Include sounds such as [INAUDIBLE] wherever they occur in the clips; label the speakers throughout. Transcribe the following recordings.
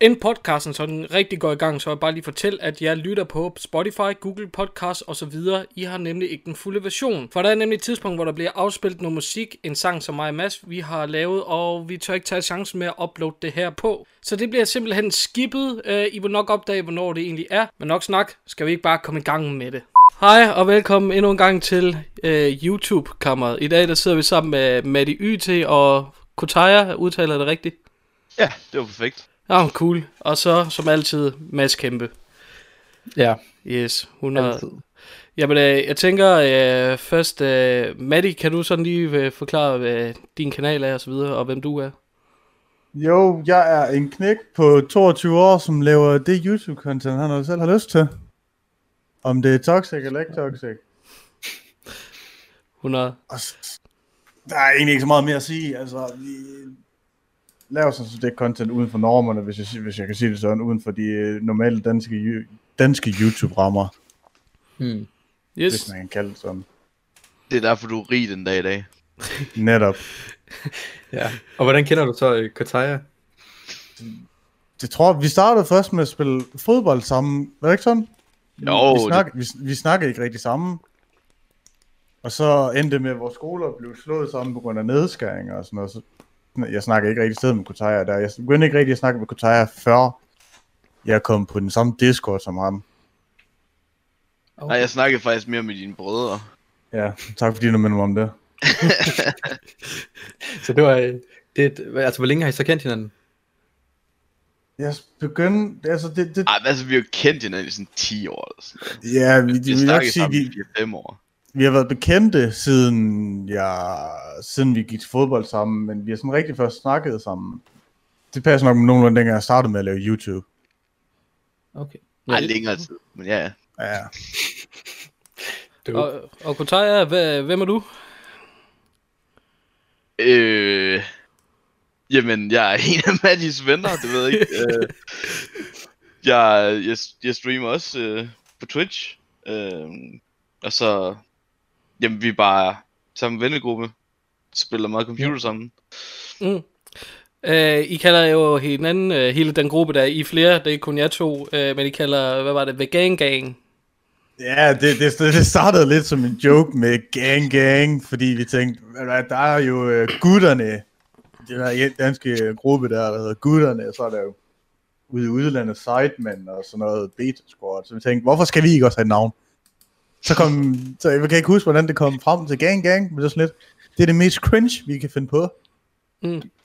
Speaker 1: Inden podcasten sådan rigtig går i gang, så vil jeg bare lige fortælle, at jeg lytter på Spotify, Google Podcast og så videre. I har nemlig ikke den fulde version. For der er nemlig et tidspunkt, hvor der bliver afspillet noget musik, en sang som mig og Mads, vi har lavet, og vi tør ikke tage chancen med at uploade det her på. Så det bliver simpelthen skippet. Øh, I vil nok opdage, hvornår det egentlig er. Men nok snak, skal vi ikke bare komme i gang med det. Hej og velkommen endnu en gang til øh, YouTube-kammeret. I dag der sidder vi sammen med Matti YT og Kotaya, udtaler jeg det rigtigt?
Speaker 2: Ja, det var perfekt.
Speaker 1: Ja, cool. Og så, som altid, Mads Kæmpe.
Speaker 3: Ja,
Speaker 1: Yes, 100.
Speaker 3: altid.
Speaker 1: Jamen, øh, jeg tænker øh, først, øh, Matti, kan du sådan lige øh, forklare, hvad din kanal er og så videre, og hvem du er?
Speaker 4: Jo, jeg er en knæk på 22 år, som laver det YouTube-content, han nu selv har lyst til. Om det er toxic eller ikke toxic.
Speaker 1: 100.
Speaker 4: Og s- der er egentlig ikke så meget mere at sige. Altså, vi laver sådan set det content uden for normerne, hvis jeg, si- hvis jeg kan sige det sådan, uden for de øh, normale danske, ju- danske YouTube-rammer,
Speaker 3: Mm.
Speaker 4: hvis
Speaker 1: Yes,
Speaker 4: man kan kalde det sådan.
Speaker 2: Det er derfor, du er rig den dag i dag.
Speaker 4: Netop.
Speaker 3: Ja. Og hvordan kender du så øh, Kataya?
Speaker 4: Det tror vi startede først med at spille fodbold sammen, var det ikke sådan?
Speaker 2: Jo,
Speaker 4: vi,
Speaker 2: det-
Speaker 4: snak, vi, vi snakkede ikke rigtig sammen. Og så endte det med, at vores skoler blev slået sammen på grund af nedskæringer og sådan noget. Så jeg snakkede ikke rigtig sted med Kotaya der. Jeg begyndte ikke rigtig at snakke med Kotaya, før jeg kom på den samme Discord som ham.
Speaker 3: Okay.
Speaker 2: Nej, jeg snakkede faktisk mere med dine brødre.
Speaker 4: Ja, tak fordi du minder mig om det.
Speaker 3: Så det var... Øh, det, er et- hvad- altså, hvor længe har I så kendt hinanden?
Speaker 4: Jeg begyndte, altså det, det
Speaker 2: Ej, men altså, vi har jo kendt hinanden i sådan 10 år eller sådan noget.
Speaker 4: ja, vi,
Speaker 2: Vi
Speaker 4: vi,
Speaker 2: har
Speaker 4: vil nok
Speaker 2: snakket
Speaker 4: sige,
Speaker 2: sammen
Speaker 4: vi,
Speaker 2: i 5 år.
Speaker 4: vi har været bekendte siden, ja, siden vi gik til fodbold sammen, men vi har sådan rigtig først snakket sammen. Det passer nok med nogenlunde, dengang jeg startede med at lave YouTube.
Speaker 3: Okay.
Speaker 2: Nej, længere tid. Men ja, ja.
Speaker 4: Ja,
Speaker 3: Du. Og,
Speaker 1: og, og Kotaya, hvad, hvem er du?
Speaker 2: Øh... Jamen, jeg er en af Mattis venner, det ved
Speaker 4: [LAUGHS]
Speaker 2: jeg ikke. øh, jeg, jeg, jeg streamer også øh, på Twitch. Øh, og så... Jamen, vi er bare sammen vennegruppe. Spiller meget computer sammen.
Speaker 1: Mm. Øh, I kalder jo hinanden, øh, hele den gruppe, der er I er flere, det er ikke kun jer to, øh, men I kalder, hvad var det, Vegan Gang?
Speaker 4: ja det, det, det startede lidt som en joke med gang gang, fordi vi tænkte, "Ved du hvad, der er jo øh, gutterne, den her danske gruppe der, der hedder gutterne, og så er der jo ude i udlandet Sidemen og sådan noget beta squad, så vi tænkte, hvorfor skal vi ikke også have et navn? Så kom, så jeg kan ikke huske, hvordan det kom frem til gang gang, men det er sådan lidt, det er det mest cringe, vi kan finde på.
Speaker 3: også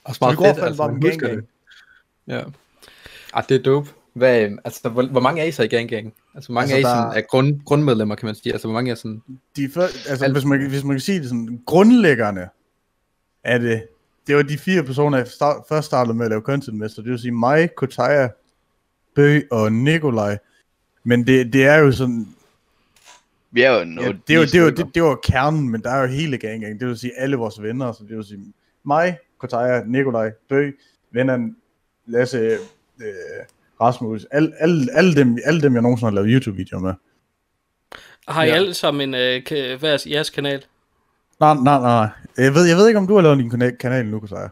Speaker 4: Så vi
Speaker 3: meget
Speaker 4: går i hvert
Speaker 3: fedt,
Speaker 4: fald
Speaker 3: altså,
Speaker 4: bare
Speaker 3: man
Speaker 4: med gang
Speaker 3: husker
Speaker 4: gang.
Speaker 3: det. Ja. Ah, det er dope. Hvad, øh, altså, hvor, hvor mange er I så i gang gang? Altså, hvor mange
Speaker 4: Altså,
Speaker 3: altså, er I
Speaker 4: der-
Speaker 3: sådan, er grund, grundmedlemmer, kan man sige? Altså, hvor mange er sådan...
Speaker 4: de før, altså,
Speaker 3: Alt-
Speaker 4: hvis, man, hvis man kan sige det sådan, grundlæggerne er det, det var de fire personer, jeg start, først startede med at lave content med, så det vil sige mig, Kotaya, Bø og Nikolaj. Men det, det er jo sådan,
Speaker 2: Vi er jo en
Speaker 4: ja,
Speaker 2: otte-
Speaker 4: det, er jo,
Speaker 2: ni
Speaker 4: det, er jo,
Speaker 2: stykker.
Speaker 4: det, det var kernen, men der er jo hele gang, gang. det vil sige alle vores venner, så det vil sige mig, Kotaya, Nikolaj, Bø, vennerne, Lasse, øh, Rasmus, alle, alle, alle, dem, alle dem, jeg nogensinde har lavet YouTube-videoer med.
Speaker 1: Har I
Speaker 3: Ja.
Speaker 1: alle sammen en, øh, ka- hver jeres kanal?
Speaker 4: Nej, nej, nej. Jeg ved, jeg ved ikke, om du har lavet din kana- kanal nu, Kotaya.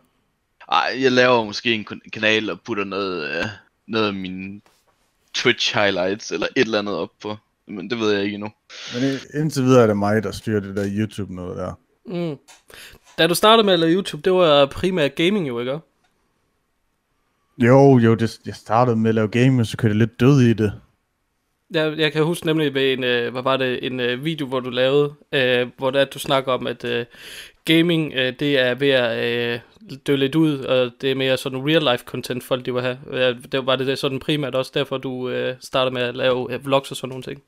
Speaker 2: Ej, jeg laver måske en kon- kanal og putter noget, øh, noget af mine Twitch highlights eller et eller andet op på. Men det ved jeg ikke endnu.
Speaker 4: Men i- indtil videre er det mig, der styrer det der YouTube noget der.
Speaker 1: Mm. Da du startede med at lave YouTube, det var primært gaming jo, ikke?
Speaker 4: Jo, jo, det, jeg startede med at lave game, men så kørte jeg lidt død i det.
Speaker 1: Jeg, jeg kan huske nemlig ved en, øh, hvad var det, en øh, video, hvor du lavede, øh, hvor der, du snakker om, at øh, gaming, øh, det er ved at øh, dø lidt ud, og det er mere sådan real life content, folk de vil have. Øh, det, var det sådan primært også derfor, du øh, startede med at lave øh, vlogs og sådan nogle ting?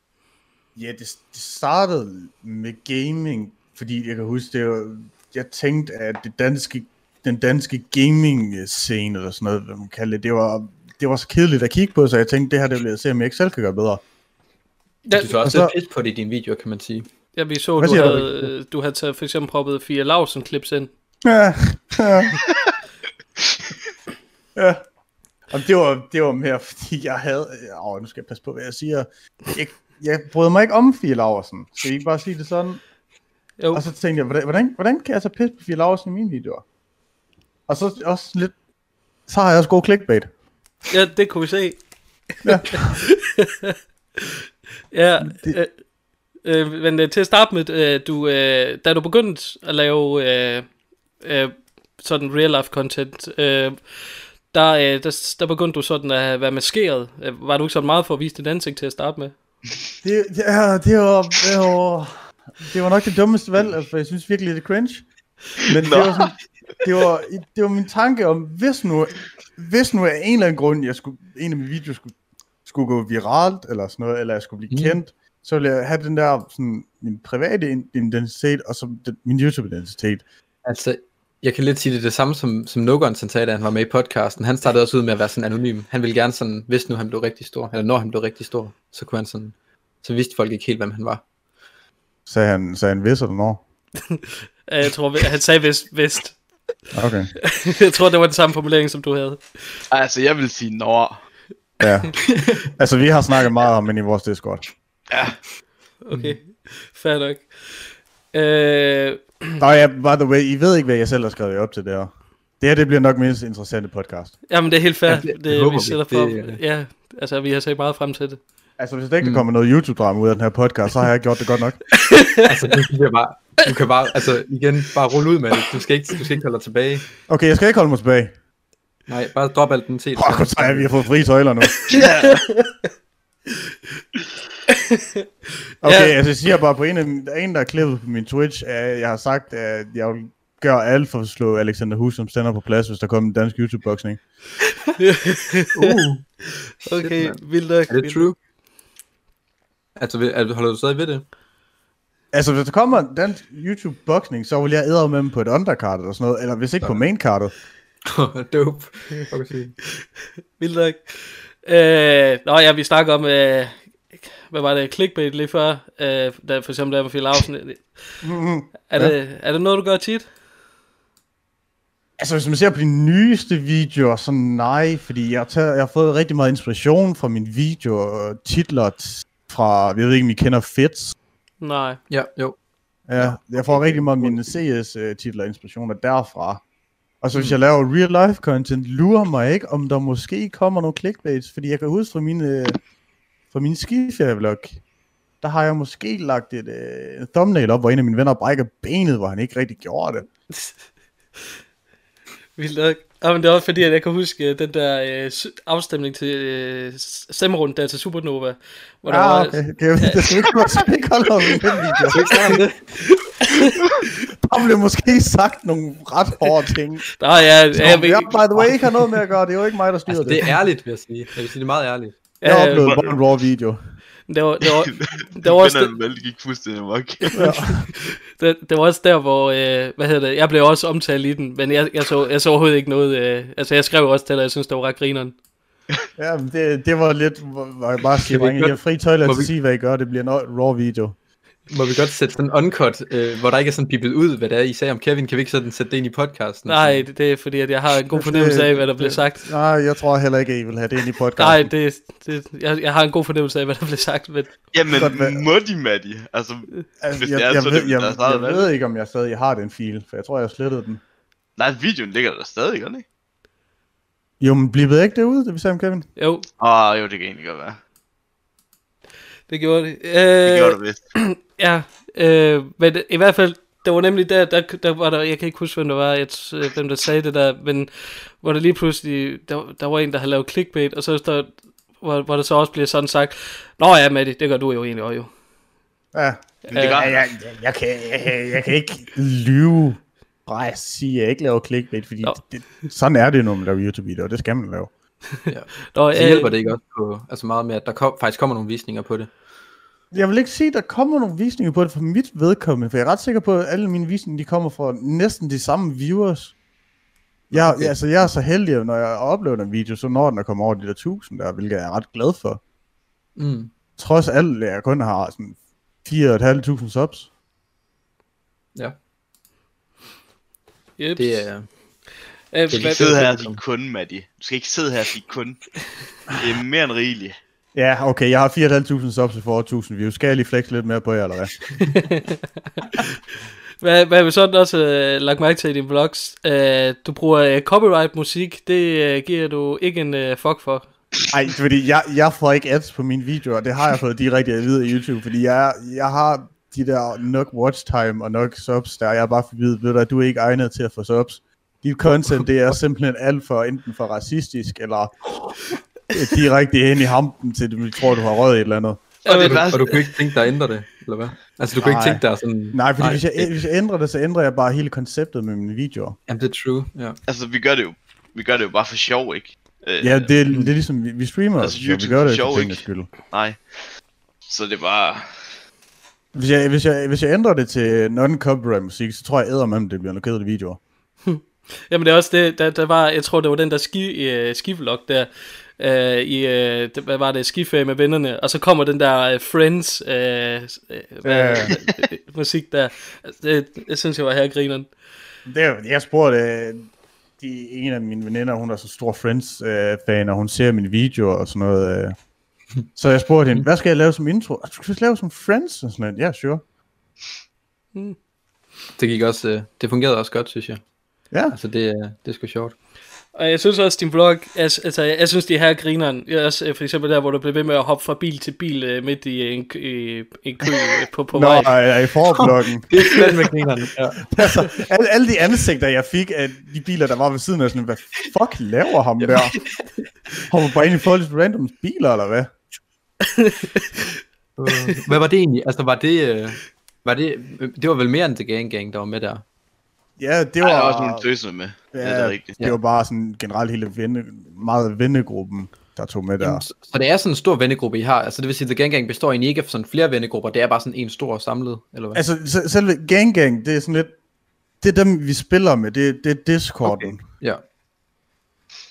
Speaker 4: Ja, det, det startede med gaming, fordi jeg kan huske, det var, jeg tænkte, at det danske, den danske gaming-scene, eller sådan noget, hvad man kalder det, det var, det var så kedeligt at kigge på, så jeg tænkte, det her, det vil jeg se, om jeg ikke selv kan gøre bedre.
Speaker 1: Ja,
Speaker 3: Du så også
Speaker 4: og
Speaker 3: lidt
Speaker 4: så-
Speaker 3: pis på det i dine videoer, kan man sige.
Speaker 1: ja vi så,
Speaker 4: Hvad
Speaker 1: du
Speaker 4: siger du?
Speaker 1: havde, øh, du havde taget, for eksempel proppet Fia Lausen klips ind.
Speaker 4: Ja. ja. Og det var, det var mere, fordi jeg havde... Åh, nu skal jeg passe på, hvad jeg siger. Jeg, jeg brød mig ikke om Fie Laversen. Skal I ikke bare sige det sådan?
Speaker 1: Jo,
Speaker 4: Og så tænkte jeg, hvordan, hvordan, hvordan kan jeg så pisse på Fie Laversen i mine videoer? Og så også lidt... Så har jeg også god clickbait.
Speaker 1: Ja, det kunne vi se. [LAUGHS] Ja, øh, øh, men øh, til at starte med, øh, du, øh, da du begyndte at lave øh, øh, sådan real life content, øh, der, øh, der, der begyndte du sådan at være maskeret. Øh, var du ikke sådan meget for at vise dit ansigt til at starte med?
Speaker 4: Det, ja, det var, det var, det var nok det dummeste valg, altså, for jeg synes virkelig, det er cringe. Men det
Speaker 2: Nå.
Speaker 4: var, sådan, det, var, det var min tanke om, hvis nu, hvis nu af en eller anden grund, jeg skulle, en af mine videoer skulle, skulle gå viralt, eller sådan noget, eller jeg skulle blive
Speaker 3: Mm.
Speaker 4: mm. kendt, så ville jeg have den der, sådan, min private in- identitet, og så den, min YouTube-identitet.
Speaker 3: Altså, jeg kan lidt sige det, det samme som, som Nogons, han sagde, da han var med i podcasten. Han startede også ud med at være sådan anonym. Han ville gerne sådan, hvis nu han blev rigtig stor, eller når han blev rigtig stor, så kunne han sådan, så vidste folk ikke helt, hvem han var.
Speaker 4: Sagde han, sagde han hvis eller når?
Speaker 1: Øh, jeg tror, han sagde vist. vist.
Speaker 4: Okay.
Speaker 1: [LAUGHS] jeg tror, det var den samme formulering, som du havde.
Speaker 2: Altså, jeg vil sige når.
Speaker 4: Ja. Altså, vi har snakket meget om hende i vores Discord.
Speaker 2: Ja,
Speaker 1: Okay, mm. fair nok. Øh,
Speaker 4: Nå ja, by the way, I ved ikke, hvad jeg selv har skrevet op til det her. Det her, det bliver nok mindst interessante podcast.
Speaker 1: jamen, det er helt fair.
Speaker 3: Ja,
Speaker 1: Ja,
Speaker 3: det-
Speaker 1: det,
Speaker 3: det
Speaker 1: det,
Speaker 3: håber
Speaker 1: vi
Speaker 3: vi.
Speaker 1: sætter for.
Speaker 3: Det, øh,
Speaker 1: Ja, altså, vi har set meget frem til det.
Speaker 4: Altså, hvis der ikke
Speaker 3: Mm.
Speaker 4: mm. kommer noget YouTube-drama ud af den her podcast, så har jeg ikke gjort det godt nok.
Speaker 3: Altså, du kan bare, du kan bare, altså igen, bare rulle ud med det. Du skal ikke, du skal ikke holde dig tilbage.
Speaker 4: Okay, jeg skal ikke holde mig tilbage.
Speaker 3: Nej, bare drop alt den til.
Speaker 4: Fuck, hvor sejt, vi har fået frie tøjler nu. Okay,
Speaker 1: Ja.
Speaker 4: altså jeg siger bare på en, af, der er en der er klippet på min Twitch, at jeg har sagt, at jeg vil gøre alt for at slå Alexander Hus som stander på plads, hvis der kommer en dansk YouTube-boksning.
Speaker 3: Uh,
Speaker 1: Okay,
Speaker 3: mand.
Speaker 1: vildt nok.
Speaker 3: er det true? Altså, vil- er- holder du stadig ved det?
Speaker 4: Altså, hvis der kommer en dansk YouTube-boksning, så vil jeg æde med dem på et undercard eller sådan noget, eller hvis ikke på maincardet.
Speaker 3: [LAUGHS] Dope. Fuck, okay.
Speaker 1: Vildt nok. Øh, nå ja, vi snakker om, øh, hvad var det, clickbait lige før, øh, der, for eksempel der med Phil Lausen. [LAUGHS]
Speaker 4: Mm-hmm.
Speaker 1: Er,
Speaker 4: Ja.
Speaker 1: det, er det noget, du gør tit?
Speaker 4: Altså, hvis man ser på de nyeste videoer, så nej, fordi jeg, tager, jeg har fået rigtig meget inspiration fra mine videoer og titler t- fra, jeg ved ikke, om I kender Fits.
Speaker 1: Nej.
Speaker 3: Ja, jo.
Speaker 4: Ja, jeg får rigtig meget af mine CS-titler og inspirationer derfra. Og så hvis jeg laver real life content, lurer mig ikke, om der måske kommer nogle clickbaits, fordi jeg kan huske fra mine, øh, fra mine skiferievlog, der har jeg måske lagt et øh, thumbnail op, hvor en af mine venner brækker benet, hvor han ikke rigtig gjorde det.
Speaker 1: Vildt nok. Ja, men det er også fordi, at jeg kan huske øh, den der øh, s- afstemning til øh, s- stemmerunden der til Supernova. Hvor der
Speaker 4: Ah,
Speaker 1: var,
Speaker 4: okay. [LAUGHS] Det, er, det skal vi ikke holde, så vi ikke holde os i den video. Der blev måske sagt nogle ret hårde ting.
Speaker 1: Nå, ja, ja, jeg
Speaker 4: Som
Speaker 1: ved,
Speaker 4: jeg, by the way, ikke har noget med at gøre. Det er jo ikke mig, der styrer
Speaker 3: Altså, det
Speaker 4: det.
Speaker 3: er ærligt, vil jeg sige. Jeg vil sige, det er meget ærligt.
Speaker 4: Jeg har
Speaker 1: ja,
Speaker 4: oplevet bare en raw video.
Speaker 1: det var, det var, [LAUGHS] det
Speaker 2: det
Speaker 1: var
Speaker 2: var
Speaker 1: også
Speaker 2: også
Speaker 1: det,
Speaker 2: det. Det gik fuldstændig amok.
Speaker 1: det, det var også der, hvor, øh, hvad hedder det, jeg blev også omtalt i den, men jeg, jeg, så, jeg så overhovedet ikke noget, øh, altså jeg skrev også til dig, jeg synes, det var ret grineren.
Speaker 4: Ja, men det, det var lidt, hvor- hvor jeg bare siger,
Speaker 3: Kan vi
Speaker 4: drenge,
Speaker 3: ikke
Speaker 4: I har fri tøjler
Speaker 3: Må
Speaker 4: til at
Speaker 3: vi-
Speaker 4: sige, hvad I gør. Det bliver en raw video.
Speaker 3: Må vi godt sætte sådan en uncut, øh, hvor der ikke er sådan bippet ud, hvad det er, I sagde om Kevin. Kan vi ikke sådan sætte det ind i podcasten?
Speaker 1: Nej, det, det er fordi, at jeg har
Speaker 3: [LAUGHS]
Speaker 1: en god fornemmelse af, hvad der bliver sagt.
Speaker 4: Nej, jeg tror heller ikke, I vil have det ind i podcasten.
Speaker 1: Nej, det, det, jeg, jeg har en god fornemmelse af, hvad der bliver sagt, men
Speaker 2: Jamen,
Speaker 4: Godt være.
Speaker 2: må de, Matti? Altså,
Speaker 4: altså,
Speaker 2: hvis
Speaker 4: jeg,
Speaker 2: det er,
Speaker 4: jeg,
Speaker 2: så er
Speaker 4: ved,
Speaker 2: det
Speaker 4: jeg,
Speaker 2: deres eget
Speaker 4: jeg,
Speaker 2: valg.
Speaker 4: ved ikke, om jeg stadig har den fil, for jeg tror, jeg har slettet den.
Speaker 2: nej, videoen ligger der stadig, gør den ikke?
Speaker 4: Jo, men blev det ikke det ude, det vi sagde om Kevin?
Speaker 1: jo,
Speaker 2: Åh, oh, jo, det kan egentlig godt være.
Speaker 1: det gjorde det. Øh,
Speaker 2: Det gjorde det vist.
Speaker 1: Ja, øh, men i hvert fald, det var nemlig der, der, der var der, jeg kan ikke huske, hvem der var, jeg, t- øh, hvem der sagde det der, men hvor der lige pludselig, der, der var en, der havde lavet clickbait, og så der, hvor, hvor der så også bliver sådan sagt, Nå ja, Matti, det gør du jo egentlig også jo.
Speaker 4: Ja.
Speaker 2: Men det gør
Speaker 4: Ja, jeg, jeg, jeg, kan, jeg, jeg kan ikke lyve bare at sige, at jeg ikke laver clickbait, fordi
Speaker 1: Nå.
Speaker 4: det, det, sådan er det, når man laver YouTube-videoer. Det skal man lave.
Speaker 1: Nå, øh,
Speaker 3: Så hjælper det ikke også på, altså meget med, at der kom, faktisk kommer nogle visninger på det.
Speaker 4: Jeg vil ikke sige, at der kommer nogle visninger på det for mit vedkommende, for jeg er ret sikker på, at alle mine visninger de kommer fra næsten de samme viewers. Jeg, okay. altså, jeg er så heldig, at når jeg oplever en video, så når den er kommet over de der 1000 der, hvilket jeg er ret glad for.
Speaker 3: Mm.
Speaker 4: Trods alt, at jeg kun har sådan 4.500 subs.
Speaker 3: Ja,
Speaker 1: Jeps.
Speaker 3: det er...
Speaker 1: Øh,
Speaker 3: det er
Speaker 1: hvad-
Speaker 2: Du skal sidde her og
Speaker 3: Velkommen.
Speaker 2: sige kun, Matti. Du skal ikke sidde her og sige kun. Det er mere end rigeligt.
Speaker 4: Ja, okay, jeg har 4.500 subs og får 1.000 views. Skal jeg lige flex lidt mere på jer, eller hvad?
Speaker 1: Hvad, hvad vi sådan også øh, lagt mærke til i dine vlogs, øh, du bruger øh, copyright musik, det øh, giver du ikke en øh, fuck for.
Speaker 4: Nej, fordi jeg, jeg får ikke ads på mine videoer, det har jeg fået direkte at vide af YouTube, fordi jeg, jeg har de der nok watch time og nok subs der, jeg har bare fået at vide, ved du, at du er ikke egnet til at få subs. Dit content, det er simpelthen alt for, enten for racistisk, eller direkte ind i hampen til, du tror, du har røget et eller andet.
Speaker 3: Og,
Speaker 2: det
Speaker 3: det du,
Speaker 2: værste-
Speaker 3: og du kunne ikke tænke dig at ændre det, eller hvad? Altså, du kunne ikke
Speaker 4: Nej.
Speaker 3: tænke dig sådan...
Speaker 4: Nej, fordi Nej. Hvis, jeg, hvis jeg ændrer det, så ændrer jeg bare hele konceptet med mine videoer.
Speaker 3: Jamen, det er true, ja.
Speaker 2: Altså, vi gør det jo, vi gør det jo bare for sjov, ikke? Øh,
Speaker 4: Ja, det, er- det er ligesom, vi, vi streamer,
Speaker 2: Altså,
Speaker 4: altså, vi
Speaker 2: YouTube
Speaker 4: gør
Speaker 2: er
Speaker 4: det
Speaker 2: sjov,
Speaker 4: for tingens
Speaker 2: ikke?
Speaker 4: skyld.
Speaker 2: Nej. Så det er bare...
Speaker 4: Hvis jeg, hvis, jeg, hvis jeg ændrer det til non-copyright musik, så tror jeg ædermem, det bliver nogle kedelige videoer.
Speaker 1: Jamen det er også det, der, der var, jeg tror det var den der ski, øh, skivlog der, øh, i, øh, det- hvad var det, skiferie med vennerne, og så kommer den der øh, Friends øh, øh, hvad,
Speaker 4: Ja.
Speaker 1: øh, [LAUGHS] musik der, Altså, det, jeg synes jeg var her grineren.
Speaker 4: Det, er- jeg spurgte øh, de, en af mine veninder, hun er så stor Friends-fan, øh, og hun ser mine videoer og sådan noget. Øh. Så jeg spurgte hende, hvad skal jeg lave som intro? "Ah, Du skal lave som Friends og sådan noget. Ja, yeah, sure.
Speaker 3: Det gik også... øh, Det fungerede også godt, synes jeg.
Speaker 4: Ja,
Speaker 3: Altså, det, er- det er sgu sjovt.
Speaker 1: Og jeg synes også, din vlog, altså, altså jeg, jeg synes, det her grineren, jeg, også, øh, for eksempel der, hvor du blev ved med at hoppe fra bil til bil øh, midt i en, kø- i, en kø øh, på, på
Speaker 4: Nå,
Speaker 1: vej.
Speaker 4: øh, i
Speaker 2: [LAUGHS]
Speaker 4: forblokken.
Speaker 3: [LAUGHS] Det er fandme grinerne, ja.
Speaker 4: altså, alle, alle de ansigter, jeg fik af de biler, der var ved siden af, sådan, hvad fuck laver ham der? Hopper bare ind i folks random biler, eller hvad?
Speaker 3: Øh, Hvad var det egentlig? Altså, var det... øh, Var det, øh, det var vel mere end The Gang Gang, der var med der.
Speaker 4: Ja, det
Speaker 2: Det var...
Speaker 4: var...
Speaker 2: Ej, der er også nogle tøser med. Ja, det er da rigtigt.
Speaker 4: det var bare sådan generelt hele venne, meget vennegruppen, der tog med der.
Speaker 3: Jamen, Så, så det er sådan en stor vennegruppe, I har. Altså, det vil sige, at The Gang Gang består egentlig ikke af sådan flere vennegrupper. Det er bare sådan en stor samlet, eller hvad? Altså,
Speaker 4: Altså, se- selve Gang Gang, det er sådan lidt... Det er dem, vi spiller med, det, det er Discorden.
Speaker 3: ja.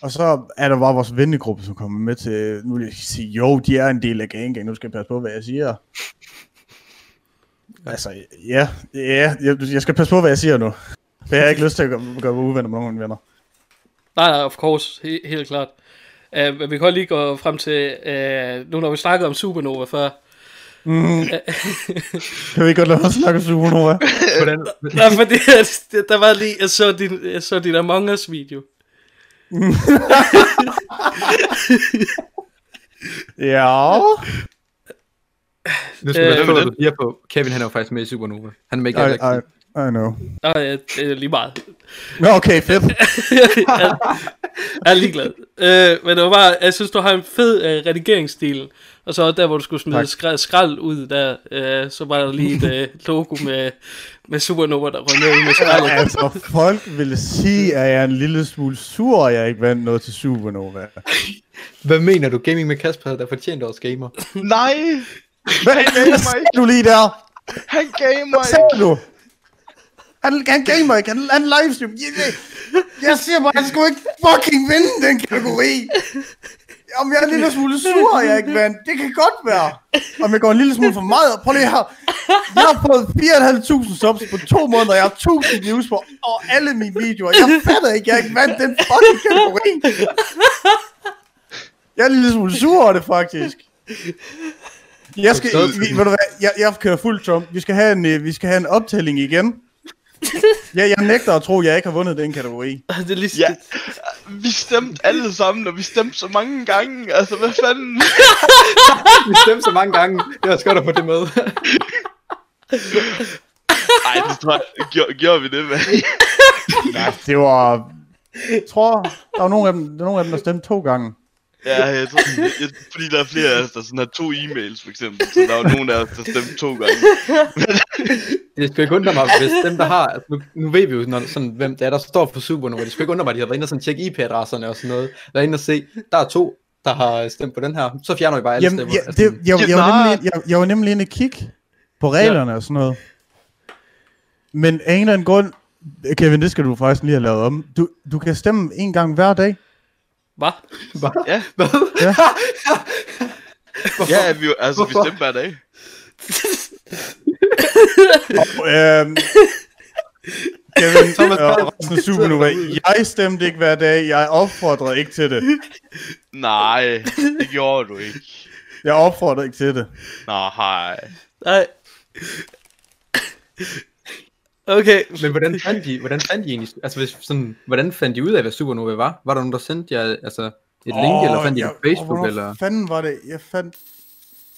Speaker 4: Og så er der bare vores vennegruppe, som kommer med til... Nu vil jeg sige, jo, de er en del af Gang Gang, nu skal jeg passe på, hvad jeg siger. Altså, ja, ja jeg, jeg skal passe på, hvad jeg siger nu. For jeg har ikke lyst til at gøre, gøre mig uvenner med nogen af mine venner.
Speaker 1: Nej, nej, of course, he, helt klart. Uh, men vi kan godt lige gå frem til, uh, nu når vi snakkede om Supernova
Speaker 2: [LAUGHS]
Speaker 1: før.
Speaker 4: Mm. Kan vi ikke godt lade mig snakke supernova?
Speaker 3: Hvordan,
Speaker 1: Nej, [LAUGHS] fordi at, der var lige, jeg så din, jeg så din Among Us video.
Speaker 4: Ja.
Speaker 3: nu skal
Speaker 1: Øh,
Speaker 3: øh,
Speaker 2: hvem er
Speaker 3: på,
Speaker 2: det?
Speaker 3: du siger på. Kevin, han er jo faktisk med i Supernova. Han er med i
Speaker 4: I,
Speaker 3: Galaxy.
Speaker 4: I, I know.
Speaker 1: Nå, ja, det er lige meget.
Speaker 4: Nå, okay, fedt.
Speaker 1: Jeg er
Speaker 2: [LAUGHS]
Speaker 1: ligeglad. Øh, men det var bare, jeg synes, du har en fed øh, redigeringsstil. Og så der, hvor du skulle smide
Speaker 4: Tak.
Speaker 1: skrald, skrald ud der, øh, så var der lige et øh,
Speaker 2: [LAUGHS]
Speaker 1: logo med, med Supernova, der røg ned med skraldet.
Speaker 4: altså, folk ville sige, at jeg er en lille smule sur, at jeg ikke vandt noget til Supernova.
Speaker 3: Hvad mener du? Gaming med Kasper havde da fortjent årets gamer.
Speaker 2: Nej!
Speaker 4: Hvad hvad sagde du lige der?
Speaker 2: Han gav mig
Speaker 4: Hvad sagde du? Han, han gav mig ikke, han, han livestream. Jeg, jeg, jeg siger bare, han skulle ikke fucking vinde den kategori. Om jeg er en lille smule sur, at jeg ikke vandt. Det kan godt være. Om jeg går en lille smule for meget. Prøv lige her. Jeg har fået 4.500 subs på to måneder. Jeg har 1.000 views på og alle mine videoer. Jeg fatter ikke, jeg ikke vandt den fucking kategori. Jeg er en lille smule sur over det, faktisk. Jeg skal,
Speaker 3: Så-
Speaker 4: vi, ved du hvad, jeg, jeg kører fuld Trump. Vi skal have en, øh, vi skal have en optælling igen. Ja, jeg nægter at tro, at jeg ikke har vundet den kategori.
Speaker 1: [LAUGHS] Det er lige,
Speaker 2: Ja, vi stemte alle sammen, og vi stemte så mange gange. Altså, hvad
Speaker 4: [LAUGHS]
Speaker 2: fanden?
Speaker 3: Vi stemte så mange gange. Det var godt at få det med.
Speaker 2: Nej, det tror jeg, gjorde, gjorde vi det, med.
Speaker 4: [LAUGHS] Nej, [LAUGHS] det var... Jeg tror, der var nogle af dem, der, nogle af dem, der stemte to gange.
Speaker 2: Ja, jeg tror, jeg, fordi der er flere af os, der sådan har to e-mails, for eksempel. Så der var nogen af os, der stemte to gange.
Speaker 3: [LAUGHS] Det skulle ikke undre mig, hvis dem, der har... Altså, nu, nu ved vi jo, når, sådan, hvem det er, der står på Supernova. Det skulle ikke undre mig, at de har været inde og sådan, tjekke IP-adresserne og sådan noget. Været inde og se, der er to, der har stemt på den her. Så fjerner vi bare alle
Speaker 4: Jamen,
Speaker 3: stemmer.
Speaker 4: ja,
Speaker 3: Altså,
Speaker 4: det, jeg, jeg,
Speaker 2: Ja,
Speaker 4: var
Speaker 2: nej.
Speaker 4: nemlig, jeg, jeg var nemlig inde og kigge på reglerne og sådan noget. Men af en eller anden grund... Kevin, det skal du faktisk lige have lavet om. Du, du kan stemme en gang hver dag.
Speaker 1: Hvad?
Speaker 3: Hvad?
Speaker 2: Ja.
Speaker 3: Hvad?
Speaker 4: Ja.
Speaker 2: Ja, vi, altså, vi stemte hver dag.
Speaker 4: Øhm, Kevin
Speaker 3: Thomas
Speaker 4: og
Speaker 3: Carlsen.
Speaker 4: resten af Supernova, jeg stemte ikke hver dag. Jeg opfordrede ikke til det.
Speaker 2: Nej, det gjorde du ikke.
Speaker 4: Jeg opfordrede ikke til det.
Speaker 2: Nej.
Speaker 1: Nej. [LAUGHS] Okay.
Speaker 3: Men hvordan fandt de, hvordan fandt de egentlig, altså hvis sådan, hvordan fandt de ud af, hvad Supernova var? Var der nogen, der sendte jer altså, et link,
Speaker 4: Åh,
Speaker 3: eller fandt de det
Speaker 4: jeg-
Speaker 3: på
Speaker 4: åh,
Speaker 3: Facebook,
Speaker 4: hvornår
Speaker 3: eller?
Speaker 4: fanden var det, jeg fandt...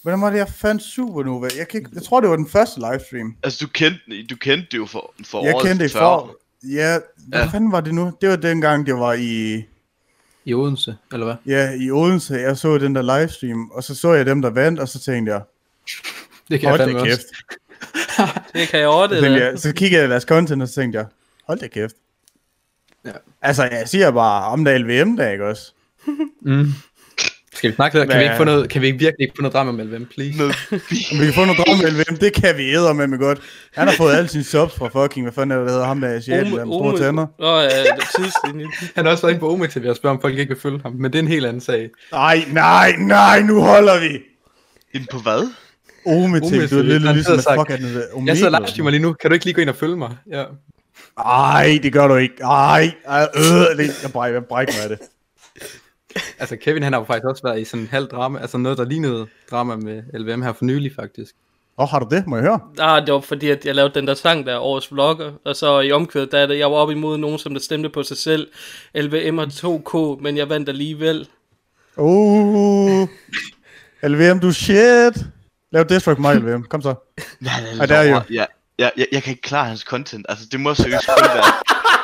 Speaker 4: Hvordan var det, jeg fandt Supernova? Jeg, kan ikke, jeg tror, det var den første livestream.
Speaker 2: Altså, du kendte, du kendte det jo for, for
Speaker 4: jeg
Speaker 2: året
Speaker 4: kendte det
Speaker 2: før.
Speaker 4: for... Ja,
Speaker 2: Ja.
Speaker 4: hvad ja. fanden var det nu? Det var dengang, det var i,
Speaker 3: I Odense, eller hvad?
Speaker 4: ja, i Odense. Jeg så den der livestream, og så så jeg dem, der vandt, og så tænkte jeg,
Speaker 3: Det kan
Speaker 4: hold
Speaker 3: jeg
Speaker 4: da
Speaker 3: fandme
Speaker 4: kæft.
Speaker 3: også.
Speaker 1: Det kan jeg ordne.
Speaker 4: Så,
Speaker 1: Det
Speaker 4: tænkte
Speaker 1: der.
Speaker 4: jeg, så kiggede jeg i deres content, og så tænkte jeg, hold da kæft.
Speaker 3: Ja.
Speaker 4: Altså, jeg siger bare, om der er LVM-dag, ikke også?
Speaker 3: Mm. Skal vi snakke lidt? Kan vi, ikke få
Speaker 4: Hvad-
Speaker 3: noget, kan vi ikke virkelig ikke få noget drama med LVM, please?
Speaker 2: Noget
Speaker 4: Men vi kan få noget drømme med LVM, det kan vi æde med mig godt. Han har fået alle sine subs fra fucking, hvad fanden er det, der hedder ham der asiaten, der med store tænder.
Speaker 1: Nå, ja, det er
Speaker 4: [LAUGHS]
Speaker 1: tidslinjen.
Speaker 3: Han har også været inde på Omex, til jeg spørger, om folk ikke vil følge ham, men det er en helt anden sag.
Speaker 4: Nej, nej, nej, nu holder vi!
Speaker 2: Jamen, på hvad?
Speaker 4: Ometik,
Speaker 3: Ometik,
Speaker 4: du er lidt
Speaker 3: han
Speaker 4: ligesom,
Speaker 3: havde
Speaker 4: at
Speaker 3: sagt,
Speaker 4: fuck er det
Speaker 3: Jeg
Speaker 4: der
Speaker 3: sidder og
Speaker 4: Omega?" altså."
Speaker 3: livestreamer lige nu, kan du ikke lige gå ind og følge mig? Ja.
Speaker 4: Ej, det gør du ikke. Ej, ej, øh, det- jeg brækker, jeg brækker mig af det.
Speaker 3: Altså Kevin, han har jo faktisk også været i sådan en halv drama, altså noget, der lignede drama med LVM her for nylig faktisk. [LAUGHS]
Speaker 4: Åh, har du det? Må jeg høre?
Speaker 1: Ah, det var fordi, at jeg lavede den der sang der, Årets Vlogger, og så i omkvædet, der er det, jeg var op imod nogen, som der stemte på sig selv, LVM og 2K, men jeg vandt alligevel.
Speaker 4: Uh, LVM, du shit. Lav Deathstroke mig, LVM. Kom så.
Speaker 2: Nej,
Speaker 4: Ej, der er jo.
Speaker 2: Ja, ja, jeg, jeg kan ikke klare hans content. Altså, det må seriøst kun [LAUGHS] være...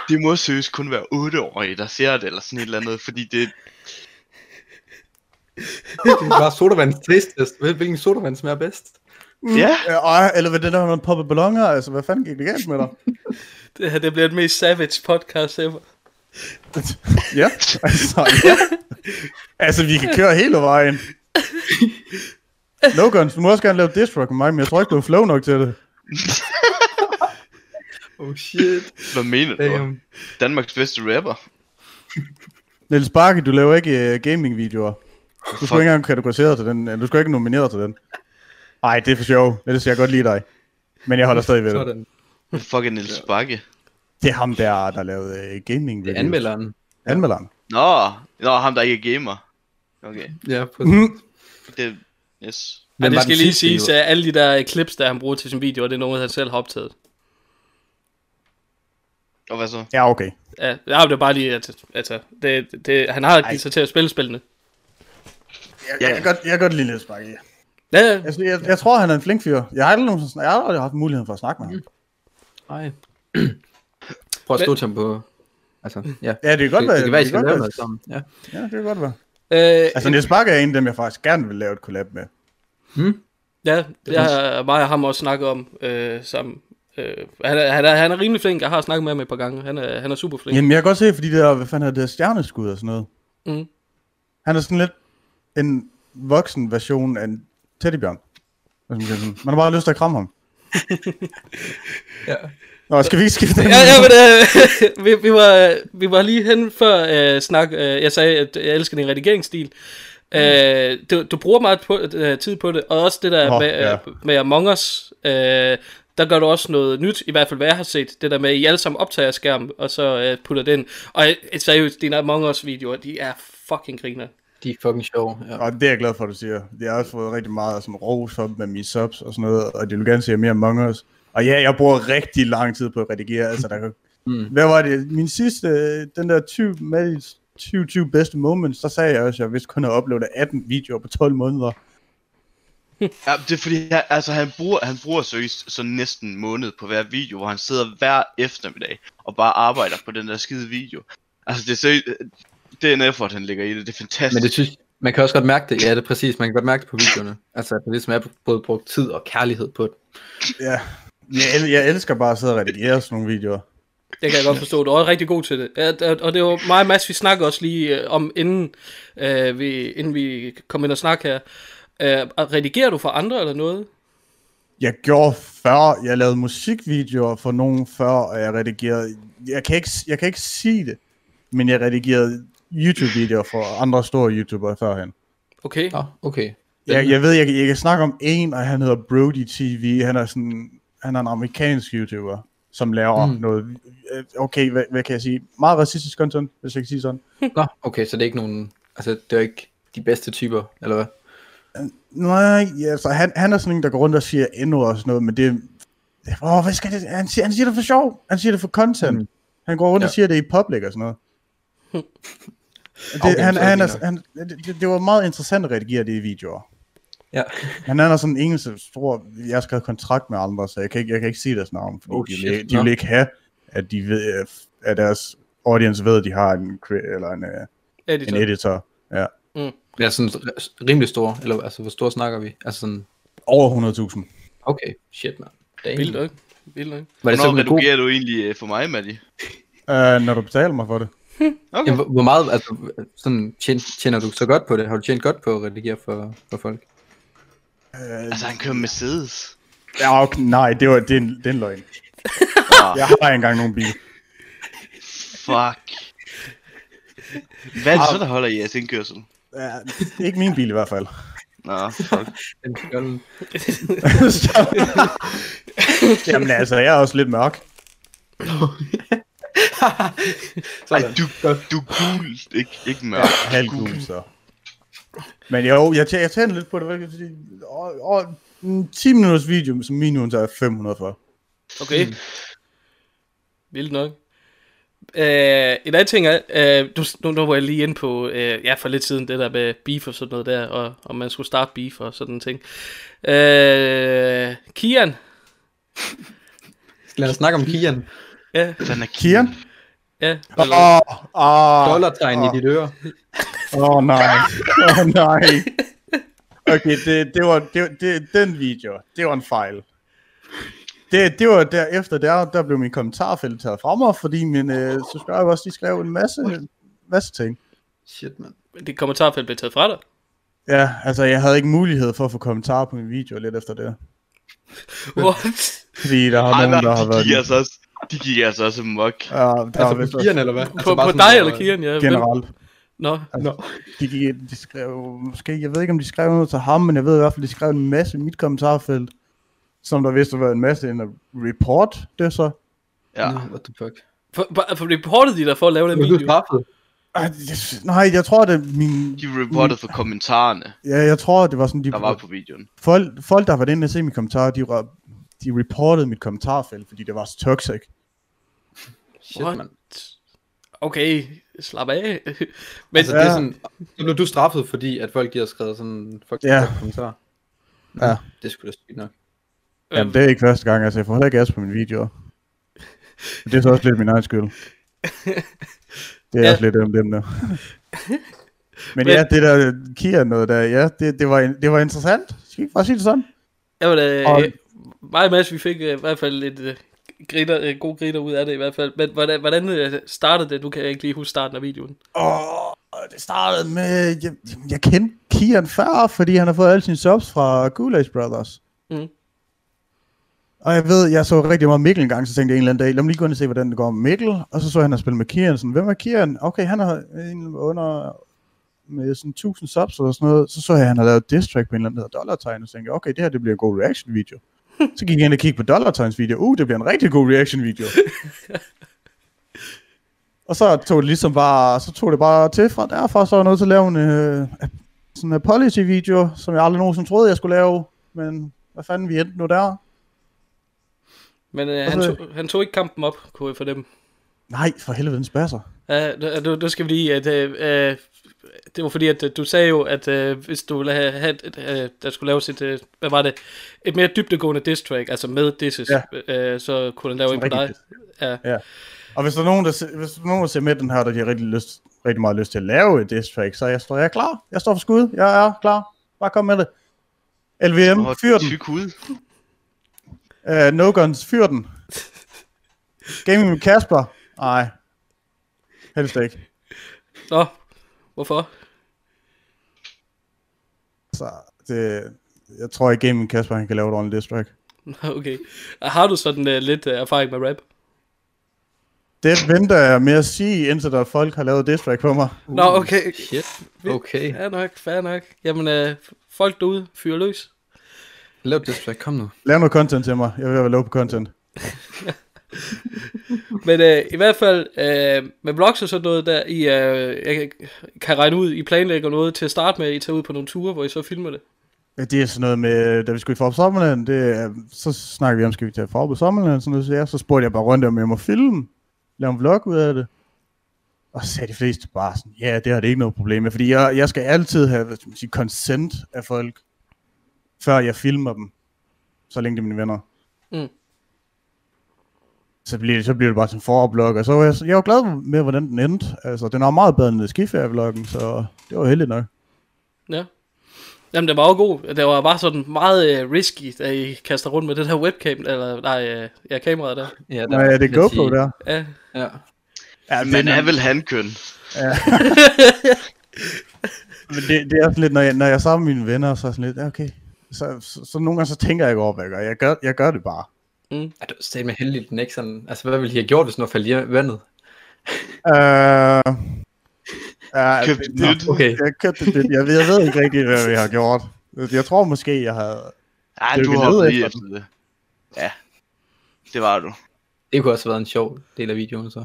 Speaker 2: Det må seriøst kun være 8-årige, der ser det, eller sådan et eller andet, fordi det...
Speaker 3: Det var sodavands taste test. Hvil- Hvilken sodavand smager bedst?
Speaker 2: Ja,
Speaker 4: Øh, Ej, eller hvad det der, man popper ballonger? Altså, hvad fanden gik det galt med dig?
Speaker 1: Det her, det bliver den mest savage podcast ever.
Speaker 4: Ja, altså, ja. altså, vi kan køre hele vejen. Logan, du må også gerne lave Deathstroke med mig, men jeg tror ikke, du er flow nok til det.
Speaker 3: Oh shit.
Speaker 2: hvad mener du?
Speaker 3: Damn.
Speaker 2: Danmarks bedste rapper?
Speaker 4: Niels Bakke, du laver ikke uh, gaming-videoer. Du
Speaker 2: Fuck.
Speaker 4: skulle ikke engang kategoriseret til den. øh, Du skulle ikke nomineret til den. Nej, det er for sjov. Ellers jeg kan godt lide dig. Men jeg holder stadig ved det.
Speaker 3: Sådan.
Speaker 2: Fucking Niels Bakke.
Speaker 4: Det er ham der, der lavede uh, gaming
Speaker 3: Det er anmelderen.
Speaker 4: Anmelderen.
Speaker 2: Nå, nå, ham der ikke er gamer. Okay,
Speaker 3: Ja, på
Speaker 4: Mm.
Speaker 2: det... Yes.
Speaker 1: Men Ah, det skal lige siges,
Speaker 3: sige,
Speaker 1: at alle de der øh, clips, der han bruger til sin video, det er noget, han selv har optaget.
Speaker 2: Og hvad så?
Speaker 4: Ja, okay.
Speaker 1: Ja, ja, det er bare lige, at altså, det, det, han har givet sig til at spille spillene.
Speaker 4: Jeg,
Speaker 2: Ja.
Speaker 4: jeg, kan godt, jeg kan godt lide Niels Bakke.
Speaker 1: Ja, ja.
Speaker 4: Altså, jeg, jeg, tror, han er en flink fyr. Jeg har aldrig, nogensinde snak- jeg har aldrig haft muligheden for at snakke med
Speaker 3: Mhm.
Speaker 4: ham.
Speaker 3: Nej. Prøv at stå til ham på... Altså, ja.
Speaker 4: Ja, det kan godt være.
Speaker 3: det kan være, I skal
Speaker 4: godt
Speaker 3: lave
Speaker 4: være-
Speaker 3: noget sammen. Ja.
Speaker 4: Ja, det kan godt være.
Speaker 1: Øh,
Speaker 4: Altså, Niels Bakke er en af dem, jeg faktisk gerne vil lave et collab med.
Speaker 1: Ja, det har mig og ham også snakket om øh, sammen. Øh, han, er, han, er, han er rimelig flink, jeg har snakket med ham et par gange, han er, han er super flink.
Speaker 4: Jamen, jeg kan godt se, fordi det der, hvad fanden hedder det der stjerneskud og sådan noget.
Speaker 1: Mm.
Speaker 4: Han er sådan lidt en voksen version af en teddybjørn. Hvis man kan sige. Man har bare lyst til at
Speaker 1: [LAUGHS]
Speaker 4: kramme ham.
Speaker 3: ja.
Speaker 4: Nå, skal vi ikke skifte den?
Speaker 1: Ja, ja, men, øh, [LAUGHS] vi, vi, var, vi var lige hen før øh, snak, øh, jeg sagde, at jeg elsker din redigeringsstil. Øh, du, du bruger meget på, øh, tid på det, og også det der
Speaker 4: Nå,
Speaker 1: oh, med,
Speaker 4: ja.
Speaker 1: ja. med Among Us, øh, der gør du også noget nyt, i hvert fald hvad jeg har set, det der med, at I alle sammen optager skærmen, og så øh, putter det ind. Og øh, seriøst, dine Among Us-videoer, de er fucking griner.
Speaker 3: De er fucking sjove. Ja.
Speaker 4: Og det er jeg glad for, at du siger. Jeg har også fået rigtig meget sådan ros op med mine subs og sådan noget, og de vil gerne se mere Among Us. Og ja, jeg bruger rigtig lang tid på at [LAUGHS] redigere. Altså, der kan...
Speaker 3: Mm.
Speaker 4: mm. Hvad var det? Min sidste, øh, den der 20, med 20, 20 bedste moments, der sagde jeg også, at jeg vidste kun havde uploadet 18 videoer på 12 måneder.
Speaker 2: Ja, det er fordi, han, altså, han bruger, han bruger seriøst så næsten en måned på hver video, hvor han sidder hver eftermiddag og bare arbejder på den der skide video. Altså, det er seriøst, det er en effort, han lægger i det. Det er fantastisk.
Speaker 3: Men det synes man kan også godt mærke det. Ja, det er præcis. Man kan godt mærke det på videoerne. Altså, at man ligesom er både brugt tid og kærlighed på det.
Speaker 4: Ja. Jeg, el- jeg elsker bare at sidde og redigere sådan nogle videoer.
Speaker 1: Det kan jeg godt forstå. Du er også rigtig god til det. Ja, d- Og det var mig og Mads, vi snakkede også lige øh, om, inden, øh, vi, inden vi kom ind og snakke her. Øh, og redigerer du for andre eller noget?
Speaker 4: Jeg gjorde før, jeg lavede musikvideoer for nogen før, og jeg redigerede, jeg kan ikke, jeg kan ikke sige det, men jeg redigerede YouTube-videoer for andre store YouTubere førhen.
Speaker 1: Okay.
Speaker 3: Nå, okay.
Speaker 4: Jeg, jeg ved, jeg, kan- jeg kan snakke om en, og han hedder Brody TV, han er sådan, han er en amerikansk YouTuber, som laver
Speaker 3: Mm.
Speaker 4: mm. noget, øh, okay, hvad, hvad kan jeg sige, meget racistisk content, hvis jeg kan sige sådan.
Speaker 3: Nå, okay, så det er ikke nogen... Altså, det er jo ikke de bedste typer, eller hvad?
Speaker 4: Nej, ja, altså han, han er sådan en, der går rundt og siger endnu og sådan noget, men det, Åh, hvad skal det? Han siger, han siger det for sjov. Han siger det for content. Mm. Han går rundt ja. og
Speaker 3: Ja.
Speaker 4: siger det i public og sådan noget. det,
Speaker 3: Okay,
Speaker 4: han,
Speaker 3: så er det
Speaker 4: han,
Speaker 3: fint
Speaker 4: er, han, det, det- det, var meget interessant at redigere det i videoer.
Speaker 3: Ja.
Speaker 4: Han er sådan en eneste stor, jeg har skrevet kontrakt med andre, så jeg kan ikke, jeg kan ikke sige deres navn, fordi
Speaker 3: Oh,
Speaker 4: oh, de,
Speaker 3: shit.
Speaker 4: vil, de vil
Speaker 3: Nå.
Speaker 4: ikke have, at, de ved, at deres audience ved, at de har en, cre- eller en, øh,
Speaker 1: Editor.
Speaker 4: en editor. Ja.
Speaker 3: Ja, sådan r- rimelig store, eller altså, hvor store snakker vi? Altså sådan,
Speaker 4: Over 100.000.
Speaker 3: okay, shit, mand. Damn.
Speaker 1: Vildt, ikke? Vildt, ikke?
Speaker 3: Var
Speaker 4: Altså,
Speaker 3: det så
Speaker 2: Hvornår
Speaker 3: en god...
Speaker 2: redigerer du egentlig øh, for mig, Maddie?
Speaker 4: Uh, når du betaler mig for det.
Speaker 2: Okay.
Speaker 3: Jamen, hvor- hvor meget, altså, sådan, tjen, tjener du så godt på det? Har du tjent godt på at redigere for, for folk?
Speaker 4: Øh.
Speaker 2: Altså, han kører Mercedes.
Speaker 4: Ja, okay, nej, det, var, det, er en, det er en løgn.
Speaker 2: Ah,
Speaker 4: Jeg har engang nogle bil.
Speaker 2: fuck. Hvad er det så, der holder i jeres indkørsel?
Speaker 4: Ja, ikke min bil i hvert fald. [LAUGHS]
Speaker 2: Nå, fuck.
Speaker 3: Den skjold.
Speaker 4: Jamen altså, jeg er også lidt mørk.
Speaker 2: Ej, du, du er gul, ikke, ikke mørk.
Speaker 4: Halvgul, så. Men jo, jeg, tæ- jeg tænder lidt på det, hvad kan jeg sige? Og, og, en 10 minutters video, som minimum så er 500 for.
Speaker 1: Okay. Vildt nok. Øh, en anden ting er, øh, nu, nu, nu var jeg lige inde på, øh, ja for lidt siden, det der med beef og sådan noget der, og om man skulle starte beef og sådan en ting. Øh, Kian,
Speaker 3: Lad os snakke om Kian.
Speaker 1: ja,
Speaker 2: Hvad er
Speaker 4: Kian?
Speaker 1: ja,
Speaker 4: Åh,
Speaker 1: eller,
Speaker 4: oh,
Speaker 1: Ah.
Speaker 4: åh,
Speaker 3: Dollartegn i dit øre.
Speaker 4: åh, nej, åh oh, nej. Okay, det, det var, det, var- det, den video, det var en fejl. Det, det var derefter, der, der blev min kommentarfelt taget fra mig, fordi min øh, subscribers, de skrev en masse, masse ting.
Speaker 3: Shit, mand.
Speaker 1: det kommentarfelt blev taget fra dig.
Speaker 4: Ja, altså jeg havde ikke mulighed for at få kommentarer på min video lidt efter det.
Speaker 1: What?
Speaker 4: Fordi der har
Speaker 2: Ej, nej,
Speaker 4: nogen, der har
Speaker 2: de
Speaker 4: været...
Speaker 2: gik altså også, de gik altså også amok.
Speaker 4: Ja, der
Speaker 3: Altså
Speaker 4: altså,
Speaker 3: på
Speaker 4: vist også
Speaker 3: Kian, eller hvad?
Speaker 1: På,
Speaker 3: altså,
Speaker 1: på
Speaker 3: sådan
Speaker 1: dig
Speaker 3: noget-
Speaker 1: eller Kian, ja. hvem?
Speaker 4: generelt.
Speaker 1: Nå,
Speaker 4: Altså, de, gik, de skrev måske, jeg ved ikke om de skrev noget til ham, men jeg ved i hvert fald, de skrev en masse i mit kommentarfelt, som der vist har været en masse en report, det er så.
Speaker 2: Ja.
Speaker 4: Mm.
Speaker 3: Nå, What the fuck?
Speaker 1: for, for, for reportede de dig for at lave den
Speaker 3: Men du
Speaker 1: video?
Speaker 3: straffet.
Speaker 4: Ej, jeg- Nej, jeg tror, det er min...
Speaker 2: De reportede for kommentarerne,
Speaker 4: Ja, jeg tror, det var sådan, de...
Speaker 2: der var på videoen.
Speaker 4: Folk, folk, der var inde og se mit kommentar, de, var, de reportede mit kommentarfelt, fordi det var så toxic.
Speaker 3: Shit,
Speaker 1: What?
Speaker 3: mand.
Speaker 1: Okay, slap af. Men,
Speaker 3: Altså, det er
Speaker 4: Ja.
Speaker 3: sådan, så blev du straffet, fordi at folk de har skrevet sådan, fuck
Speaker 4: Ja.
Speaker 3: yeah. kommentar.
Speaker 4: Ja.
Speaker 3: Det skulle da sygt nok.
Speaker 1: øh,
Speaker 4: Jamen, det er ikke første gang, altså, jeg får heller ikke ads på mine videoer. Det er så også lidt min egen
Speaker 1: [LAUGHS]
Speaker 4: skyld. Det er
Speaker 1: Ja.
Speaker 4: ja. også lidt om dem der.
Speaker 1: [LAUGHS]
Speaker 4: Men
Speaker 1: Men-
Speaker 4: ja, det der Kia noget der, ja, det, det, var, in- det var interessant. Skal vi ikke bare sige det sådan?
Speaker 1: Jamen, øh, og...
Speaker 4: Og-
Speaker 1: mig og Mads, vi fik øh, i hvert fald et øh, griner, øh, god griner ud af det i hvert fald. Men hvordan, hvordan øh, startede det? Du kan ikke lige huske starten af videoen.
Speaker 4: Åh, det startede med, jeg, jeg kendte Kian før, fordi han har fået alle sine subs fra Gulags Brothers.
Speaker 1: Mm.
Speaker 4: Og jeg ved, jeg så rigtig meget Mikkel en gang, så tænkte jeg en eller anden dag, lad mig lige gå ind og se, hvordan det går med Mikkel. Og så så jeg, han har spillet med Kian, sådan, hvem er Kian? Okay, han har en under med sådan 1000 subs eller sådan noget. Så så jeg, han har lavet diss track på en eller anden, der hedder Dollartegn, og så tænkte jeg, okay, det her det bliver en god reaction video. Så gik jeg ind og kiggede på Dollartegns video. Uh, det bliver en rigtig god reaction video. Og så tog det ligesom bare, så tog det bare til fra derfra, så var jeg nødt til at lave en, øh, sådan en apology video, som jeg aldrig nogensinde troede, jeg skulle lave. Men hvad fanden, vi endte nu der?
Speaker 1: Men øh, han,
Speaker 4: Hvorfor?
Speaker 1: tog, han tog ikke kampen op, kunne jeg fornemme.
Speaker 4: Nej, for helvede, den spasser.
Speaker 1: Ja, nu- nu, nu skal vi lige, at øh, øh, det var fordi, at øh, du sagde jo, at øh, hvis du ville have, have et, øh, der skulle laves et, øh, hvad var det, et mere dybdegående diss track, altså med disses, ja. øh, så kunne den lave en på
Speaker 4: rigtig
Speaker 1: dig. Ja.
Speaker 4: Og hvis der er nogen, der, se- hvis der, er nogen, der ser med den her, der de har rigtig, lyst, rigtig meget lyst til at lave et diss track, så jeg står, jeg er klar. Jeg står for skud. Jeg er klar. Bare kom med det. LVM,
Speaker 2: Åh,
Speaker 4: fyr den.
Speaker 2: Tyk hud.
Speaker 4: Uh, no Guns, fyr den. Gaming med Kasper. Nej. Helst ikke.
Speaker 1: Nå, hvorfor?
Speaker 4: Så det, jeg tror ikke, Gaming Kasper han kan lave et ordentligt diss track.
Speaker 1: Nå, Okay. Har du sådan øh, lidt øh, erfaring med rap?
Speaker 4: Det venter jeg med at sige, indtil der er folk har lavet diss track på mig.
Speaker 1: Nå, okay.
Speaker 3: Shit, okay.
Speaker 1: Fair nok, fair nok. Jamen, øh, folk derude, fyr løs.
Speaker 3: Lav det, så kom nu.
Speaker 4: Lav noget content til mig. Jeg vil være lov på content.
Speaker 1: Men øh, i hvert fald, øh, med vlogs og sådan noget der, I øh, jeg kan- kan regne ud, I planlægger noget til at starte med, I tager ud på nogle ture, hvor I så filmer det.
Speaker 4: Ja, det er sådan noget med, da vi skulle i Forop Sommerland, det, er- så snakkede vi om, skal vi tage Forop Sommerland, sådan noget, så, ja, så spurgte jeg bare rundt, om jeg må filme, lave en vlog ud af det. Og så sagde de fleste bare sådan, ja, det har det ikke noget problem med, fordi jeg, jeg skal altid have hvad skal man sige, consent af folk, før jeg filmer dem, så længe det er mine venner.
Speaker 1: Mm.
Speaker 4: Så bliver, det, så bliver det bare sådan en forop-vlog, og så var jeg, jeg var glad med, hvordan den endte. Altså, den var meget bedre end skiferie-vloggen, så det var heldigt nok.
Speaker 1: Ja. Jamen, det var jo god. Det var bare sådan meget uh, risky, at I kaster rundt med det der webcam, eller nej, uh, ja, kameraet der.
Speaker 3: Ja,
Speaker 4: Ja, er det
Speaker 3: vil jeg
Speaker 4: GoPro
Speaker 3: sige-
Speaker 4: der?
Speaker 1: Ja.
Speaker 3: Ja.
Speaker 4: Ja,
Speaker 2: Man er vel handkøn.
Speaker 4: Men det, det er også lidt, når jeg, når jeg er sammen med mine venner, så er jeg sådan lidt, ja, okay. Så, så, så, nogle gange så tænker jeg ikke over, hvad jeg gør. Jeg gør, jeg gør det bare.
Speaker 3: Er du stadig med heldig, den ikke sådan... Altså, hvad ville I have gjort, hvis nu faldt i vandet?
Speaker 4: Øh, ja, altså,
Speaker 2: Købt
Speaker 4: nå,
Speaker 2: nyt.
Speaker 3: Okay.
Speaker 4: Jeg købte det. Jeg, ved- jeg ved ikke rigtig, hvad vi har gjort. Jeg tror måske, jeg havde...
Speaker 2: Ej,
Speaker 4: Det er
Speaker 2: du
Speaker 4: jo
Speaker 2: har
Speaker 4: nede
Speaker 2: lige
Speaker 4: efter
Speaker 2: efter det. Ja, det var du.
Speaker 3: Det kunne også have været en sjov del af videoen, [LAUGHS] så.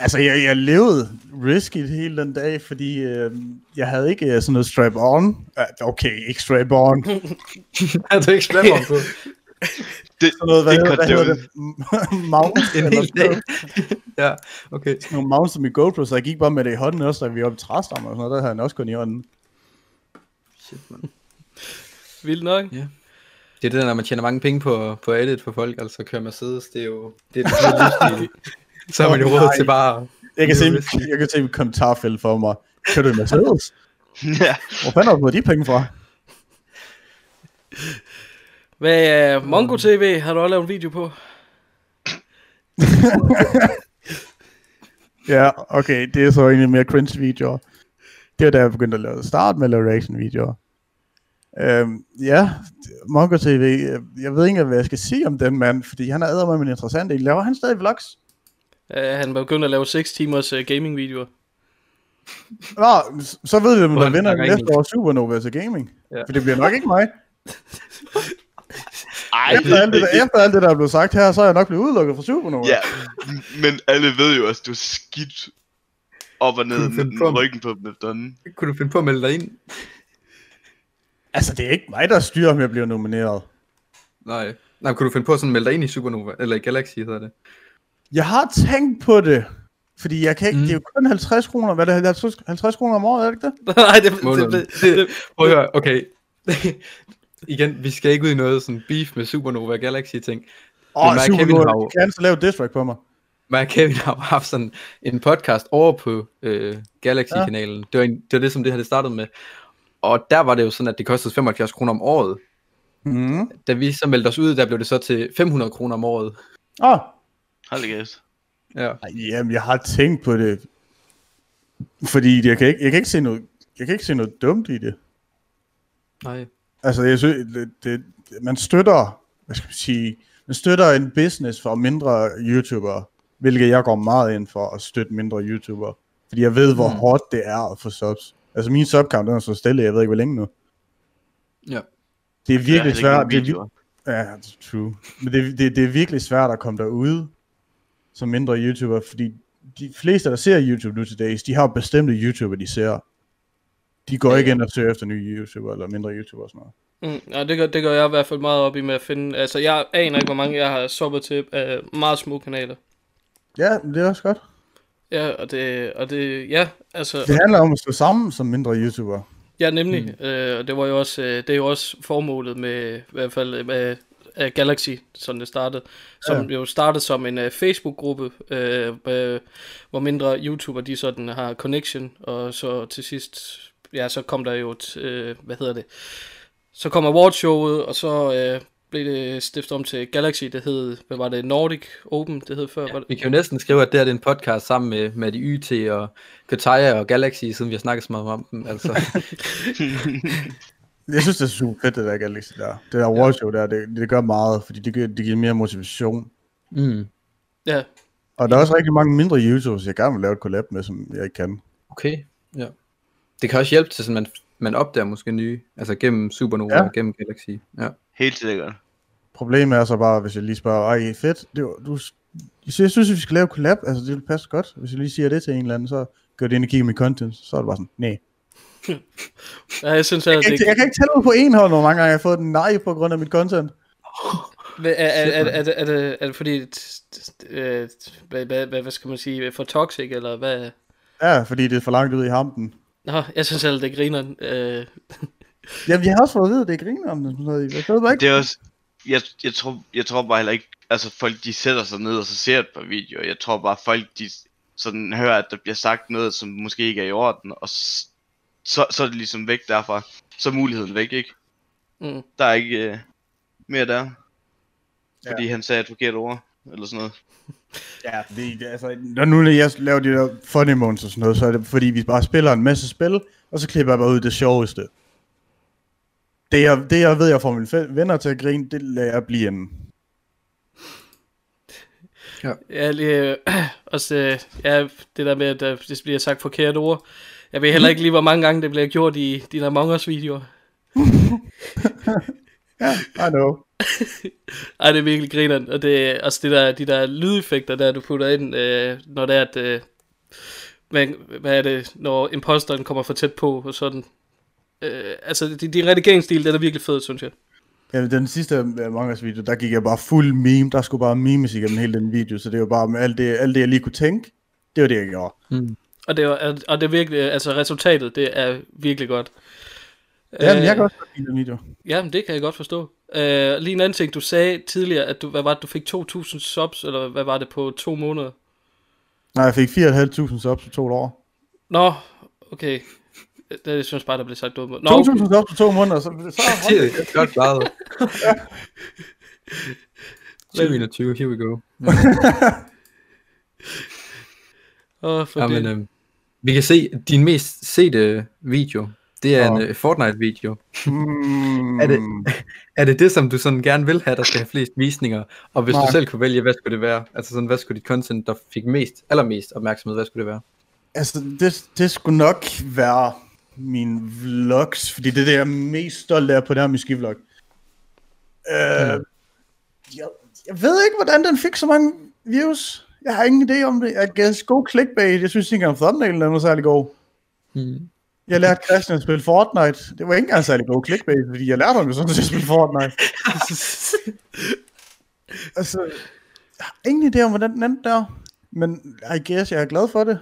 Speaker 4: Altså, jeg, jeg levede risky hele den dag, fordi øh, jeg havde ikke øh, sådan noget strap-on. Ah, Okay, ikke strap-on. Sådan
Speaker 3: Er du ikke spørger [LAUGHS] på?
Speaker 2: Det,
Speaker 4: noget, hvad,
Speaker 2: det kan
Speaker 4: hedder, hvad
Speaker 2: det
Speaker 4: hedder
Speaker 2: jo-
Speaker 4: det? [LAUGHS] Mount?
Speaker 3: En
Speaker 4: eller
Speaker 3: hel
Speaker 4: sådan
Speaker 3: dag.
Speaker 4: noget.
Speaker 3: [LAUGHS] ja, okay.
Speaker 4: nogle mounts som i GoPro, så jeg gik bare med det i hånden også, da vi var oppe i træstammer og sådan noget, der havde han også kun i hånden.
Speaker 3: Shit, man.
Speaker 1: Vildt nok.
Speaker 3: Det er det, der, når man tjener mange penge på, på edit for folk, altså kører Mercedes, det er jo det er det,
Speaker 4: [LAUGHS]
Speaker 3: livsstil. Så har man jo
Speaker 4: Åh,
Speaker 3: råd
Speaker 4: nej.
Speaker 3: til bare...
Speaker 4: Jeg
Speaker 3: Det
Speaker 4: kan, se,
Speaker 3: er jo
Speaker 4: min- jeg kan se mit kommentarfelt for mig. Kan du i Mercedes?
Speaker 2: [LAUGHS] Ja,
Speaker 4: Hvor fanden har du fået de penge fra?
Speaker 1: Hvad, uh, Mongo TV har du også lavet en video på?
Speaker 4: Ja, okay, det er så egentlig mere cringe-videoer. Det var da jeg begyndte at lave start med at lave reaction-videoer. Øhm, ja, Mongo TV, øh, jeg ved ikke, engang, hvad jeg skal sige om den mand, fordi han er ædermame en interessant. en. Laver han stadig vlogs?
Speaker 1: Uh, han begyndte at lave 6 timers uh, gaming-videoer. [LAUGHS]
Speaker 4: Nå, s- så ved vi, hvem
Speaker 3: Hvor
Speaker 4: der
Speaker 3: han
Speaker 4: vinder
Speaker 3: snakker
Speaker 4: næste
Speaker 3: engelsk.
Speaker 4: år Supernova til gaming.
Speaker 3: Ja.
Speaker 4: Ja. For det bliver nok ikke mig.
Speaker 2: ej,
Speaker 4: Efter alt det, der, efter alt det, der er blevet sagt her, så er jeg nok blevet udelukket fra Supernova. [LAUGHS]
Speaker 2: Ja, men alle ved jo også, du er skidt op og ned
Speaker 3: Kunne finde
Speaker 2: med
Speaker 3: på ham.
Speaker 2: ryggen på dem efterhånden.
Speaker 3: Kunne du finde på at melde dig ind?
Speaker 4: Altså, det er ikke mig, der styrer, om jeg bliver nomineret.
Speaker 3: Nej. Nej, men kunne du finde på at sådan melde dig ind i Supernova, eller i Galaxy hedder det?
Speaker 4: Jeg har tænkt på det, fordi jeg kan ikke,
Speaker 3: Mm.
Speaker 4: mm. det er jo kun 50 kroner, hvad er det, 50, 50 kroner om året, er det ikke det?
Speaker 1: nej, det, det,
Speaker 3: Måneden.
Speaker 1: det, det,
Speaker 3: Prøv at høre, okay. [LAUGHS] Igen, vi skal ikke ud i noget sådan beef med Supernova og Galaxy ting.
Speaker 4: Åh, oh,
Speaker 3: mig og
Speaker 4: super
Speaker 3: Kevin
Speaker 4: Kevin
Speaker 3: har jo-
Speaker 4: Kan så lave diss track på mig?
Speaker 3: Mig og Kevin har jo haft sådan en podcast over på øh, Galaxy-kanalen. Ja. Det, var en, det var det, som det her det startede med. Og der var det jo sådan, at det kostede 75 kroner om året.
Speaker 4: Mm.
Speaker 3: Da vi så meldte os ud, der blev det så til 500 kroner om året.
Speaker 4: Åh,
Speaker 2: Hold da kæft.
Speaker 3: Ja.
Speaker 4: Ej, jamen, jeg har tænkt på det, fordi jeg kan ikke, jeg kan ikke se noget, jeg kan ikke se noget dumt i det.
Speaker 3: Nej.
Speaker 4: Altså, jeg synes, det, det, man støtter, hvad skal man sige, man støtter en business for mindre YouTubere, hvilket jeg går meget ind for at støtte mindre YouTubere. Fordi jeg ved, hvor
Speaker 3: Mm.
Speaker 4: hårdt det er at få subs. Altså, min subcount, den er så stille, jeg ved ikke, hvor længe nu.
Speaker 3: Ja.
Speaker 4: Det er virkelig
Speaker 2: Jeg har
Speaker 4: svært.
Speaker 2: heller
Speaker 4: Det er,
Speaker 2: ikke nogen
Speaker 4: vir-
Speaker 2: videoer.
Speaker 4: Ja, det er true. Men det, det, det er virkelig svært at komme derude som mindre YouTuber, fordi de fleste, der ser YouTube nu til dags, de har jo bestemte YouTuber, de ser. De går ikke ind og søger efter nye YouTuber eller mindre YouTuber og sådan noget.
Speaker 1: Mm, ja, det, gør, det gør jeg i hvert fald meget op i med at finde... Altså, jeg aner ikke, hvor mange jeg har soppet til øh, meget små kanaler.
Speaker 4: Ja, men det er også godt.
Speaker 1: Ja, og det... Og det ja, altså...
Speaker 4: Det handler om at stå sammen som mindre YouTuber.
Speaker 1: Ja, nemlig. Mm. Øh, og det var jo også, øh, det er jo også formålet med, i hvert fald øh, med øh, Galaxy, som det startede. Som ja. jo startede som en øh, Facebook-gruppe, øh, med, hvor mindre YouTuber, de sådan har connection. Og så til sidst, ja, så kom der jo et, øh, hvad hedder det? Så kom awardshowet, og så øh, blev det stiftet om til Galaxy. Det hed, hvad var det? Nordic Open, det hed før. Ja. Var det?
Speaker 3: Vi kan jo næsten skrive, at det her det er en podcast sammen med, med de YT og Kataya og Galaxy, siden vi har snakket så meget om dem. Altså, [LAUGHS]
Speaker 4: Jeg synes, det er super fedt, det der Galaxy der. Det der award show der, det, det gør meget, fordi det, giver- det giver mere motivation.
Speaker 3: mm.
Speaker 1: Ja,
Speaker 4: Og der er også rigtig mange mindre YouTubers, jeg gerne vil lave et collab med, som jeg ikke kan.
Speaker 3: Okay, ja. Det kan også hjælpe til, at man, man opdager måske nye, altså gennem Supernova
Speaker 4: Ja.
Speaker 3: ja. og gennem Galaxy. Ja.
Speaker 2: Helt sikkert.
Speaker 4: Problemet er så bare, hvis jeg lige spørger, ej fedt, det var, du, jeg synes, jeg synes, vi skal lave collab, altså det vil passe godt. Hvis jeg lige siger det til en eller anden, så gør det ind og kigger i mit content, så er det bare sådan, nej.
Speaker 1: Ja, jeg synes, at det
Speaker 4: Jeg, jeg, jeg kan ikke tælle ud på en hånd, hvor mange gange jeg har fået den nej på grund af mit content.
Speaker 1: Hvad- Er, er, er, er, det- er, det, er det fordi, t- t- øh, hvad, hvad, hvad, hvad skal man sige, for toxic, eller hvad?
Speaker 4: Ja, fordi det er for langt ud i hampen.
Speaker 1: Nå, jeg synes selv, det griner. Øh,
Speaker 4: Jamen, jeg har også fået at vide, at det er griner om det. Sådan noget. Jeg ved bare ikke.
Speaker 2: Det er også... Jeg, jeg, tror, jeg tror bare heller ikke... Altså, folk de sætter sig ned og så ser et par videoer. Jeg tror bare, folk de sådan hører, at der bliver sagt noget, som måske ikke er i orden, og s- så, så er det ligesom væk derfra. Så er muligheden væk, ikke?
Speaker 1: Mm.
Speaker 2: Der er ikke øh, mere der.
Speaker 4: Ja.
Speaker 2: Fordi han sagde et forkert ord, eller sådan noget.
Speaker 4: Ja, det, det, altså, når nu når jeg laver de der funny moments og sådan noget, så er det fordi, vi bare spiller en masse spil, og så klipper jeg bare ud det sjoveste. Det jeg, det, jeg ved, jeg får mine fe- venner til at grine, det lader jeg blive en...
Speaker 1: jeg, øh, [CLEARS THROAT] også, øh, ja, det der med, at øh, det bliver sagt forkerte ord. Jeg ved heller ikke lige, hvor mange gange det bliver gjort i de der Among Us-videoer.
Speaker 4: Ja, I know.
Speaker 1: Ej, det er virkelig grineren. Og det er også det der, de der lydeffekter, der du putter ind, øh, når det er, at... Øh, hvad, hvad er det, når imposteren kommer for tæt på og sådan. Øh, altså, din de redigeringsstil, den er virkelig fed, synes jeg.
Speaker 4: Ja, den sidste øh, Among Us video, der gik jeg bare fuld meme. Der skulle bare memes igennem hele den video, så det var bare med alt det, alt det jeg lige kunne tænke. Det var det, jeg gjorde.
Speaker 3: Mm.
Speaker 1: Og det, er, og det er virkelig, altså resultatet, det er virkelig godt.
Speaker 4: Ja, men
Speaker 1: Øh,
Speaker 4: jeg kan også godt lide den video.
Speaker 1: Jamen, det kan jeg godt forstå. Øh, lige en anden ting, du sagde tidligere, at du, hvad var det, du fik 2.000 subs, eller hvad var det på to måneder?
Speaker 4: Nej, jeg fik 4.500 subs på to år.
Speaker 1: Nå, okay. Det, jeg synes bare, der blev sagt dumt. Nå,
Speaker 4: 2.000
Speaker 1: okay.
Speaker 4: subs på to måneder, så, så
Speaker 3: [LAUGHS] [LAUGHS] Det er godt klaret. [LAUGHS] 2021, here we go.
Speaker 1: Åh, for
Speaker 3: Jamen,
Speaker 1: det.
Speaker 3: øh, vi kan se, at din mest sete video, det er en
Speaker 4: Nå.
Speaker 3: øh, Fortnite-video.
Speaker 4: mm,
Speaker 3: Er det- Er det det, som du sådan gerne vil have, der skal have flest visninger? Og hvis Nej.
Speaker 4: Nej.
Speaker 3: du selv kunne vælge, hvad skulle det være? Altså sådan, hvad skulle dit content, der fik mest, allermest opmærksomhed, hvad skulle det være?
Speaker 4: Altså, det, det skulle nok være mine vlogs, fordi det er det, jeg er mest stolt af på det her Miski-vlog. Øh, jeg, jeg ved ikke, hvordan den fik så mange views. Jeg har ingen idé om det. Jeg gav god clickbait. Jeg synes ikke engang, thumbnailen den var særlig god.
Speaker 3: Mm.
Speaker 4: Jeg lærte Christian at spille Fortnite. Det var ikke engang særlig god clickbait, fordi jeg lærte ham jo sådan set at spille Fortnite. altså, jeg har ingen idé om, hvordan den endte der. Men I guess, jeg er glad for det.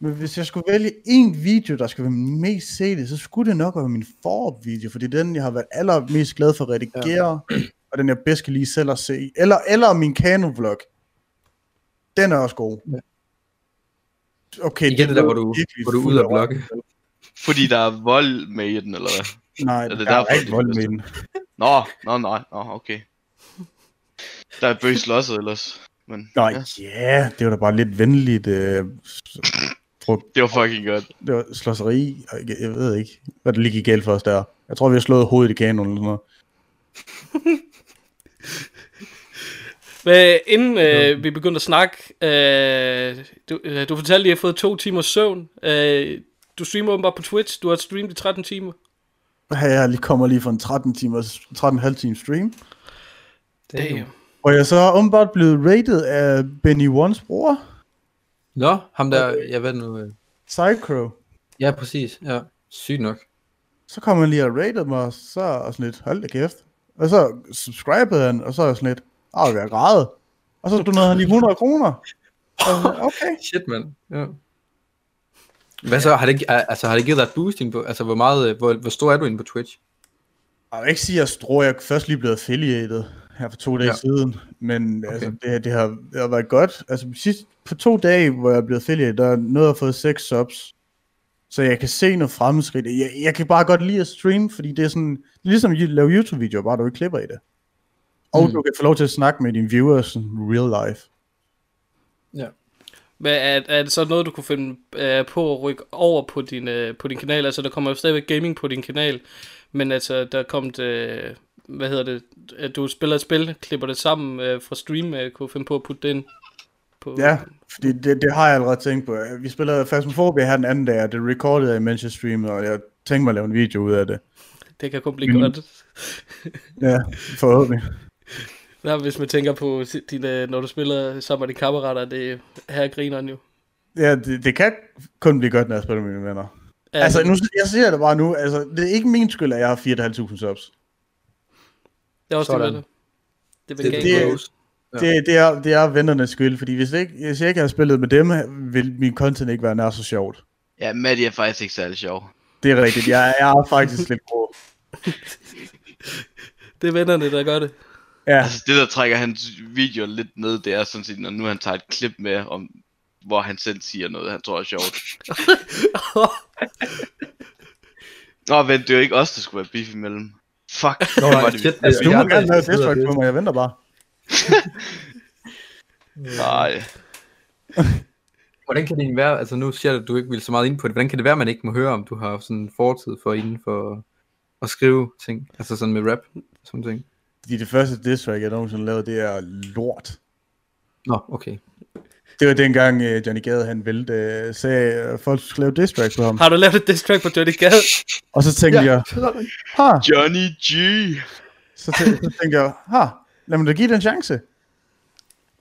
Speaker 4: Men hvis jeg skulle vælge en video, der skulle være min mest set, så skulle det nok være min forop-video, fordi det er den, jeg har været allermest glad for at redigere, ja. og den, jeg bedst kan lige selv at se. Eller, eller min kano-vlog. Den er også god.
Speaker 3: Ja.
Speaker 4: Okay,
Speaker 3: Igen det der,
Speaker 4: lød
Speaker 3: hvor du,
Speaker 4: virkelig
Speaker 3: hvor du er
Speaker 4: fuld
Speaker 3: ude af
Speaker 4: røv.
Speaker 3: blokke.
Speaker 2: Fordi der er vold med i den, eller hvad?
Speaker 4: Nej,
Speaker 2: det
Speaker 4: det der
Speaker 2: derfor,
Speaker 4: er
Speaker 2: det
Speaker 4: ikke
Speaker 2: er
Speaker 4: vold
Speaker 2: bedst?
Speaker 4: med den.
Speaker 2: Nå, nå, nej, nå, okay. Der er bøs losset ellers. Men
Speaker 4: Nå,
Speaker 2: Ja,
Speaker 4: ja, det var da bare lidt venligt. Øh,
Speaker 2: det var fucking godt.
Speaker 4: det var slåseri. og Jeg, jeg ved ikke, hvad der lige gik galt for os der. Jeg tror, vi har slået hovedet i kanonen eller sådan noget.
Speaker 1: Men inden øh, vi begyndte at snakke, øh, du, øh, du fortalte, at I har fået to timer søvn. Øh, du streamer åbenbart på Twitch. Du har streamet i 13 timer.
Speaker 4: Her jeg lige kommer lige fra en 13 timers, 13,5 times stream.
Speaker 1: Damn.
Speaker 4: Hvor jeg så er åbenbart blevet rated af Benny Ones bror,
Speaker 3: Nå, ham der, jeg ved nu. øh,
Speaker 4: Psycho.
Speaker 3: Ja, præcis. Ja, sygt nok.
Speaker 4: Så kom han lige og rated mig, og så er jeg sådan lidt, hold da kæft. Og så subscribede han, og så er jeg sådan lidt, ah, jeg græde. Og så donerede han lige 100 kroner. Og jeg var sådan, Okay.
Speaker 3: Shit, mand. Ja. Hvad så? Har det, gi- altså, har det givet dig et boost? ind På, altså, hvor, meget, øh, hvor, hvor stor er du inde på Twitch?
Speaker 4: Jeg vil ikke sige, at jeg tror, jeg er først lige blevet affiliated her for to dage ja.
Speaker 3: Ja.
Speaker 4: siden, men okay. altså, det, det, har, det har været godt. Altså sidst, på to dage, hvor jeg er blevet affiliated, der er noget, jeg har fået seks subs, så jeg kan se noget fremskridt. Jeg, jeg kan bare godt lide at streame, fordi det er sådan, det er ligesom at lave YouTube-videoer, bare du ikke klipper i det. Og mm.
Speaker 3: Mm.
Speaker 4: du kan få lov til at snakke med dine viewers sådan real life.
Speaker 1: Men er, er det så noget, du kunne finde øh, på at rykke over på din, øh, på din kanal? Altså, der kommer jo stadigvæk gaming på din kanal, men altså, der er kommet, øh, hvad hedder det, at du spiller et spil, klipper det sammen øh, fra stream, øh, kunne finde på at putte det ind på...
Speaker 4: Ja, fordi det, det har jeg allerede tænkt på. Vi spillede Phasmophobia her den anden dag, og det recordede jeg, mens jeg streamede, og jeg tænkte mig at lave en video ud af det.
Speaker 1: Det kan kun blive mm. godt.
Speaker 4: Ja, forhåbentlig.
Speaker 1: Nej, hvis man tænker på, dine, når du spiller sammen med dine kammerater, det her griner jo.
Speaker 4: Ja, det, det kan kun blive godt, når jeg spiller med mine venner. Altså, nu, jeg ser det bare nu. Altså, det er ikke min skyld, at jeg har 4.500 subs.
Speaker 1: det er også det,
Speaker 3: sådan.
Speaker 1: med det. Det
Speaker 3: Det,
Speaker 1: vil
Speaker 4: Det-
Speaker 1: det,
Speaker 4: det- Ja. Det, det, er, det er vennernes skyld, fordi hvis, ikke, hvis jeg ikke havde spillet med dem, ville min content ikke være nær så sjovt.
Speaker 2: Ja, Maddie er faktisk ikke særlig sjov.
Speaker 4: Det er rigtigt. Jeg, jeg er faktisk lidt grå.
Speaker 1: det er vennerne, der gør det.
Speaker 4: Ja,
Speaker 2: Altså det, der trækker hans video lidt ned, det er sådan set, når nu han tager et klip med, om, hvor han selv siger noget, han tror er
Speaker 3: [LAUGHS]
Speaker 2: sjovt. Nå, vent, det er jo ikke os, der skulle være beef imellem. Fuck,
Speaker 3: Nå,
Speaker 2: hvor var
Speaker 3: nej,
Speaker 2: det
Speaker 3: shit,
Speaker 2: vildt.
Speaker 3: det
Speaker 4: altså, du
Speaker 3: er
Speaker 4: må
Speaker 3: jeg,
Speaker 4: gerne lave
Speaker 3: der sidder
Speaker 4: distract på
Speaker 3: det.
Speaker 4: mig, jeg venter bare.
Speaker 2: Nej.
Speaker 3: Hvordan kan det egentlig være, altså nu siger du, at du ikke vil så meget ind på det, hvordan kan det være, at man ikke må høre, om du har sådan en fortid for inden for at skrive ting, altså sådan med rap og sådan ting?
Speaker 4: Fordi det første distract, jeg nogensinde lavede, det er lort.
Speaker 3: Nå, okay.
Speaker 4: Det var dengang øh, Johnny Gade, han ville, øh, sagde, at folk skulle lave distract på ham.
Speaker 1: Har du lavet et diss track på Johnny Gade?
Speaker 4: Og så tænkte jeg, ha,
Speaker 2: Johnny G.
Speaker 4: så, tæ- så tænkte jeg, ha, lad mig da give det en chance.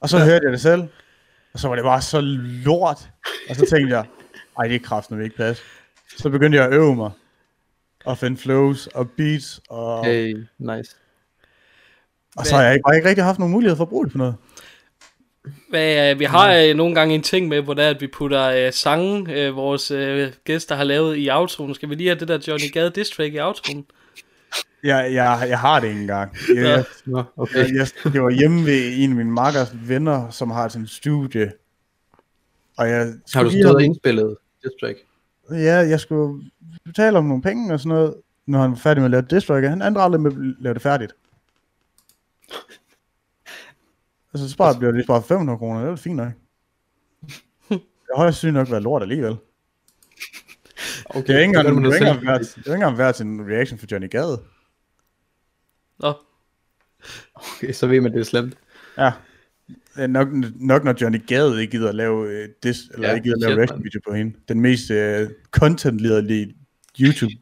Speaker 4: Og så ja. hørte jeg det selv, og så var det bare så lort. Og så tænkte jeg, ej, det er kraften, ikke plads. Så begyndte jeg at øve mig, og finde flows og beats, og, okay.
Speaker 3: Hey, nice.
Speaker 4: og så har jeg ikke, bare ikke rigtig haft nogen mulighed for at bruge det på noget.
Speaker 1: Hvad, øh, vi har øh, nogle gange en ting med, hvor det er, at vi putter øh, sange, øh, vores øh, gæster har lavet i outroen. Skal vi lige have det der Johnny Gade diss track i outroen?
Speaker 4: Jeg, jeg, jeg har det ikke engang. Jeg, jeg,
Speaker 3: Nå, okay.
Speaker 4: jeg, jeg, det var hjemme ved en af mine makkers venner, som har sådan en studie. Og jeg
Speaker 3: Har du
Speaker 4: skulle lige
Speaker 3: stået og
Speaker 4: have-
Speaker 3: indspillet diss track?
Speaker 4: Ja, jeg skulle betale om nogle penge og sådan noget, når han var færdig med at lave Destroyer. Han andre aldrig med at lave det færdigt. Altså, så bare bliver det bare 500 kroner, det er fint nok. Det har højst synligt nok været lort alligevel.
Speaker 3: Okay,
Speaker 4: Det er ikke
Speaker 3: så
Speaker 4: engang,
Speaker 3: må
Speaker 4: det
Speaker 3: du
Speaker 4: er ikke
Speaker 3: selv-
Speaker 4: engang, værd, det er ikke engang værd til en reaction for Johnny Gade.
Speaker 1: Nå,
Speaker 3: Okay, så ved man, det er slemt.
Speaker 4: Ja. Det er nok, nok når Johnny Gade ikke gider at lave, øh, dis, eller
Speaker 3: Ja,
Speaker 4: ja, ikke gider at
Speaker 3: shit,
Speaker 4: lave reaction
Speaker 3: mand.
Speaker 4: video på hende. Den mest øh, content liderlige YouTube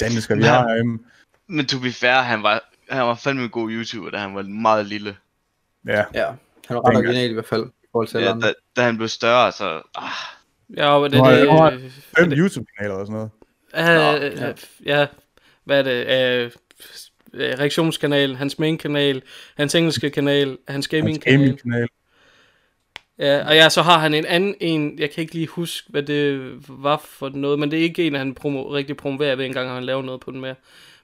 Speaker 4: dansker, vi
Speaker 2: Ja.
Speaker 4: har. øhm,
Speaker 2: Men to be fair, han var, han var fandme en god YouTuber, da han var meget lille.
Speaker 4: Ja.
Speaker 3: Ja, han var ret
Speaker 4: Dengang.
Speaker 3: original i hvert fald, i forhold til alle
Speaker 2: Ja,
Speaker 3: andre.
Speaker 2: da, da, han blev større, så... Ah,
Speaker 1: ja, hvad er det?
Speaker 4: Nå,
Speaker 1: øh,
Speaker 4: jeg har-
Speaker 1: øh,
Speaker 4: Fem YouTube-kanaler og sådan noget.
Speaker 1: øh,
Speaker 3: Nå, ja.
Speaker 1: øh, ja, hvad er det? Øh, øh, reaktionskanal, hans main kanal, hans engelske kanal, hans gaming kanal.
Speaker 4: Gaming-kanal.
Speaker 1: Ja, og ja, så har han en anden en, jeg kan ikke lige huske, hvad det var for noget, men det er ikke en, han promo, rigtig promoverer ved engang, han laver noget på den mere.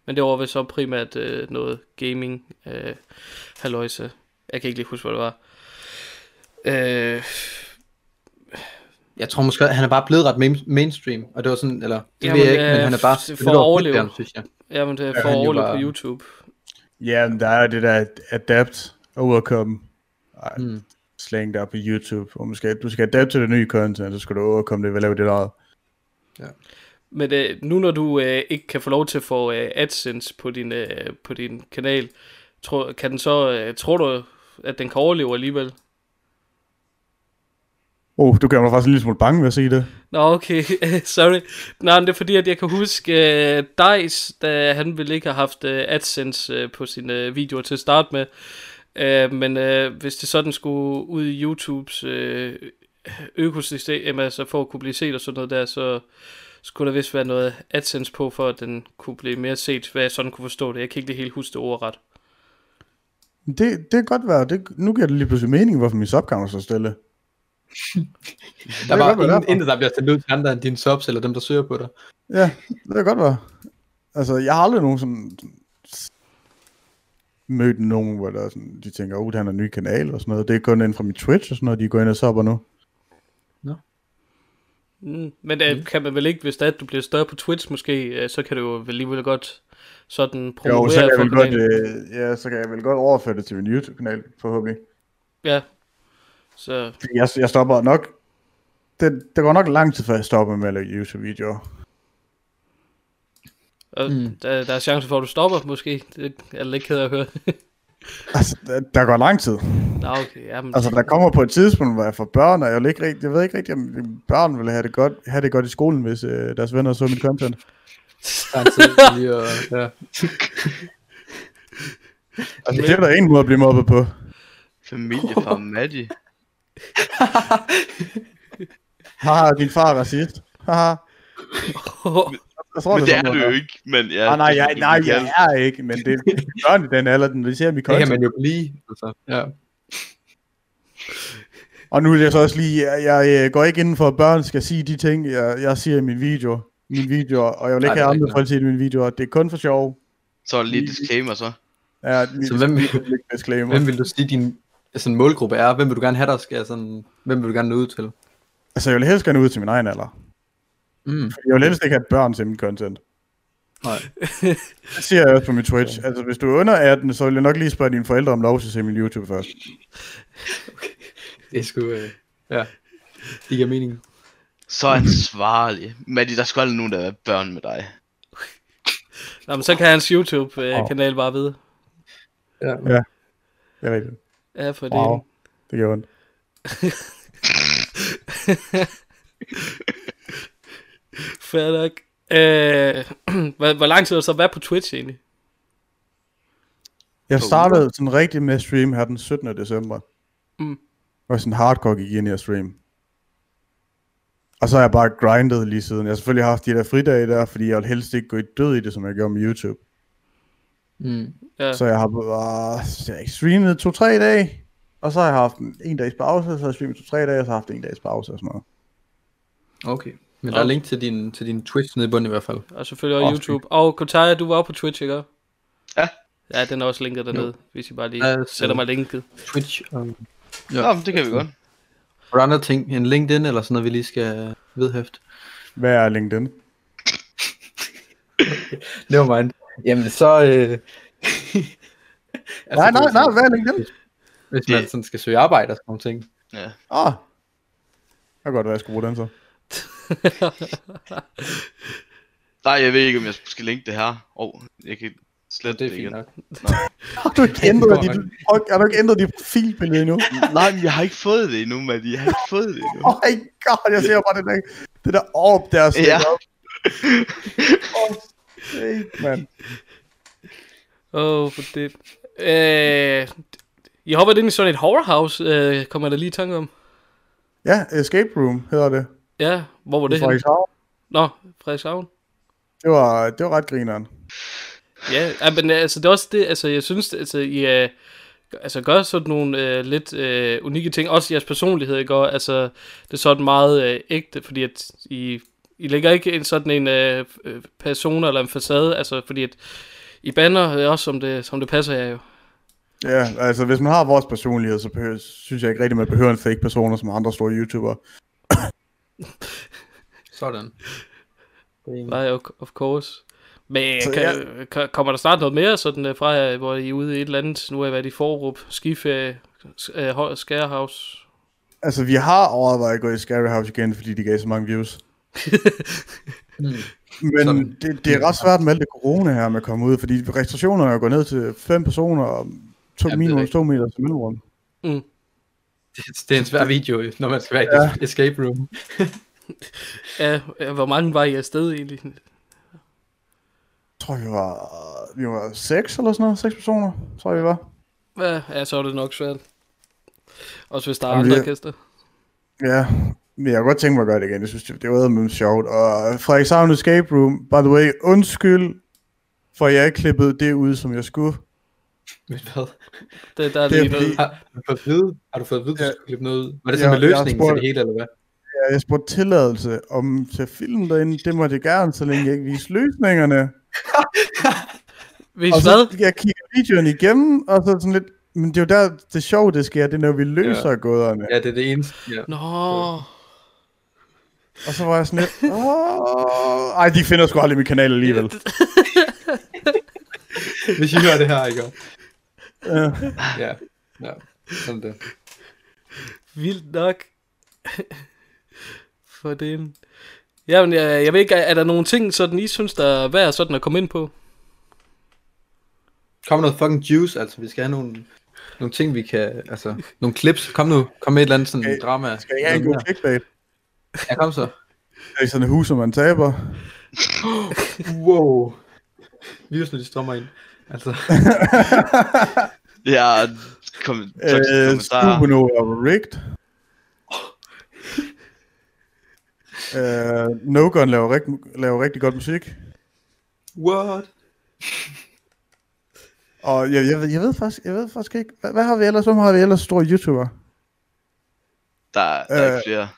Speaker 1: Men det var vel så primært øh, noget gaming, øh, halløjse. Jeg kan ikke lige huske, hvad det var. Øh,
Speaker 3: Jeg tror måske, han er bare blevet ret main- mainstream, og det var sådan, eller, det
Speaker 1: Jamen,
Speaker 3: ved jeg ikke, men
Speaker 1: øh,
Speaker 3: han er bare...
Speaker 1: for
Speaker 3: det
Speaker 1: at
Speaker 3: lyder fedt,
Speaker 1: overleve.
Speaker 3: der, synes jeg.
Speaker 1: ja, men det er for
Speaker 3: han jo
Speaker 1: overlevet
Speaker 3: bare-
Speaker 1: på YouTube.
Speaker 4: Ja, men der er jo det der adapt, overcome,
Speaker 3: Mm.
Speaker 4: mm. slang der er på YouTube. Hvor man skal, du skal adapte til det nye content, så skal du overkomme det ved at lave det der.
Speaker 1: Men øh, nu når du øh, ikke kan få lov til at få øh, AdSense på din, øh, på din kanal, tror, kan den så, øh, tror du, at den kan overleve alligevel?
Speaker 4: Oh, du gør mig faktisk en lille smule bange ved at sige det.
Speaker 1: Nå, okay, [LAUGHS] sorry. Nå, men det er fordi, at jeg kan huske uh, Dice, da han ville ikke have haft uh, AdSense uh, på sine uh, videoer til at starte med. Uh, men uh, hvis det sådan skulle ud i YouTubes uh, økosystem, altså for at kunne blive set og sådan noget der, så skulle der vist være noget AdSense på, for at den kunne blive mere set, hvad jeg sådan kunne forstå det. Jeg kan ikke lige helt huske det ordret.
Speaker 4: Det, det kan godt være. Det, nu giver det lige pludselig mening, hvorfor min subcount er så stille.
Speaker 3: Der
Speaker 4: Det
Speaker 3: var
Speaker 4: kan godt være
Speaker 3: ingen,
Speaker 4: derfor.
Speaker 3: intet, der bliver sendt ud til andre end dine subs, eller dem, der søger på [LAUGHS] dig.
Speaker 4: Ja, det kan godt være. Altså, jeg har aldrig nogen sådan mødt nogen, hvor der er sådan, de tænker, oh, han har en ny kanal og sådan noget. Det er kun ind fra min Twitch og sådan noget, de går ind og subber nu.
Speaker 1: Mm. Men uh, kan man vel ikke, hvis det er, at du bliver større på Twitch måske, uh, så kan du jo vel alligevel godt sådan promovere
Speaker 4: Jo, så kan, jeg
Speaker 1: for
Speaker 4: vel godt,
Speaker 1: kanalen.
Speaker 4: øh, ja, så kan jeg vel godt overføre det til min YouTube-kanal, forhåbentlig.
Speaker 1: Ja. Så
Speaker 4: Fordi Jeg, jeg stopper nok... Det, det går nok lang tid, før jeg stopper med at lave YouTube-videoer.
Speaker 1: og
Speaker 3: Mm.
Speaker 1: mm. der, der er chance for, at du stopper, måske. Det er jeg lidt ked af at høre.
Speaker 4: Altså, der, der går lang tid.
Speaker 1: Nå, okay. Jamen,
Speaker 4: Altså, der kommer på et tidspunkt, hvor jeg får børn, og jeg, vil ikke rigtig, jeg ved ikke rigtig, om børn ville have det godt, have det godt i skolen, hvis øh, deres venner så mit content.
Speaker 3: Der er en tid til lige at, ja.
Speaker 4: Altså, det er der en måde at blive mobbet på.
Speaker 2: familie fra Maddie.
Speaker 4: Haha, din far er racist. Haha. Jeg tror,
Speaker 2: men det
Speaker 4: sådan
Speaker 2: er
Speaker 4: noget,
Speaker 2: du jo
Speaker 4: der.
Speaker 2: ikke, men ja.
Speaker 4: Nej, Ah, nej, jeg,
Speaker 2: det,
Speaker 4: nej, jeg er ikke, men det er børn i den alder, den vil se dem i
Speaker 3: Det kan
Speaker 4: kontekst.
Speaker 3: man jo blive. Altså. Ja.
Speaker 4: Og nu vil jeg så også lige, jeg, jeg øh, går ikke inden for, at børn skal sige de ting, jeg, jeg siger i min video. Min video, og jeg vil
Speaker 3: Nej,
Speaker 4: ikke
Speaker 3: det er
Speaker 4: have andre
Speaker 3: rigtigt.
Speaker 4: folk til i min video, det er kun for sjov.
Speaker 2: Så er det lige et disclaimer så.
Speaker 4: Ja,
Speaker 3: Så hvem, vil-
Speaker 4: ligesom lidt disclaimer.
Speaker 3: [LAUGHS] hvem vil du sige, din sådan, målgruppe er? Hvem vil du gerne have, der skal sådan, Hvem vil du gerne nå ud til?
Speaker 4: Altså, jeg vil helst gerne ud til min egen alder.
Speaker 3: Mm.
Speaker 4: Fordi jeg vil helst ikke have børn til mit content.
Speaker 3: Nej.
Speaker 4: Det siger jeg også på min Twitch. Altså, hvis du er under 18, så vil jeg nok lige spørge dine forældre om lov til at se min YouTube først.
Speaker 3: Det er sgu... Øh, ja. Det giver mening.
Speaker 2: Så ansvarlig. Maddy, der skal aldrig nogen, der er børn med dig.
Speaker 1: [LAUGHS] Nå, men så kan hans YouTube-kanal bare vide.
Speaker 3: Ja.
Speaker 4: Det er rigtigt.
Speaker 1: Ja, for det.
Speaker 4: Wow. Det gør ondt.
Speaker 1: Fair nok. Øh, [CLEARS THROAT] hvor, hvor lang tid har du så været på Twitch egentlig?
Speaker 4: Jeg
Speaker 2: På
Speaker 4: startede sådan rigtig med at streame her den 17. december.
Speaker 1: Mm.
Speaker 4: Og sådan hardcore gik ind i at streame. Og så har jeg bare grindet lige siden. Jeg har selvfølgelig haft de der fridage der, fordi jeg vil helst ikke gå i død i det, som jeg gjorde med YouTube.
Speaker 3: Mm.
Speaker 1: Ja.
Speaker 4: Så jeg har bare så jeg har streamet to-tre dage, og så har jeg haft en, en dags pause, så har jeg streamet to-tre dage, og så har jeg haft en dags pause og sådan noget.
Speaker 3: Okay. Men der er
Speaker 1: Okay.
Speaker 3: link til din, til din Twitch nede i bunden i hvert fald.
Speaker 1: Og selvfølgelig også
Speaker 4: Åh,
Speaker 1: YouTube. Og Kotaya, du var også på Twitch, ikke?
Speaker 2: Ja.
Speaker 1: Ja, den er også linket dernede, hvis I bare lige
Speaker 3: Ja,
Speaker 1: sætter mig linket.
Speaker 3: Twitch. Um,
Speaker 2: Ja, Nå, men det kan vi godt.
Speaker 3: Er der andre ting end LinkedIn eller sådan noget, vi lige skal vedhæfte?
Speaker 4: Hvad er LinkedIn?
Speaker 1: Altså,
Speaker 3: Never mind. Jamen så...
Speaker 4: [LAUGHS]
Speaker 3: Øh... Altså,
Speaker 4: nej, nej, nej, hvad er LinkedIn?
Speaker 3: Hvis man sådan skal søge arbejde og sådan nogle ting.
Speaker 2: Ja.
Speaker 4: Ah. Jeg kan godt være, jeg skulle bruge
Speaker 1: [LAUGHS]
Speaker 4: den så.
Speaker 2: Nej, jeg ved ikke, om jeg skal linke det her. Åh, oh, jeg kan slet
Speaker 3: Det er
Speaker 2: det
Speaker 3: fint
Speaker 2: igen.
Speaker 3: nok.
Speaker 4: Har du ikke ændret dit, har du ikke ændret dit profilbillede endnu?
Speaker 2: Nej, men jeg har ikke fået det endnu, Maddy. Jeg har ikke fået det endnu.
Speaker 4: [LAUGHS] Oh my god, jeg ser bare det der, det der orb der. stikker
Speaker 2: Ja.
Speaker 4: op. Åh, shit, mand.
Speaker 1: Åh, oh, for det. Øh, I hopper ind i sådan et horror house, øh, kommer jeg da lige i tanke om.
Speaker 4: Ja, Escape Room hedder det.
Speaker 1: Ja, hvor var det
Speaker 4: Det,
Speaker 1: henne?
Speaker 4: Frederikshavn.
Speaker 1: Nå, Frederikshavn.
Speaker 4: det, var, det var ret grineren.
Speaker 1: Ja, ja, men altså, det er også det, altså, jeg synes, altså, I øh, altså, gør sådan nogle øh, lidt øh, unikke ting. Også jeres personlighed, ikke? Og, altså, det er sådan meget øh, ægte, fordi at I, I lægger ikke en sådan en øh, øh, persona eller en facade, altså, fordi at I banner øh, også, som det, som det passer jer jo.
Speaker 4: Ja, altså hvis man har vores personlighed, så behøver, synes jeg ikke rigtig, man behøver en fake personer som andre store YouTubere.
Speaker 3: Sådan.
Speaker 1: Nej, of, of course. Men
Speaker 4: Så
Speaker 1: kan, kan, kommer der snart noget mere sådan øh, fra jer, hvor I er ude i et eller andet? Nu har jeg været i Forup, Skiferie, S- øh, Høj- Skærhouse.
Speaker 4: Altså vi har overvejet at gå i Scary House igen, fordi de gav så mange
Speaker 3: [LAUGHS]
Speaker 4: views.
Speaker 3: Mm.
Speaker 4: Men
Speaker 3: Sådan.
Speaker 4: det, det, er ret svært med alt det corona her med at komme ud, fordi restriktionerne er gået ned til fem personer og to,
Speaker 3: det er
Speaker 4: minimum
Speaker 3: rigtigt.
Speaker 4: to meter til mellemrum.
Speaker 3: Det er en svær video, jo, når man skal være i ja. escape room.
Speaker 1: Ja, ja, hvor mange var I afsted egentlig?
Speaker 4: Jeg tror, vi var, vi var seks eller sådan noget. Seks personer, tror jeg, vi var.
Speaker 1: Ja, ja, så er det nok svært. Også hvis der er
Speaker 4: Jamen,
Speaker 1: andre
Speaker 4: vi-
Speaker 1: orkester.
Speaker 4: Ja, men jeg kunne godt tænke mig at gøre det igen. Jeg synes, det, det var med sjovt. Og Frederikshavn Escape Room, by the way, undskyld, for jeg ikke klippede det ud, som jeg skulle.
Speaker 3: Men hvad?
Speaker 1: Det, der er
Speaker 4: Det er
Speaker 1: lige noget.
Speaker 4: fordi-
Speaker 3: Har, har du fået at vide, har du fået at vide, at du
Speaker 4: Ja.
Speaker 3: skulle klippe noget ud? Var det
Speaker 4: Ja,
Speaker 3: sådan med
Speaker 4: jeg har
Speaker 3: løsningen til
Speaker 4: spurgt-
Speaker 3: det hele, eller hvad?
Speaker 4: Ja, jeg spurgte tilladelse om til filmen derinde. Det måtte jeg gerne, så længe jeg ikke viste løsningerne.
Speaker 1: Hvis
Speaker 4: Og
Speaker 1: hvad?
Speaker 4: så jeg kigger videoen igennem, og så sådan lidt... Men det er jo der, det sjove, det sker, det er, når vi løser ja. gåderne.
Speaker 3: Ja, det er det eneste. Ja.
Speaker 1: Nå,
Speaker 4: Og så var jeg sådan lidt... Åh, ej, de finder sgu aldrig min kanal alligevel.
Speaker 3: Hvis I hører det her, ikke?
Speaker 4: Ja.
Speaker 3: Ja. ja. Sådan det.
Speaker 1: vildt nok. [LAUGHS] For det. Jamen, jeg, jeg ved ikke, er, er der nogle ting, sådan I synes, der er værd sådan at komme ind på?
Speaker 3: Kom noget fucking juice, altså. Vi skal have nogle, nogle ting, vi kan... Altså, nogle clips. Kom nu. Kom med et eller andet sådan
Speaker 4: Okay.
Speaker 3: drama.
Speaker 4: Skal jeg have en god
Speaker 3: Noget mere.
Speaker 4: clickbait?
Speaker 3: Ja, kom så.
Speaker 4: Det er sådan et hus, som man taber.
Speaker 3: Wow. Virusene, de strømmer ind. Altså,
Speaker 2: Jeg har kommet
Speaker 4: Øh,
Speaker 2: kommentarer.
Speaker 4: Supernova Rigged. Uh, no Gun laver, rigt, laver rigtig godt musik.
Speaker 3: What?
Speaker 4: Og jeg, jeg, ved, jeg, ved, faktisk, jeg ved faktisk ikke, hvad, hvad har vi ellers? Hvem har vi ellers store YouTuber?
Speaker 2: Der, er- der er
Speaker 4: Øh.
Speaker 2: ikke flere.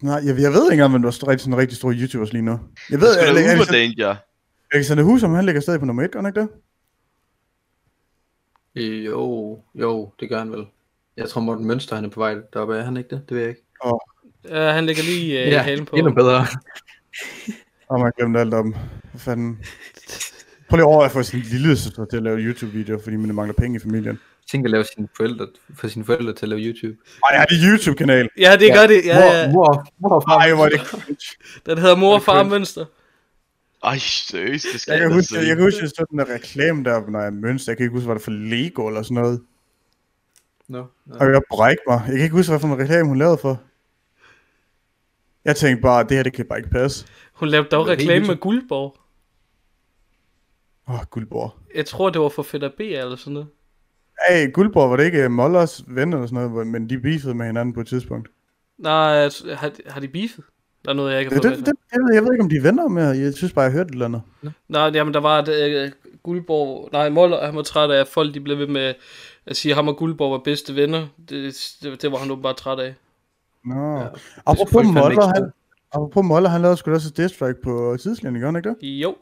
Speaker 4: Nej, jeg, jeg ved ikke engang, hvem der er st- rigtig, sådan rigtig store YouTubers lige nu. Jeg altså- ved,
Speaker 2: Der skulle
Speaker 4: at
Speaker 2: være
Speaker 4: Alexander,
Speaker 2: Danger.
Speaker 4: Alexander Husum, han ligger stadig på nummer 1, gør han ikke det?
Speaker 3: Jo, jo, det gør han vel. Jeg tror, Morten Mønster, han er på vej deroppe. Er han ikke det? Det ved jeg ikke.
Speaker 1: Uh, han ligger lige uh, yeah, halen på.
Speaker 3: endnu bedre.
Speaker 4: Og man glemte alt om. Hvad fanden? Prøv lige over, at jeg får sin lille søster til at lave YouTube-videoer, fordi man mangler penge i familien.
Speaker 3: Tænk at lave sine forældre, for sine forældre til at lave YouTube.
Speaker 4: Ej, jeg har det YouTube-kanal.
Speaker 1: Ja, det gør det. Ja, ja.
Speaker 3: Mor, mor, mor,
Speaker 4: Ej, hvor er det cringe.
Speaker 1: Den hedder mor og far
Speaker 4: cringe.
Speaker 1: mønster.
Speaker 2: Ej, seriøst, det skal
Speaker 4: Jeg kan
Speaker 2: da
Speaker 4: huske,
Speaker 2: se.
Speaker 4: jeg, kan huske, jeg så den der reklame der, når jeg mønster. Jeg kan ikke huske, var det for Lego eller sådan noget.
Speaker 3: no, no.
Speaker 4: Og jeg bræk mig. Jeg kan ikke huske, hvad for en reklame hun lavede for. Jeg tænkte bare, det her, det kan bare ikke passe.
Speaker 1: Hun lavede dog
Speaker 3: Det er helt
Speaker 1: reklame med
Speaker 3: vildt.
Speaker 1: Guldborg.
Speaker 4: Åh, oh, Guldborg.
Speaker 1: Jeg tror, det var for Fedder B eller sådan noget.
Speaker 4: Hey, Guldborg, var det ikke øh, Mollers ven eller sådan noget, hvor- men de beefede med hinanden på et tidspunkt.
Speaker 1: Nej, altså, har, har de beefet? Der er noget, jeg ikke
Speaker 4: Det,
Speaker 1: har
Speaker 4: det,
Speaker 1: fået
Speaker 4: det,
Speaker 1: med.
Speaker 4: jeg, ved, jeg ved ikke, om de er venner med, jeg synes bare, jeg hørte et eller andet.
Speaker 1: Nej, jamen, der var et øh, Guldborg... Nej, Moller, han var træt af, at folk de blev ved med at sige, at ham og Guldborg var bedste venner. Det, det, det var han åbenbart træt af.
Speaker 4: Nå.
Speaker 3: Ja,
Speaker 4: Ja,
Speaker 3: det skulle
Speaker 4: apropos
Speaker 3: folk fandme
Speaker 4: Moller,
Speaker 3: ikke
Speaker 4: han, apropos Moller, han lavede sgu da også et diss track på øh, tidslinjen, gør han ikke det?
Speaker 1: Jo,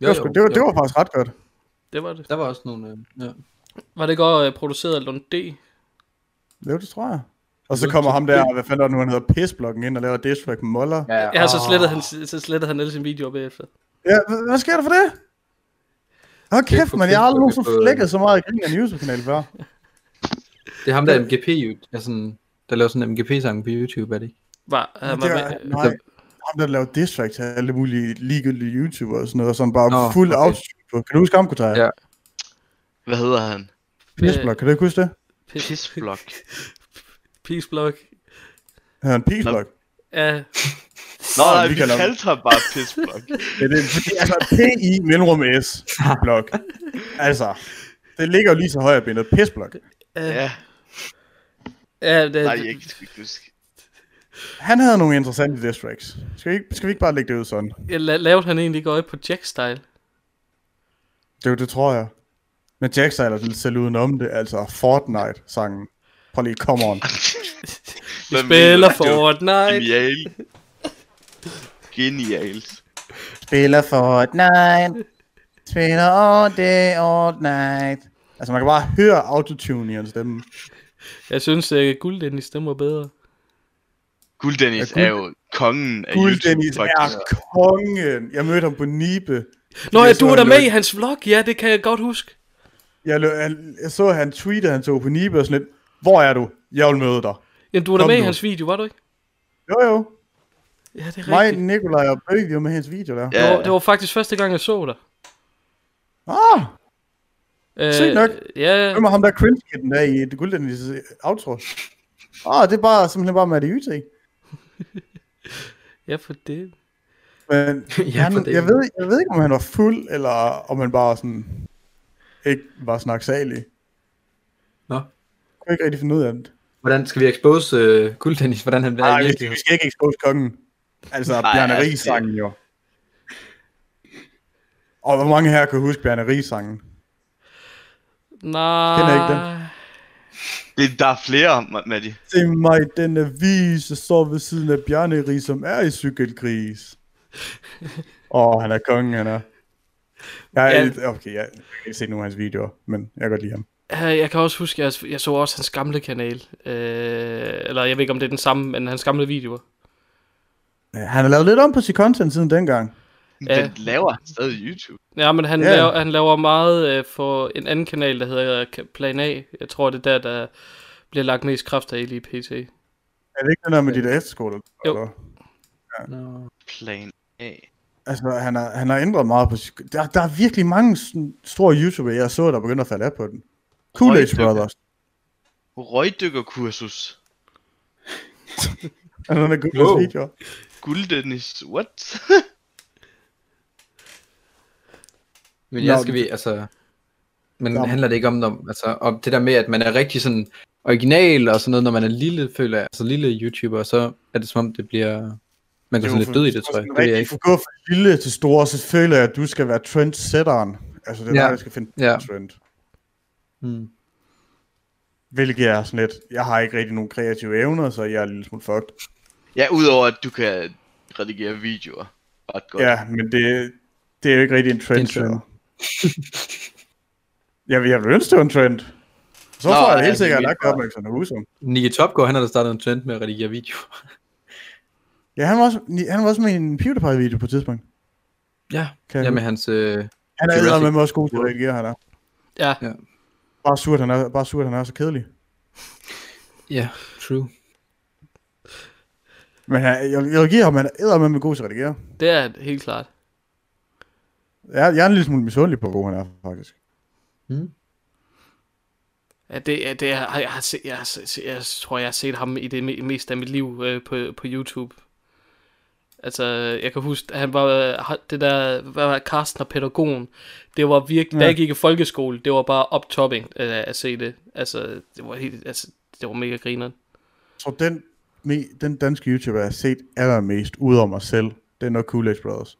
Speaker 4: det, var, sgu, det, var, det var faktisk ret godt.
Speaker 1: det var det.
Speaker 3: Der var også nogle... Øh, ja.
Speaker 1: Var det godt øh, produceret af Lund D?
Speaker 4: Jo, det tror jeg. Og så kommer ham der, hvad fanden var det nu, han hedder Pissblokken ind og laver et diss track med Moller. Ja.
Speaker 1: Ja, så slettede,
Speaker 3: Ah.
Speaker 1: han, så slettede han alle sine videoer bagefter.
Speaker 4: ja, hvad- hvad sker der for det? Åh, oh, kæft,
Speaker 3: på
Speaker 4: mand, jeg har
Speaker 3: Facebook,
Speaker 4: aldrig nogensinde
Speaker 3: det er på-
Speaker 4: flækket så meget i grin af en YouTube-kanal før.
Speaker 3: Det er ham, der er MGP, jo. Er sådan, der laver sådan en MGP-sang på YouTube, er det ikke?
Speaker 1: Var, han var
Speaker 4: det var,
Speaker 1: med, øh,
Speaker 3: Altså-
Speaker 4: nej, ham der laver diss track til alle mulige ligegyldige YouTubere og sådan noget, og sådan bare
Speaker 3: Nå,
Speaker 4: oh, fuld
Speaker 3: okay.
Speaker 4: okay. på. Kan du huske ham, Kutaja?
Speaker 3: Ja.
Speaker 4: Ja.
Speaker 2: Hvad hedder han?
Speaker 4: Pissblok, kan du ikke huske det?
Speaker 2: Pissblock.
Speaker 1: Peace Block.
Speaker 4: Han er en pissblok.
Speaker 1: Ja,
Speaker 2: Nå, nej,
Speaker 4: vi
Speaker 2: vi
Speaker 4: kalder ham-
Speaker 2: kaldte ham bare
Speaker 4: [LAUGHS]
Speaker 2: Pissblock.
Speaker 4: Ja, det er fordi, altså, P-I mellemrum S blok. Altså, det ligger jo lige så højt benet. Pissblok.
Speaker 1: ja,
Speaker 2: ja,
Speaker 1: ja, det,
Speaker 2: nej, jeg kan sgu ikke huske.
Speaker 4: Han havde nogle interessante diss tracks. Skal vi, ikke, skal vi ikke bare lægge det ud sådan?
Speaker 1: jeg la- lavede han egentlig ikke øje på Jack Style.
Speaker 4: Det, er jo- det tror jeg. Men Jack sejler til selv udenom det, altså Fortnite-sangen. Prøv lige, come on.
Speaker 1: Vi
Speaker 2: Hvem
Speaker 1: spiller
Speaker 2: ved, det var
Speaker 1: Fortnite.
Speaker 2: Genialt. Genialt.
Speaker 4: Spiller Fortnite. Spiller all day, all night. Altså, man kan bare høre autotune i hans stemme.
Speaker 1: Jeg synes, at Guldendis stemmer bedre.
Speaker 2: Guld Dennis
Speaker 4: Ja, Guld-
Speaker 2: er jo kongen af
Speaker 4: Guld
Speaker 2: YouTube,
Speaker 4: Dennis
Speaker 2: faktisk.
Speaker 4: er kongen. Jeg mødte ham på Nibe.
Speaker 1: Nå
Speaker 4: Det
Speaker 1: ja,
Speaker 4: er
Speaker 1: du
Speaker 4: så
Speaker 1: var der med
Speaker 4: løgn.
Speaker 1: i hans vlog. Ja, det kan jeg godt huske.
Speaker 4: Jeg, lø- jeg, jeg så, at han tweetede, han tog på Nibe og sådan lidt. Hvor er du? Jeg vil møde dig.
Speaker 1: Jamen, du var der
Speaker 4: Kom
Speaker 1: med i
Speaker 4: nu.
Speaker 1: hans video, var du ikke?
Speaker 4: Jo jo,
Speaker 1: Ja, det er
Speaker 4: mig,
Speaker 1: rigtigt.
Speaker 4: Nikolaj og Bøge, vi var med i hans video der.
Speaker 1: Det
Speaker 2: Ja,
Speaker 1: var, det var faktisk første gang, jeg så dig.
Speaker 4: Ah,
Speaker 1: Øh,
Speaker 4: Sygt nok.
Speaker 1: Ja,
Speaker 4: hvem er ham der cringe den der i det guld Dennis outro? Ah, det er bare, simpelthen bare Maddie YT.
Speaker 1: ja, for det.
Speaker 4: Men
Speaker 3: Ja,
Speaker 4: ja, han,
Speaker 3: for det.
Speaker 4: jeg, ved, jeg ved ikke, om han var fuld, eller om han bare sådan, ikke var snaksalig.
Speaker 3: Nå.
Speaker 4: Jeg kunne ikke rigtig finde ud af det.
Speaker 3: Hvordan skal vi expose øh, Guldtennis? Hvordan han er
Speaker 4: Nej,
Speaker 3: i
Speaker 4: vi,
Speaker 3: virkeligheden?
Speaker 4: vi skal ikke expose kongen. Altså,
Speaker 2: Nej,
Speaker 4: Bjarne
Speaker 2: altså,
Speaker 4: Ries-sangen jo. Og hvor mange her kan huske Bjarne Ries-sangen?
Speaker 1: Nej.
Speaker 4: Kender ikke den.
Speaker 2: det, der er flere, Ma- Maddie.
Speaker 4: Se mig, den avis, der står ved siden af Bjarne Ries, som er i cykelgris. Åh, oh, han er kongen, han er. Jeg er, ja. Okay, jeg, jeg kan ikke se nogen af hans videoer, men jeg kan godt lide ham.
Speaker 1: Øh, Jeg kan også huske, at jeg, jeg så også hans gamle kanal. Øh, eller jeg ved ikke, om det er den samme, men hans gamle videoer.
Speaker 4: Øh, Han har lavet lidt om på sit content siden dengang.
Speaker 1: Ja.
Speaker 2: Ja. Den laver han stadig YouTube.
Speaker 1: Ja, men han,
Speaker 4: Ja.
Speaker 1: yeah. laver, han laver meget øh, for en anden kanal, der hedder øh, Ka- Plan A. Jeg tror, det er der, der bliver lagt mest kræfter i lige pt.
Speaker 4: Er det ikke den der med dit efterskole?
Speaker 1: Jo.
Speaker 4: eller?
Speaker 3: Nå.
Speaker 2: Plan A.
Speaker 4: Altså, han har, han har ændret meget på sit... Der, der er virkelig mange sådan, store YouTubere, jeg så, der begynder at falde af på den. Cool Age
Speaker 2: Røgdykker.
Speaker 4: Brothers.
Speaker 2: Røgdykkerkursus.
Speaker 4: Er der nogle
Speaker 3: Wow.
Speaker 4: gode videoer?
Speaker 2: Guld Dennis, what? [LAUGHS]
Speaker 3: Men jeg
Speaker 4: Nå,
Speaker 3: skal vi, altså... Men
Speaker 4: Nå.
Speaker 3: Altså, handler det ikke om, om, altså, om det der med, at man er rigtig sådan original og sådan noget, når man er lille, føler jeg, altså lille YouTuber, så er det som om, det bliver... Man går
Speaker 4: Det
Speaker 3: sådan
Speaker 4: var
Speaker 3: lidt
Speaker 4: for-
Speaker 3: død i det,
Speaker 4: var
Speaker 3: tror jeg.
Speaker 4: sådan
Speaker 3: Det er jeg
Speaker 4: rigtig
Speaker 3: ikke.
Speaker 4: for gå fra lille til store, så føler jeg, at du skal være trendsetteren. Altså, det er
Speaker 3: Ja.
Speaker 4: ja. dig, der skal finde på
Speaker 3: Ja.
Speaker 4: en trend.
Speaker 3: Mm.
Speaker 4: Hvilket er sådan lidt, jeg har ikke rigtig nogen kreative evner, så jeg er en lille smule fucked.
Speaker 2: Ja, udover at du kan redigere videoer ret godt.
Speaker 4: Ja, men det, det er jo ikke rigtig en trend.
Speaker 3: Det er en trend.
Speaker 4: [LAUGHS] jeg, vil, jeg vil ønske, det var en trend. Så
Speaker 2: Nå, altså,
Speaker 4: Nå, får jeg
Speaker 2: ja,
Speaker 4: helt sikkert
Speaker 2: det er
Speaker 4: lagt op med Alexander Husum.
Speaker 3: Nicky Topgaard, han har da startet en trend med at redigere videoer.
Speaker 4: Ja, han var, også, han var også med i en PewDiePie-video på et tidspunkt.
Speaker 3: Ja,
Speaker 4: Kan
Speaker 3: ja
Speaker 4: jeg-
Speaker 3: med hans... Øh,
Speaker 4: Han
Speaker 3: Jurassic
Speaker 4: er med også god til at reagere, han er.
Speaker 1: Ja.
Speaker 3: Ja.
Speaker 4: Bare surt, han er, bare surt, han er så kedelig.
Speaker 3: ja, true.
Speaker 4: Men han, jeg, jeg giver ham, han er med god til at redigere.
Speaker 1: Det er det helt klart.
Speaker 4: Jeg, jeg er en lille smule misundelig på, hvor god han er, faktisk.
Speaker 1: Ja, det, er- det er, jeg, har set, jeg, har set, jeg, tror, jeg har set ham i det me- meste af mit liv øh, på, på YouTube. Altså, jeg kan huske, han var, øh, har- det der, hvad var det, Carsten og pædagogen, det var virkelig, ja. da
Speaker 4: Ja.
Speaker 1: jeg gik i folkeskole, det var bare optopping øh, at se det. Altså, det var helt, altså, det var mega grineren.
Speaker 4: Jeg tror, den, me- den danske YouTuber, jeg har set allermest ud over mig selv, det er nok Coolidge Brothers.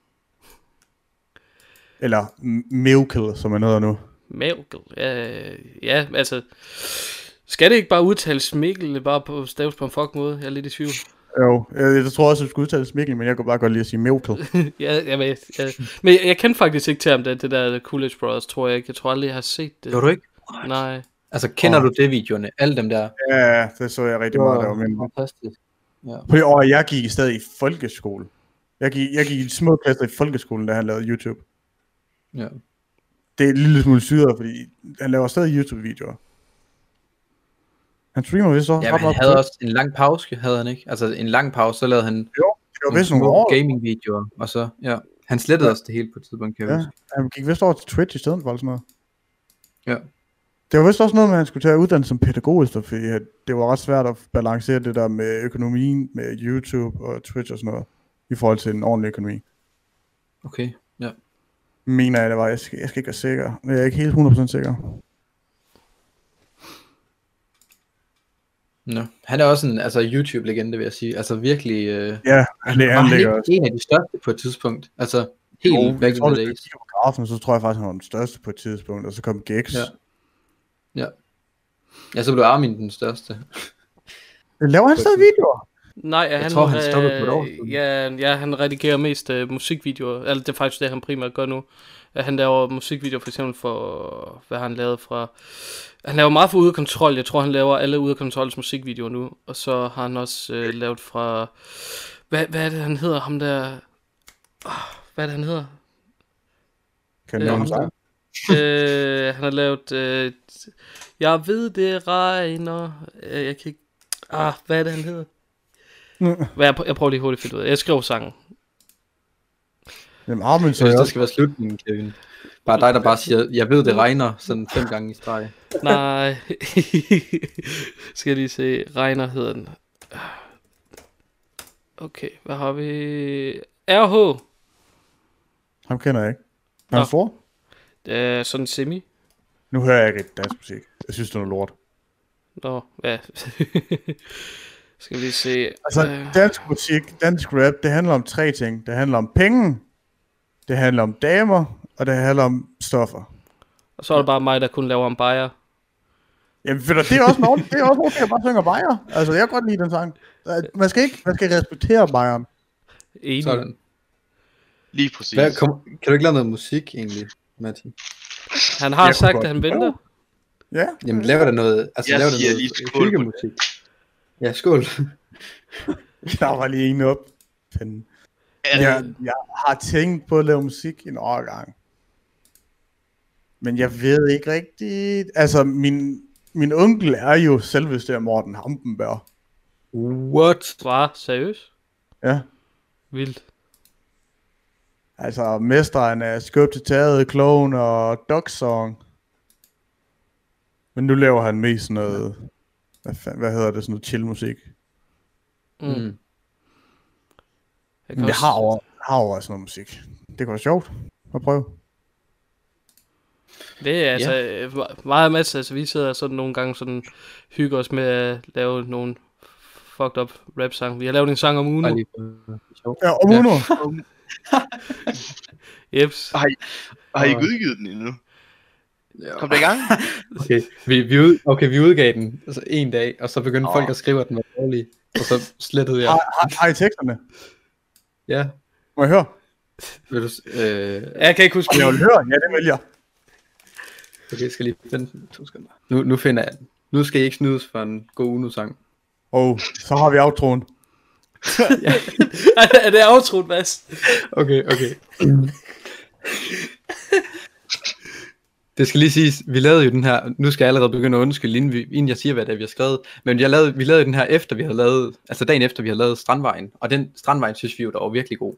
Speaker 4: Eller M- Miracle, som han hedder nu.
Speaker 1: Mavgel, ja, ja, altså, skal det ikke bare udtales Mikkel, bare på staves på en fuck måde? Jeg er lidt i tvivl.
Speaker 4: Jo, jeg, jeg tror også, at det skulle udtales Mikkel, men jeg kunne bare godt lide at sige Miracle.
Speaker 1: ja, jamen, jeg, jeg, men jeg, jeg kendte faktisk ikke til ham, det, det der Coolidge Brothers, tror jeg ikke. Jeg tror aldrig, jeg har set det.
Speaker 3: Gjorde du ikke?
Speaker 1: Nej.
Speaker 3: Altså, kender
Speaker 4: Åh.
Speaker 3: du det videoerne? Alle dem der?
Speaker 4: ja, det så jeg rigtig meget, der var med.
Speaker 3: fantastisk. Ja.
Speaker 4: På det år, jeg gik stadig i folkeskole. Jeg gik, jeg gik i små klasser i folkeskolen, da han lavede YouTube.
Speaker 3: ja.
Speaker 4: Det er en lille smule syret, fordi han laver stadig YouTube-videoer. Han streamer vist også
Speaker 3: Ja, men
Speaker 4: ret
Speaker 3: han
Speaker 4: meget på
Speaker 3: havde
Speaker 4: Twitch.
Speaker 3: også en lang pause, havde han ikke? Altså en lang pause, så lavede han
Speaker 4: Det var vist nogle
Speaker 3: små
Speaker 4: år.
Speaker 3: gaming-videoer, og så, ja. Han slettede
Speaker 4: Ja.
Speaker 3: også det hele på et tidspunkt, kan jeg
Speaker 4: Ja.
Speaker 3: huske.
Speaker 4: Han gik vist over til Twitch i stedet for, eller sådan noget.
Speaker 3: Ja.
Speaker 4: Det var vist også noget med, at han skulle tage uddannelse som pædagog, i stedet, fordi at det var ret svært at balancere det der med økonomien, med YouTube og Twitch og sådan noget, i forhold til en ordentlig økonomi.
Speaker 3: Okay, ja.
Speaker 4: Mener jeg, det var. Jeg skal, jeg skal ikke være sikker. Men jeg er ikke helt 100% sikker.
Speaker 3: Nå. Han er også en altså, YouTube-legende, vil jeg sige. Altså virkelig... Øh,
Speaker 4: Ja, det er
Speaker 3: var
Speaker 4: han
Speaker 3: han
Speaker 4: ligger
Speaker 3: ikke
Speaker 4: også.
Speaker 3: en af de største på et tidspunkt? Altså, helt
Speaker 4: Jo,
Speaker 3: oh, back
Speaker 4: jeg
Speaker 3: in
Speaker 4: tror,
Speaker 3: the
Speaker 4: det er
Speaker 3: days.
Speaker 4: Theo Grafen, så tror jeg faktisk, han var den største på et tidspunkt, og så kom Gex.
Speaker 3: Ja.
Speaker 4: Ja.
Speaker 3: Ja, så blev Armin den største.
Speaker 4: Laver han stadig videoer?
Speaker 1: Nej, jeg han,
Speaker 3: tror, han stoppede på et år siden.
Speaker 1: øh, ja, ja, han redigerer mest øh, musikvideoer. Eller det er faktisk det, han primært gør nu. At han laver musikvideoer for eksempel for, hvad har han lavet fra... Han laver meget for Ude af Kontrol. Jeg tror, han laver alle Ude af Kontrols musikvideoer nu. Og så har han også øh, lavet fra... Hvad, hvad er det, han hedder? Ham der... Ah, Hvad er det, han hedder?
Speaker 4: Kan
Speaker 1: Øh,
Speaker 4: jeg nævne
Speaker 1: ham
Speaker 4: sig?
Speaker 1: øh, han har lavet... Øh, jeg ved, det regner... Øh, jeg kan ikke... Ah, hvad er det, han hedder? Hvad, jeg, prøver, jeg prøver lige hurtigt at finde ud af. Jeg skriver sangen.
Speaker 4: Jamen, Armin, så
Speaker 3: Så det skal være slutningen, Kevin. Bare dig, der bare siger, jeg ved, det regner, sådan fem gange i streg.
Speaker 1: Nej. [LAUGHS] Skal jeg lige se. Regner hedder den. Okay, hvad har vi? RH.
Speaker 4: ham kender jeg ikke. Er han
Speaker 1: Nå.
Speaker 4: stor?
Speaker 1: Øh, sådan semi.
Speaker 4: Nu hører jeg ikke rigtig dansk musik. Jeg synes, det er noget lort.
Speaker 1: Nå, ja. [LAUGHS] Skal vi lige se.
Speaker 4: Altså,
Speaker 1: Øh,
Speaker 4: dansk musik, dansk rap, det handler om tre ting. Det handler om penge, det handler om damer, og det handler om stoffer.
Speaker 1: og så er det bare mig, der kun laver en bajer.
Speaker 4: Jamen, ved du, det er også en ordentlig, det er også okay, jeg bare synger bajer. Altså, jeg kan godt lide den sang. Øh, Man skal ikke, man skal respektere bajeren.
Speaker 1: Enig.
Speaker 3: Sådan.
Speaker 2: Lige præcis.
Speaker 3: Hvad, kom, kan du ikke lave noget musik, egentlig, Matti?
Speaker 1: Han har
Speaker 4: Jeg kunne
Speaker 1: sagt,
Speaker 4: godt
Speaker 1: at han venter.
Speaker 4: Ja,
Speaker 3: Jamen, laver der noget, altså,
Speaker 2: Jeg
Speaker 3: laver der
Speaker 2: siger
Speaker 3: noget
Speaker 2: lige skål på det.
Speaker 3: hyggemusik. Ja, skål.
Speaker 4: der var lige en op. Fanden.
Speaker 2: Er det-
Speaker 4: Jeg, jeg har tænkt på at lave musik en årgang. Men jeg ved ikke rigtigt... Altså, min, min onkel er jo selveste Morten Hampenberg.
Speaker 3: What?
Speaker 1: Var seriøst?
Speaker 4: Ja.
Speaker 1: Vildt.
Speaker 4: Altså, mesteren af Skøb til taget, Kloven og Dog Song. Men nu laver han mest sådan noget... Hvad, fanden, hvad hedder det? Sådan noget chill musik.
Speaker 1: Mm.
Speaker 3: Mm.
Speaker 1: Jeg
Speaker 4: Men jeg har over, har over sådan noget musik. Det kunne være sjovt at prøve.
Speaker 1: Det er altså øh, meget af Mads, altså vi sidder sådan nogle gange sådan hygger os med at lave nogle fucked up rap sang. Vi har lavet en sang om Uno.
Speaker 3: Bare lige for- for sjov.
Speaker 4: Ja, og Uno.
Speaker 1: Jeps. [LAUGHS]
Speaker 2: Har I, har I ikke
Speaker 3: Og-
Speaker 2: udgivet den endnu?
Speaker 3: Ja.
Speaker 2: Kom da
Speaker 4: [LAUGHS]
Speaker 2: i gang.
Speaker 3: Okay, vi, vi, ud, okay, vi udgav den altså en dag, og så begyndte
Speaker 2: Åh.
Speaker 3: oh. folk at skrive, at den var dårlig. Og så slettede
Speaker 2: Ah.
Speaker 3: jeg.
Speaker 4: Har, har I teksterne?
Speaker 3: Ja,
Speaker 4: Må jeg høre?
Speaker 3: vil du... s- Øh,
Speaker 1: Ja, Jeg kan ikke huske.
Speaker 4: Jeg vil høre. Ja, det vil jeg.
Speaker 3: okay, jeg skal lige vente den. to sekunder. Nu, nu finder jeg den. Nu skal I ikke snydes for en god Uno-sang.
Speaker 4: Og oh, så har vi aftroen.
Speaker 1: er det aftroet, Mads?
Speaker 3: Okay, okay. Det skal lige siges, vi lavede jo den her, nu skal jeg allerede begynde at undskylde, inden, vi, inden jeg siger, hvad det er, vi har skrevet, men jeg lavede, vi lavede den her efter, vi havde lavet, altså dagen efter, vi havde lavet Strandvejen, og den Strandvejen synes vi jo, der var virkelig god.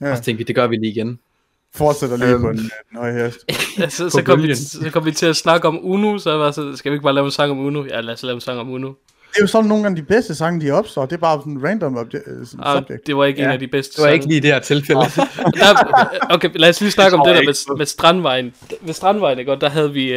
Speaker 4: Ja.
Speaker 3: Ja. Og så tænkte vi, det gør vi lige igen.
Speaker 4: Altså, Fortsætter lige
Speaker 3: Øhm.
Speaker 4: på en øh, nøje hest.
Speaker 1: Ja, Altså, så,
Speaker 3: På
Speaker 1: så, kom vi,
Speaker 3: bølgen.
Speaker 1: så kom vi til at snakke om Uno, så var jeg så, skal vi ikke bare lave en sang om Uno? Ja, lad os lave en sang om Uno.
Speaker 4: Det er jo sådan nogle af de bedste sange, de opstår. Det er bare sådan random obje- øh, sådan
Speaker 1: Ah,
Speaker 4: subject.
Speaker 1: det var ikke ja, en
Speaker 3: Ja,
Speaker 1: af de bedste
Speaker 3: Det var ikke
Speaker 1: sange.
Speaker 3: lige i det her tilfælde.
Speaker 1: Der, okay, lad os lige snakke om
Speaker 2: tror
Speaker 1: det der
Speaker 2: jeg
Speaker 1: med, med Strandvejen. Ved Strandvejen, ikke? Og der havde vi... Øh,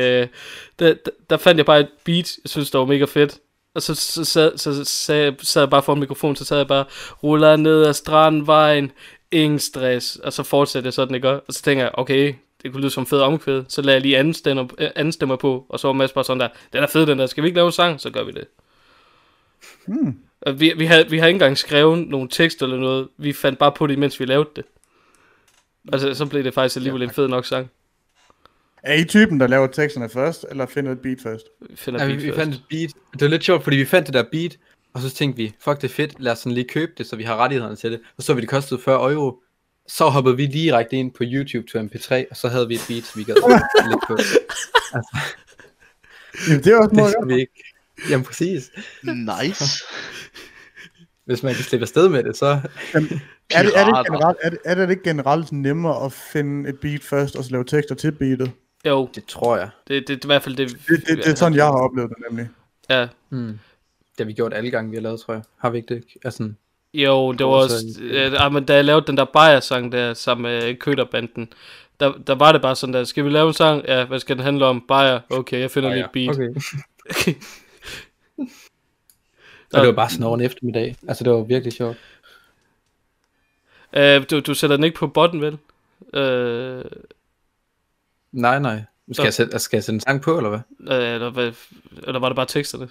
Speaker 1: der, der- der, fandt jeg bare et beat, jeg synes, der var mega fedt. Og så, så, sad, så, sad, sad jeg bare foran mikrofonen, så sad jeg bare, ruller ned ad Strandvejen, ingen stress. Og så fortsatte jeg sådan, ikke? Og så tænker jeg, okay, det kunne lyde som en fed omkvæd. Så lader jeg lige anden stemmer, øh, anden stemmer på, og så var Mads bare sådan der, den er fed den der, skal vi ikke lave en sang? Så gør vi det. Hmm. Vi, vi, havde, vi havde ikke engang skrevet nogle tekster eller noget. Vi fandt bare på det, mens vi lavede det. Altså, så blev det faktisk alligevel en fed nok sang.
Speaker 4: Er I typen, der laver teksterne først, eller finder et beat først?
Speaker 1: Vi finder
Speaker 3: [LAUGHS] ja, vi,
Speaker 1: beat
Speaker 3: vi
Speaker 1: først.
Speaker 3: fandt et beat. Det var lidt sjovt, fordi vi fandt det der beat, og så tænkte vi, fuck det er fedt, lad os sådan lige købe det, så vi har rettighederne til det. Og så vi det kostede 40 euro. Så hoppede vi direkte ind på YouTube til MP3, og så havde vi et beat, [LAUGHS] vi gad lidt på.
Speaker 4: Jamen, det er også
Speaker 3: Det
Speaker 4: noget,
Speaker 3: skal vi ikke. Jamen præcis.
Speaker 2: Nice.
Speaker 3: Hvis man kan slippe afsted med det, så...
Speaker 4: er det, er, det ikke
Speaker 2: Pirater.
Speaker 4: generelt, er, det, er det ikke generelt nemmere at finde et beat først, og så lave tekster til beatet?
Speaker 1: Jo,
Speaker 3: Det tror jeg.
Speaker 1: det, det, det er i hvert fald det.
Speaker 4: Det, det, det er sådan, jeg har oplevet det nemlig.
Speaker 1: Ja,
Speaker 3: Mm. Det har vi gjort alle gange, vi har lavet, tror jeg. Har vi ikke det? Altså,
Speaker 1: jo, det var
Speaker 3: Og så-
Speaker 1: også... Øh, ah, men da jeg lavede den der Bayer-sang der sammen med Køterbanden, der, der var det bare sådan der, skal vi lave en sang? Ja, hvad skal den handle om? Bayer? Okay, jeg finder lige et beat.
Speaker 3: Okay. Og det var bare sådan over en eftermiddag. Altså, det var virkelig sjovt.
Speaker 1: Øh, du, du sætter den ikke på botten, vel? Øh,
Speaker 3: Nej, nej. Nu Skal
Speaker 1: Nå.
Speaker 3: jeg, sætte, altså, skal jeg sætte en sang på, eller hvad?
Speaker 1: øh, eller, hvad, eller var det bare teksterne?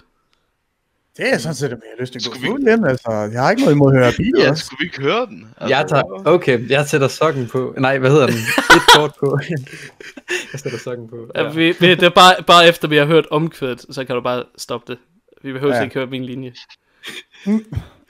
Speaker 4: Det er sådan set, at jeg har lyst til at gå
Speaker 2: Skulle vi-
Speaker 4: fuld hjem, altså. Jeg har ikke noget imod at høre beat
Speaker 2: Ja,
Speaker 4: også.
Speaker 2: skulle vi ikke høre den? Altså,
Speaker 3: Jeg tager, okay, jeg sætter sokken på. Nej, hvad hedder den? Et kort på. [LAUGHS] jeg sætter sokken på.
Speaker 1: Ja. Vi, vi, det er bare, bare efter, vi har hørt omkvædet, så kan du bare stoppe det. Vi behøver ja.
Speaker 4: Ja.
Speaker 1: ikke høre min linje.
Speaker 4: Åh,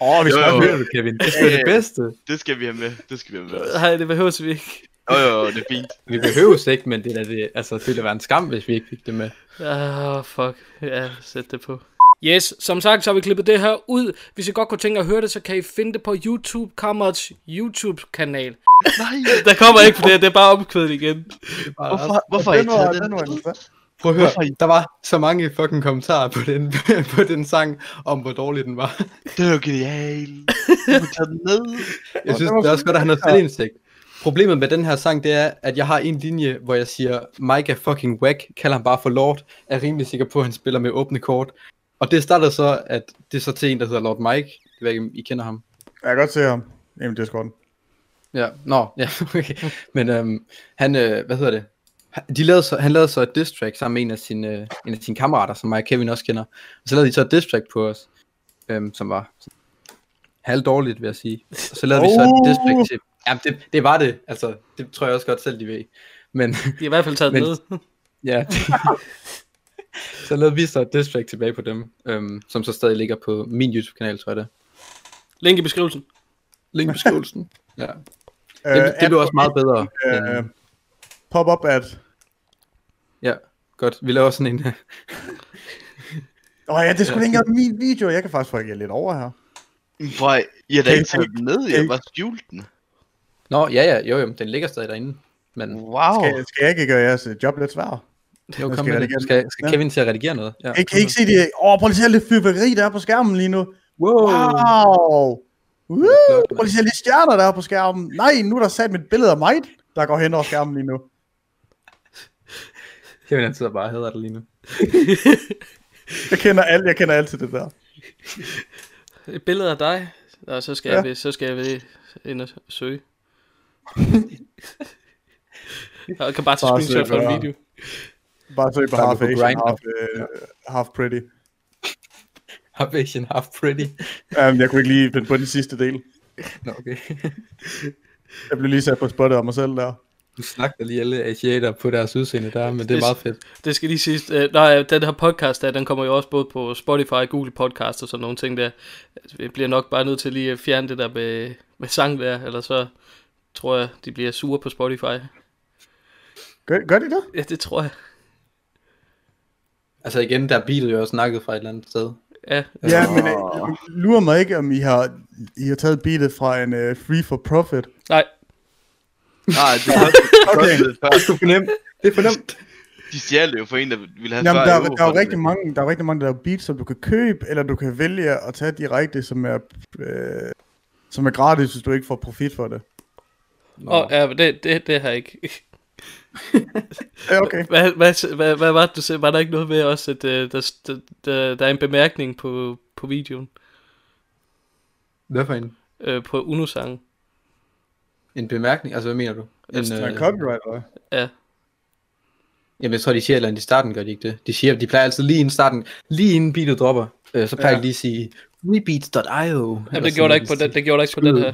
Speaker 4: oh, vi
Speaker 2: Jo,
Speaker 4: skal
Speaker 2: jo,
Speaker 4: også
Speaker 3: Hører du, Kevin? Det er det bedste.
Speaker 2: Det skal vi have med. Det skal vi have med.
Speaker 1: Nej, det behøver vi ikke.
Speaker 2: Jo, jo, jo, det er fint.
Speaker 3: Vi behøver ikke, men det er da det, altså, det ville være en skam, hvis vi ikke fik det med.
Speaker 1: Ah, oh, fuck. Ja, sæt det på. Yes, som sagt, så har vi klippet det her ud. Hvis I godt kunne tænke at høre det, så kan I finde det på YouTube Kammerets YouTube-kanal.
Speaker 2: Nej,
Speaker 1: Der kommer ikke flere, det er bare omkvædet igen.
Speaker 2: hvorfor, hvorfor har I
Speaker 4: Den var-
Speaker 2: taget den?
Speaker 4: den var interessant.
Speaker 3: Prøv at
Speaker 2: Hvorfor
Speaker 3: høre, der var så mange fucking kommentarer på den, [LAUGHS] på den sang, om hvor dårlig den var.
Speaker 2: Det er jo genial. Du har taget den ned.
Speaker 3: Jeg synes,
Speaker 4: var
Speaker 3: det er også godt at have noget selvindsigt. Problemet med den her sang, det er, at jeg har en linje, hvor jeg siger, Mike er fucking whack, kalder ham bare for Lord, er rimelig sikker på, at han spiller med åbne kort. Og det starter så, at det er så til en, der hedder Lord Mike. Det ved jeg ikke, om I kender ham.
Speaker 4: Jeg kan godt se ham. Jamen, det er skåret.
Speaker 3: Ja, nå, [LAUGHS] ja, okay. Men øhm, han, øh, hvad hedder det? Han- De lavede så, han lavede så et diss track sammen med en af sine, øh, en af sine kammerater, som mig og Kevin også kender. Og så lavede de så et diss track på os, øhm, som var halvdårligt, vil jeg sige. Og så lavede oh. vi så et diss track til... Jamen, det, det var det. Altså, det tror jeg også godt selv, de ved. Men [LAUGHS]
Speaker 1: De er i hvert fald taget
Speaker 3: Men-
Speaker 1: ned.
Speaker 3: [LAUGHS] ja... så lavede vi så et diss track tilbage på dem, øhm, som så stadig ligger på min YouTube-kanal, tror jeg det. er.
Speaker 1: Link i beskrivelsen.
Speaker 3: Link i beskrivelsen. Øh, ja. Det, det blev også meget bedre.
Speaker 4: Øh,
Speaker 3: end-
Speaker 4: pop up at...
Speaker 3: Ja, godt. Vi laver sådan en...
Speaker 4: Åh oh, ja, det skulle ikke engang min video. Jeg kan faktisk rykke lidt over her.
Speaker 2: Hvor I- I har da
Speaker 4: Kan I
Speaker 2: ikke taget den ned. Jeg
Speaker 4: kan
Speaker 2: har
Speaker 4: I-
Speaker 2: bare skjult den.
Speaker 3: Nå, ja, ja, jo, jo, den ligger stadig derinde. Men
Speaker 2: Wow.
Speaker 4: Skal, skal jeg ikke gøre jeres øh, job lidt sværere?
Speaker 3: jo,
Speaker 4: skal
Speaker 3: kom med
Speaker 4: redigere den.
Speaker 3: det. Skal, skal
Speaker 4: Ja.
Speaker 3: Kevin til at redigere noget? Ja.
Speaker 4: Jeg kan I ikke se det. Åh, oh, prøv lige at se alt det fyrværkeri, der er på skærmen lige nu.
Speaker 3: Wow!
Speaker 4: Wow!
Speaker 3: er
Speaker 4: Woo!
Speaker 3: flot, mand.
Speaker 4: Prøv lige at se alle de stjerner, der er på skærmen. Nej, nu er der sat mit billede af mig, der går hen over skærmen lige nu.
Speaker 3: Jamen, han sidder bare og hader det lige nu.
Speaker 4: Jeg kender, alt, jeg kender altid det der.
Speaker 1: Et billede af dig. Nå, så skal, ja.
Speaker 4: Ja.
Speaker 1: jeg, ved- så skal jeg ved ind og søge. Nå, jeg kan bare tage
Speaker 4: Bare
Speaker 1: screenshot
Speaker 4: søg
Speaker 1: fra en
Speaker 4: bare.
Speaker 1: video.
Speaker 4: Bare søg på
Speaker 3: Bare
Speaker 4: half
Speaker 3: på
Speaker 4: Asian,
Speaker 3: Grindr.
Speaker 4: half, øh, half pretty.
Speaker 3: Half Asian, half pretty.
Speaker 4: Um, jeg kunne ikke lige finde på den sidste del.
Speaker 3: Nå, okay.
Speaker 4: Jeg blev lige sat på spottet af mig selv der.
Speaker 3: Du snakker lige alle asiater på deres udseende der, men det er meget fedt.
Speaker 1: Det skal lige siges, øh, nej, den her podcast der, den kommer jo også både på Spotify, Google Podcast og sådan nogle ting der. Altså, Vi bliver nok bare nødt til lige at fjerne det der med, med sang der, eller så tror jeg, de bliver sure på Spotify.
Speaker 4: Gør, gør de det?
Speaker 1: Ja, det tror jeg.
Speaker 3: Altså igen, der er bilet jo også snakket fra et eller andet sted.
Speaker 1: Ja,
Speaker 4: Ja, men øh, lurer mig ikke, om I har, I har taget beatet fra en uh, free for profit.
Speaker 1: nej,
Speaker 2: Nej, det er også- det er også det
Speaker 3: Det
Speaker 2: først.
Speaker 3: er sgu fornemt. Det er fornemt.
Speaker 2: De stjal det jo for en, der ville have
Speaker 4: Jamen,
Speaker 2: før
Speaker 4: der,
Speaker 2: euro
Speaker 4: der, er jo
Speaker 2: for det.
Speaker 4: rigtig mange, der er rigtig mange, der laver beats, som du kan købe, eller du kan vælge at tage direkte, som er, øh, som er gratis, hvis du ikke får profit for det.
Speaker 3: Nå,
Speaker 1: og, ja, men det, det, det har jeg ikke. [LAUGHS]
Speaker 4: Ja, okay.
Speaker 1: Hvad, hvad, hvad, hvad var det, du sagde? Var der ikke noget med også, at øh, der, der, der, der er en bemærkning på, på videoen,
Speaker 3: [LAUGHS] hvad for en,
Speaker 1: øh, på Uno-sangen?
Speaker 3: en bemærkning? Altså, hvad mener du? En,
Speaker 1: Altså,
Speaker 4: Det er en
Speaker 3: øh,
Speaker 4: copyright, eller hvad?
Speaker 1: Ja,
Speaker 3: jamen, jeg tror, de siger et eller andet i starten, gør de ikke det? De siger, de plejer altid lige inden starten, lige inden beatet dropper, øh, så plejer
Speaker 4: Ja.
Speaker 3: de lige at sige, rebeats.io.
Speaker 1: Jamen, det gjorde der ikke på den, det gjorde der ikke på den her.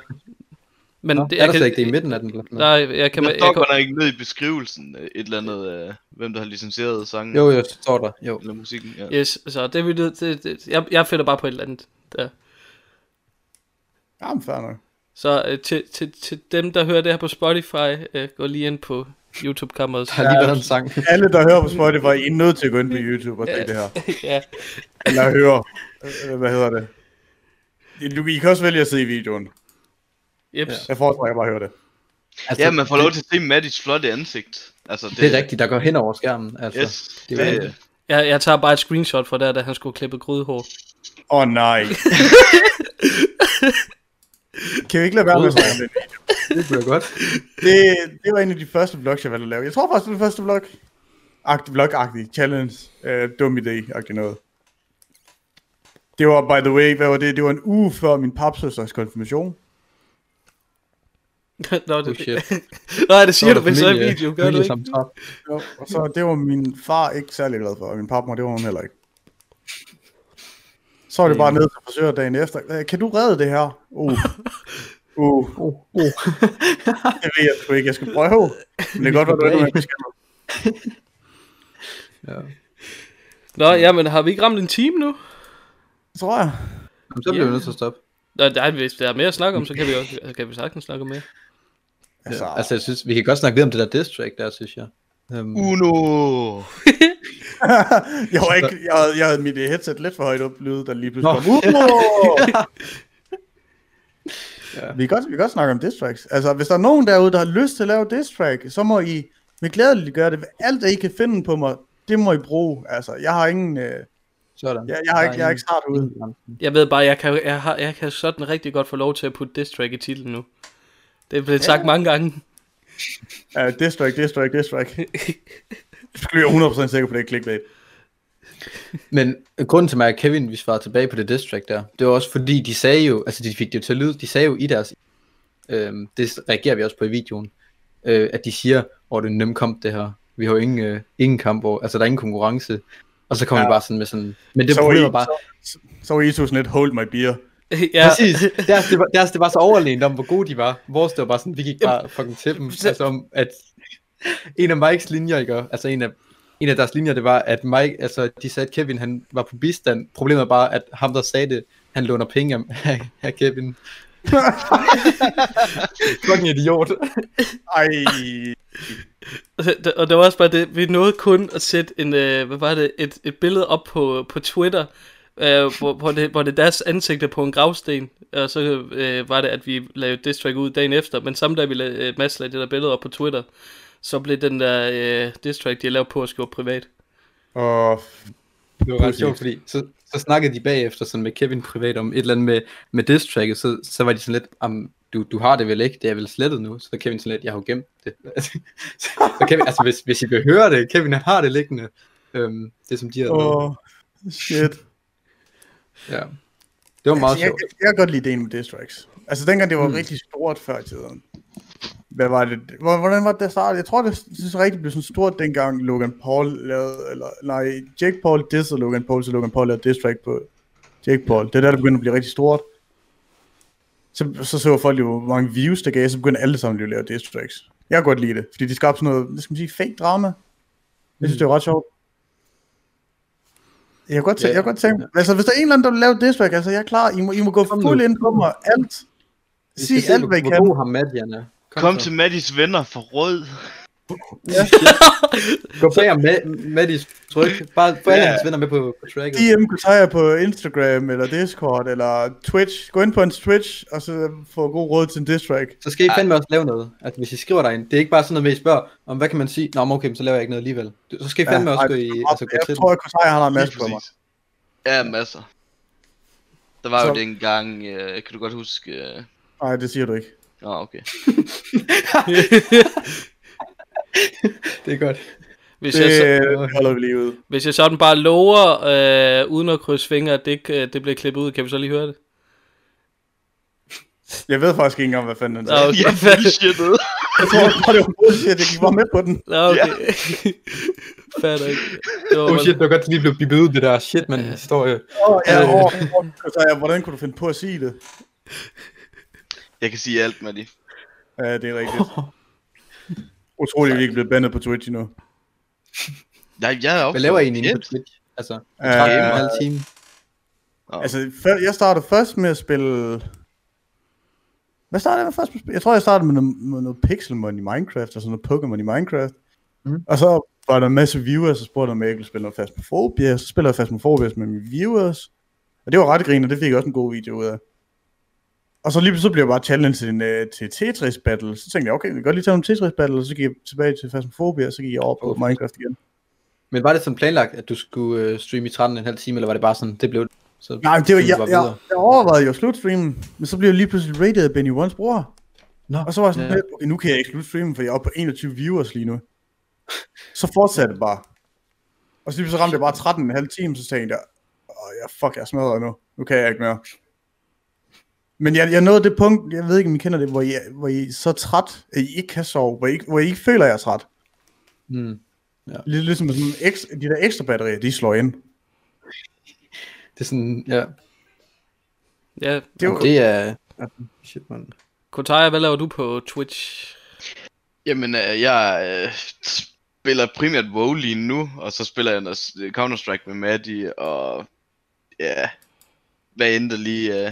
Speaker 1: Men
Speaker 3: Nå,
Speaker 1: det,
Speaker 3: er der slet ikke det i midten af den? Eller? sådan noget?
Speaker 1: Nej, jeg kan...
Speaker 2: Der
Speaker 1: Jeg,
Speaker 2: står
Speaker 1: jeg,
Speaker 2: godt nok ikke ned i beskrivelsen øh, et eller andet, øh, hvem der har licensieret sangen
Speaker 3: Jo, jo, så står der. Jo.
Speaker 2: eller musikken. Ja.
Speaker 1: yes, så det er vi nødt til... det- Jeg, jeg finder bare på et eller andet der.
Speaker 4: Jamen, fair nok.
Speaker 1: Så øh, til, til, til dem, der hører det her på Spotify, øh, gå lige ind på YouTube-kammeret.
Speaker 3: Der har lige været en sang.
Speaker 4: Alle, der hører på Spotify, I er nødt til at gå ind på YouTube og se det her.
Speaker 1: [LAUGHS] ja.
Speaker 4: [LAUGHS] Eller høre, øh, hvad hedder det? Du, I kan også vælge at se videoen.
Speaker 1: Jeps.
Speaker 4: Jeg foretrækker bare at høre det.
Speaker 3: Altså,
Speaker 2: Ja, man får lov
Speaker 3: det,
Speaker 2: til at se Mattis flotte ansigt. Altså, det,
Speaker 3: det er rigtigt, der går hen over skærmen. Altså,
Speaker 2: Yes,
Speaker 3: det
Speaker 2: det,
Speaker 3: er
Speaker 2: det,
Speaker 3: rigtigt.
Speaker 1: Jeg, jeg tager bare et screenshot fra der, da han skulle klippe grydehår. [LAUGHS]
Speaker 4: Åh oh, nej. [LAUGHS] kan vi ikke lade være med at snakke om det?
Speaker 3: det bliver godt.
Speaker 4: det? Det var en af de første vlogs, jeg valgte at lave. Jeg tror faktisk, det var den første vlog. Agtig, vlog-agtig. Challenge. Øh, dum idé-agtig noget. Det var, by the way, hvad var det? Det var en uge før min papsøsters konfirmation.
Speaker 1: Nå,
Speaker 3: Oh,
Speaker 1: det,
Speaker 3: shit.
Speaker 1: nej, det [LAUGHS] siger du, hvis så er video, gør du ikke?
Speaker 4: Jo, Og så det var min far ikke særlig glad for, og min papmor, det var hun heller ikke. Så var det bare ned til frisøren dagen efter. "Øh, Kan du redde det her? [LAUGHS] Uh. Uh,
Speaker 3: Oh, oh.
Speaker 4: det ved jeg sgu ikke. Jeg skal prøve. Men det kan godt være, du ender med at beskæmme mig.
Speaker 3: ja.
Speaker 1: Nå, jamen, har vi ikke ramt en time nu?
Speaker 4: Tror jeg.
Speaker 3: Jamen, så bliver vi nødt til at stoppe.
Speaker 1: Nå, nej, hvis der er mere at snakke om, så kan vi, også, kan vi sagtens snakke om mere.
Speaker 4: Altså,
Speaker 3: Ja. Altså, jeg synes, vi kan godt snakke videre om det der diss track der, synes jeg. Um,
Speaker 2: Uno!
Speaker 4: jeg, var ikke,
Speaker 3: [LAUGHS]
Speaker 4: jeg, havde- jeg havde mit øh, headset lidt for højt op, lyde, der lige pludselig
Speaker 3: Nå. [LAUGHS]
Speaker 4: kom. Uh!
Speaker 3: Ja.
Speaker 4: ja. vi, kan godt, vi kan godt snakke om diss tracks. Altså, hvis der er nogen derude, der har lyst til at lave diss track, så må I med glædeligt gøre det. Alt, det I kan finde på mig, det må I bruge. Altså, jeg har ingen... Øh,
Speaker 3: sådan.
Speaker 4: jeg, jeg, har ikke, jeg er ikke snart ude.
Speaker 1: Jeg ved bare, jeg kan, jeg, har, jeg kan sådan rigtig godt få lov til at putte diss track i titlen nu. Det er blevet sagt mange gange. [LAUGHS]
Speaker 4: Uh, diss track, diss track,
Speaker 3: [LAUGHS]
Speaker 4: diss track. Du skal lige være 100% sikker på, det er clickbait.
Speaker 3: Men grunden til mig, at Kevin vi svarede tilbage på det diss track der, det var også fordi, de sagde jo, altså de fik det jo til at lyde, de sagde jo i deres, øhm, det reagerer vi også på i videoen, øh, at de siger, åh, oh, det er en nem kamp det her, vi har jo ingen, øh, ingen kamp, over, altså der er ingen konkurrence, og så kommer ja.
Speaker 4: Ja.
Speaker 3: de bare sådan med sådan, men det
Speaker 4: Så var
Speaker 3: problemet
Speaker 4: I-
Speaker 3: var bare,
Speaker 4: Så var I to sådan lidt, hold my beer.
Speaker 1: ja,
Speaker 3: præcis, deres det, var, deres det var så overlænt om, hvor gode de var, vores det var bare sådan, vi gik bare fucking til dem, altså om, at en af Mikes linjer, ikke, og- altså en af en af deres linjer, det var, at Mike, altså, de sagde, at Kevin, han var på bistand. Problemet er bare, at ham, der sagde det, han låner penge af, af- af Kevin. Fucking idiot. [LAUGHS]
Speaker 4: Ej,
Speaker 1: og det var også bare det, vi nåede kun at sætte en, øh, hvad var det, et, et billede op på, på Twitter, øh, hvor, hvor, det, hvor det er deres ansigter på en gravsten, og så øh, var det, at vi lavede diss track ud dagen efter, men samme dag vi lavede, øh, Mads lagde det der billede op på Twitter, så blev den der øh, diss track, de lavede på at skrive privat.
Speaker 4: og
Speaker 3: Det var ret sjovt, fordi så, så snakkede de bagefter sådan med Kevin privat om et eller andet med, med diss tracket, så, så var de sådan lidt, om, du, du har det vel ikke, det er vel slettet nu, så Kevin sådan lidt, jeg har jo gemt det. [LAUGHS] Altså, så Kevin, altså hvis, hvis I behøver det, Kevin han har det liggende, øhm, det som de har
Speaker 4: Åh, oh, shit.
Speaker 3: ja. Det var meget
Speaker 4: Altså, jeg,
Speaker 3: sjovt.
Speaker 4: jeg kan godt lide ideen med Distracts. Altså dengang det var mm. rigtig stort før i tiden. Hvad var det? Hvor- Hvordan var det, der startede? Jeg tror, det synes rigtig blev sådan stort dengang Logan Paul lavede, eller nej, Jake Paul dissede Logan Paul, så Logan Paul lavede distract på Jake Paul. Det er der, det begyndte at blive rigtig stort. Så, så så folk jo, hvor mange views der gav, så begyndte alle sammen jo at lave distracts. Jeg kan godt lide det, fordi de skabte sådan noget, hvad skal man sige, fake drama. Jeg synes, det er ret sjovt. Jeg kan godt, tæ-
Speaker 3: Ja.
Speaker 4: jeg kan godt tænke, altså hvis der er en eller anden, der vil lave diss track, altså jeg er klar, I må, I må gå
Speaker 3: Kom
Speaker 4: fuld
Speaker 3: nu.
Speaker 4: ind på mig, alt.
Speaker 3: Vi
Speaker 4: Sig
Speaker 3: skal se,
Speaker 4: alt,
Speaker 3: hvor-
Speaker 4: hvad I
Speaker 3: Hvor
Speaker 4: kan.
Speaker 3: god har Madjan er.
Speaker 2: Kom
Speaker 3: så.
Speaker 2: til Maddys venner for rød.
Speaker 3: Gå bag om Mad- Maddis tryk. Bare få alle
Speaker 2: Ja.
Speaker 3: hans venner med på, på tracket.
Speaker 4: DM Kutaya på Instagram, eller Discord, eller Twitch. Gå ind på hans Twitch, og så få god råd til en diss track.
Speaker 3: Så skal I fandme også lave noget. Altså, hvis I skriver derinde, det er ikke bare sådan noget med, at I spørger, om hvad kan man sige? Nå, men okay, men så laver jeg ikke noget alligevel. Du- Så skal I fandme ja, også
Speaker 4: ej,
Speaker 3: gå, i,
Speaker 4: jeg
Speaker 3: altså, gå til
Speaker 4: Jeg tror, at Kutaya har en
Speaker 2: Lige
Speaker 4: masse på mig.
Speaker 2: præcis. Ja, masser. Der var jo
Speaker 4: Så-
Speaker 2: dengang, øh, kan du godt huske... Øh...
Speaker 4: Nej, det siger du ikke.
Speaker 2: Nå, okay.
Speaker 3: den. Det er godt.
Speaker 1: Hvis,
Speaker 4: Det,
Speaker 1: jeg så,
Speaker 4: det holder vi lige ud.
Speaker 1: hvis jeg sådan bare lover, øh, uden at krydse fingre, at det, ikke, øh, det bliver klippet ud, kan vi så lige høre det?
Speaker 4: Jeg ved faktisk ikke engang, hvad fanden han
Speaker 1: Nå,
Speaker 4: sagde.
Speaker 2: [LAUGHS] Jeg
Speaker 1: okay.
Speaker 2: bullshittet.
Speaker 4: Jeg tror, [LAUGHS] jeg tror, det var bullshit. Jeg gik bare med på den.
Speaker 1: Nå, okay. [LAUGHS] Fatter ikke. Det var
Speaker 3: Oh shit, det var godt, at lige blev bippet ud, det der shit, man historie.
Speaker 4: Åh, ja,
Speaker 3: Øh.
Speaker 4: åh, åh, Kutaya, hvordan kunne du finde på at sige det?
Speaker 2: Jeg kan sige alt, Maddy.
Speaker 4: Ja, det er [LAUGHS] rigtigt. Utroligt, at vi ikke er blevet bandet på Twitch endnu.
Speaker 2: Nej, jeg er også...
Speaker 3: Hvad laver I egentlig inde på
Speaker 2: Shit.
Speaker 3: Twitch? Altså,
Speaker 4: Øh,
Speaker 3: 13 og en halv time.
Speaker 4: Altså, før, jeg startede først med at spille... Hvad startede jeg med først med at spille? Jeg tror, jeg startede med noget, med noget Pixelmon i Minecraft, og sådan noget Pokémon i Minecraft.
Speaker 3: Mm.
Speaker 4: Mm. Og så var der en masse viewers, og spurgte om jeg ikke ville spille noget Phasmophobia, så spiller jeg Phasmophobia med mine viewers. Og det var ret grinende, det fik jeg også en god video ud af. Og så lige pludselig blev jeg bare challenged til, en, øh, til Tetris Battle. Så tænkte jeg, okay, vi kan godt lige tage nogle Tetris Battle, og så gik jeg tilbage til Phasmophobia, og så gik jeg over på
Speaker 3: Okay.
Speaker 4: Minecraft igen.
Speaker 3: Men var det sådan planlagt, at du skulle øh, streame i 13 og en halv time, eller var det bare sådan, det blev det? Så
Speaker 4: Nej, det var,
Speaker 3: streamede
Speaker 4: jeg,
Speaker 3: bare
Speaker 4: jeg,
Speaker 3: videre?
Speaker 4: jeg overvejede jo at slutstreame, men så blev jeg lige pludselig rated af Benny Ones bror.
Speaker 3: Nå,
Speaker 4: Og så var jeg sådan
Speaker 3: ja.
Speaker 4: ja. lidt, okay, nu kan jeg ikke slutstreame, for jeg er oppe på 21 viewers lige nu. Så fortsatte det bare. Og så lige så ramte jeg bare 13,5 timer, så tænkte jeg, åh, jeg fuck, jeg smadrer nu. Nu kan jeg ikke mere. Men jeg, jeg nåede det punkt, jeg ved ikke, om I kender det, hvor I, er- hvor I er så træt, at I ikke kan sove, hvor I, ikke- hvor I ikke føler, at jeg er træt.
Speaker 3: Mm.
Speaker 4: Lidt ligesom sådan, ekstra, de der ekstra batterier, de slår ind.
Speaker 3: Det er sådan, ja.
Speaker 1: Ja.
Speaker 4: Det er jo,
Speaker 3: Det er... Shit, man.
Speaker 1: Kotaya, hvad laver du på Twitch?
Speaker 2: Jamen, øh, jeg øh, spiller primært WoW lige nu, og så spiller jeg noget s- Counter-Strike med Maddie, og ja, hvad end der lige, øh,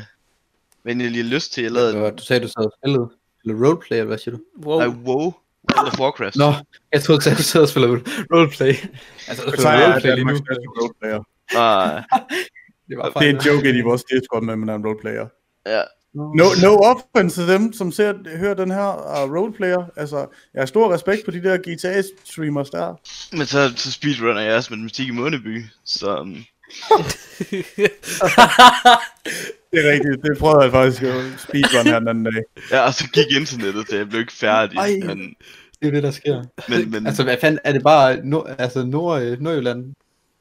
Speaker 2: hvad end jeg lige har lyst til. Jeg lavede
Speaker 3: Og du sagde, du sad og spillede. Eller roleplay, eller hvad siger du?
Speaker 1: Wow.
Speaker 2: nej, WoW, World of Warcraft.
Speaker 3: Nå, jeg troede, du sagde, du sad og spillede roleplay. altså, du
Speaker 4: jeg
Speaker 3: spiller
Speaker 4: tager
Speaker 3: roleplay lige nu.
Speaker 4: Danmarks bedste roleplayer.
Speaker 2: Ah,
Speaker 3: Det var
Speaker 4: Det er
Speaker 3: fejl.
Speaker 4: en joke ind i vores Discord med, at man er en roleplayer.
Speaker 2: ja.
Speaker 4: No, no offense til dem, som ser, hører den her uh, roleplayer. Altså, jeg har stor respekt på de der GTA-streamers der.
Speaker 2: Men så, så speedrunner jeg også matematik i Måneby, så um,
Speaker 4: Det er rigtigt, det prøvede jeg faktisk at speedrun her den anden dag.
Speaker 2: ja, og så gik internettet, så jeg blev ikke færdig.
Speaker 3: Ej.
Speaker 2: Men,
Speaker 3: Det er jo det, der sker.
Speaker 2: men, men
Speaker 3: Altså, hvad fanden, er det bare nord, altså nord, øh, Nordjylland,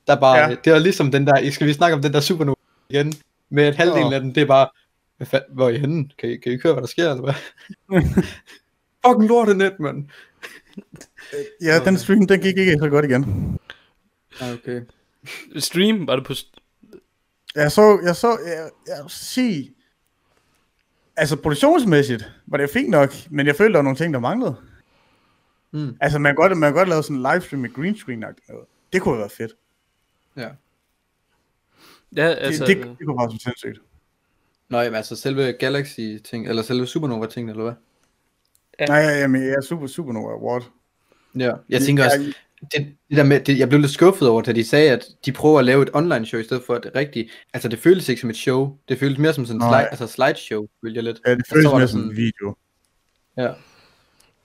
Speaker 3: der er bare,
Speaker 4: Ja.
Speaker 3: ja. det er ligesom den der, skal vi snakke om den der supernova igen, med at halvdelen
Speaker 4: Nå.
Speaker 3: af den, det er bare, hvad fanden, hvor er I henne? Kan I, kan I køre, hvad der sker, [LAUGHS] eller hvad? Fucking lortenet, mand.
Speaker 4: Ja, den stream, den gik ikke så godt igen.
Speaker 3: Ah, okay.
Speaker 1: Stream, var det på... st-
Speaker 4: Jeg så, jeg så, jeg, jeg vil sige, altså produktionsmæssigt var det fint nok, men jeg følte, der var nogle ting, der manglede.
Speaker 3: Mm.
Speaker 4: Altså, man kan godt, man kan godt lave sådan en livestream med green screen noget. Det kunne være fedt.
Speaker 3: Ja.
Speaker 1: Ja,
Speaker 4: Altså,
Speaker 1: altså...
Speaker 4: det, det, det, kunne være så sindssygt.
Speaker 3: Nå, jamen, altså selve Galaxy-ting, eller selve supernova-ting, eller hvad?
Speaker 4: Nej, ja, jamen, jeg er super, super Nova award.
Speaker 3: Ja, jeg tænker også, det, det der med, det, jeg blev lidt skuffet over, da de sagde, at de prøver at lave et online show i stedet for et rigtigt, altså det føles ikke som et show, det føles mere som sådan en
Speaker 4: Nej.
Speaker 3: slide, altså slideshow, vil jeg lidt.
Speaker 4: Ja, det
Speaker 3: Og så
Speaker 4: føles
Speaker 3: var der
Speaker 4: mere som en video.
Speaker 3: Ja.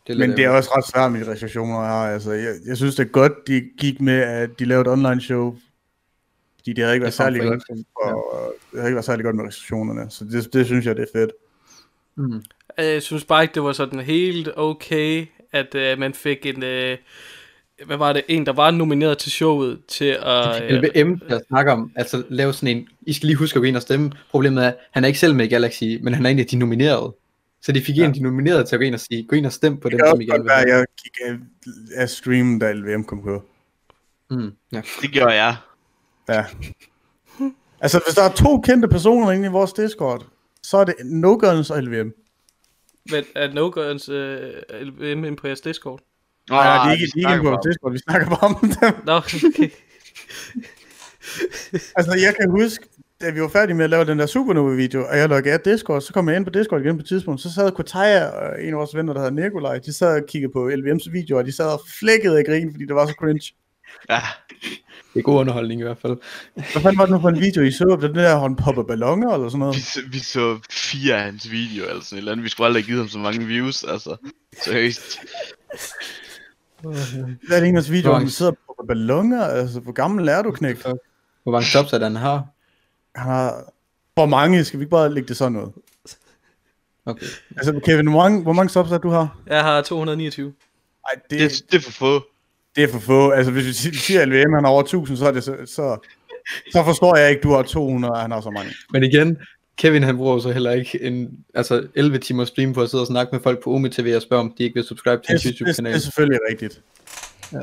Speaker 3: Det
Speaker 4: Men det er også ret svært med de restriktioner her. Altså, jeg, jeg synes, det er godt, de gik med, at de lavede et online show. Fordi det havde ikke været særlig godt,
Speaker 3: Ja.
Speaker 4: og, og det havde ikke været særlig godt med restriktionerne. Så det, det synes jeg, det er fedt.
Speaker 3: Mm.
Speaker 1: Øh, Jeg synes bare ikke, det var sådan helt okay, at øh, man fik en... Øh, hvad var det? En, der var nomineret til showet til [LAUGHS] at... Øh,
Speaker 3: LBM, der snakker om, altså lave sådan en, I skal lige huske at gå ind og stemme. Problemet er, han er ikke selv med i Galaxy, men han er en af de nominerede. Så de fik en af de nominerede til at gå ind og sige, gå ind og stem på dem,
Speaker 4: Det kan
Speaker 3: som I
Speaker 4: også
Speaker 3: gerne
Speaker 4: godt
Speaker 3: vil
Speaker 4: være, at
Speaker 3: have.
Speaker 4: jeg gik af, af streamen, da LVM kom på.
Speaker 3: Mm, ja.
Speaker 2: Det gjorde jeg.
Speaker 4: Ja. Altså, hvis der er to kendte personer inde i vores Discord, så er det No Guns og LVM.
Speaker 1: men at No Guns øh, LVM ind på jeres Discord.
Speaker 2: Nå,
Speaker 4: Nej, det er ikke,
Speaker 2: vi
Speaker 4: de er ikke inde
Speaker 2: snakker
Speaker 4: på vores
Speaker 2: bare-
Speaker 4: Discord, vi snakker bare om dem.
Speaker 1: Nå, okay.
Speaker 4: Altså, jeg kan huske, da vi var færdige med at lave den der Supernova-video, og jeg lukkede af Discord, så kom jeg ind på Discord igen på et tidspunkt, så sad Kotaya og en af vores venner, der hedder Nikolaj, de sad og kiggede på LVM's videoer, og de sad og flækkede af grin, fordi det var så cringe.
Speaker 2: Ja,
Speaker 3: Det er god underholdning i hvert fald.
Speaker 4: Hvad fanden var det nu for en video, I så? Var det den der, hvor han popper balloner eller sådan noget?
Speaker 2: vi, så, vi så fire af hans videoer eller sådan et eller andet. Vi skulle aldrig have givet ham så mange views, altså. Seriøst.
Speaker 4: Hvad er det en af hans
Speaker 3: Hvor
Speaker 4: videoer, hvor
Speaker 3: mange-
Speaker 4: han sidder og popper balloner? Altså, hvor gammel er du, knægt?
Speaker 3: Hvor mange jobs er det, han har?
Speaker 4: Han har... Hvor mange? Skal vi ikke bare lægge det sådan noget?
Speaker 3: Okay.
Speaker 4: Altså, Kevin, hvor mange, hvor mange subs er det, du har?
Speaker 1: [LAUGHS] Jeg har 229.
Speaker 4: Nej,
Speaker 2: Det, det er for få.
Speaker 4: Det er for få. Altså, hvis vi si- siger, at LVM han har over 1000, så, er det, så, så, så forstår jeg ikke, du har 200, og han har så mange.
Speaker 3: Men igen, Kevin han bruger jo så heller ikke en, altså 11 timer stream på at sidde og snakke med folk på Omi TV og spørge om de ikke vil subscribe til
Speaker 4: Det,
Speaker 3: hans
Speaker 4: det, det, det
Speaker 3: YouTube-kanal.
Speaker 4: er selvfølgelig rigtigt.
Speaker 3: Ja.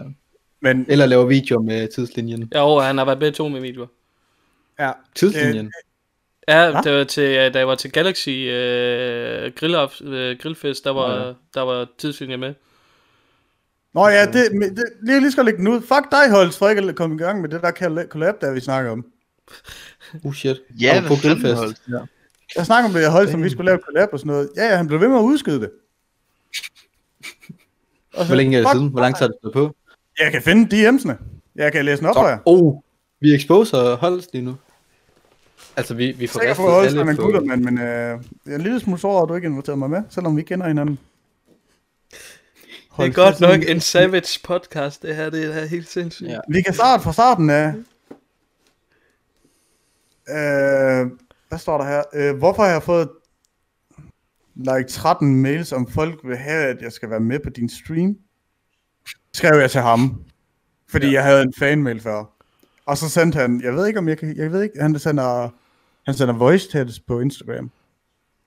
Speaker 4: Men
Speaker 3: Eller lave videoer med tidslinjen.
Speaker 1: Ja, og han har været med i to med videoer.
Speaker 4: ja,
Speaker 3: Tidslinjen?
Speaker 1: Ja,
Speaker 4: Hva?
Speaker 1: det var til, øh, da jeg var til Galaxy øh, grill, øh, Grillfest, der var,
Speaker 3: Nå,
Speaker 1: der var tidslinje med.
Speaker 4: nå ja, det, men det, lige, lige skal lægge den ud. Fuck dig, Holst, for ikke at komme i gang med det der kal- collab, der vi snakker om.
Speaker 3: Uh shit.
Speaker 2: Ja,
Speaker 3: Og
Speaker 2: hvad
Speaker 3: på
Speaker 2: fanden,
Speaker 3: grillfest.
Speaker 2: Holt?
Speaker 4: Jeg snakker om det, Holst, om vi skulle lave collab og sådan noget. Ja, ja, han blev ved med at udskyde det. Og så-
Speaker 3: Hvor længe er det
Speaker 4: fuck,
Speaker 3: siden? Hvor lang tid har det stået på?
Speaker 4: Jeg kan finde DM'sene. Jeg kan læse den op for jer.
Speaker 3: Fuck. Oh, vi exposer Holst lige nu. Altså, vi, vi får
Speaker 4: sikker på,
Speaker 3: ristet
Speaker 4: at Holst er
Speaker 3: alle
Speaker 4: en
Speaker 3: på...
Speaker 4: gutter, men, men øh, jeg er en lille smule såret, over, at du ikke inviterede mig med, selvom vi kender hinanden.
Speaker 1: Det er
Speaker 4: Holst,
Speaker 1: godt
Speaker 4: sådan-
Speaker 1: nok en savage podcast, det her. Det er helt sindssygt.
Speaker 3: Ja.
Speaker 4: Vi kan starte fra starten af. Øh, hvad står der her? Øh, hvorfor har jeg fået like 13 mails, om folk vil have, at jeg skal være med på din stream? Skrev jeg til ham, fordi ja. jeg havde en fanmail før. Og så sendte han, jeg ved ikke om jeg kan, jeg ved ikke, han sender, han sender voice tests på Instagram.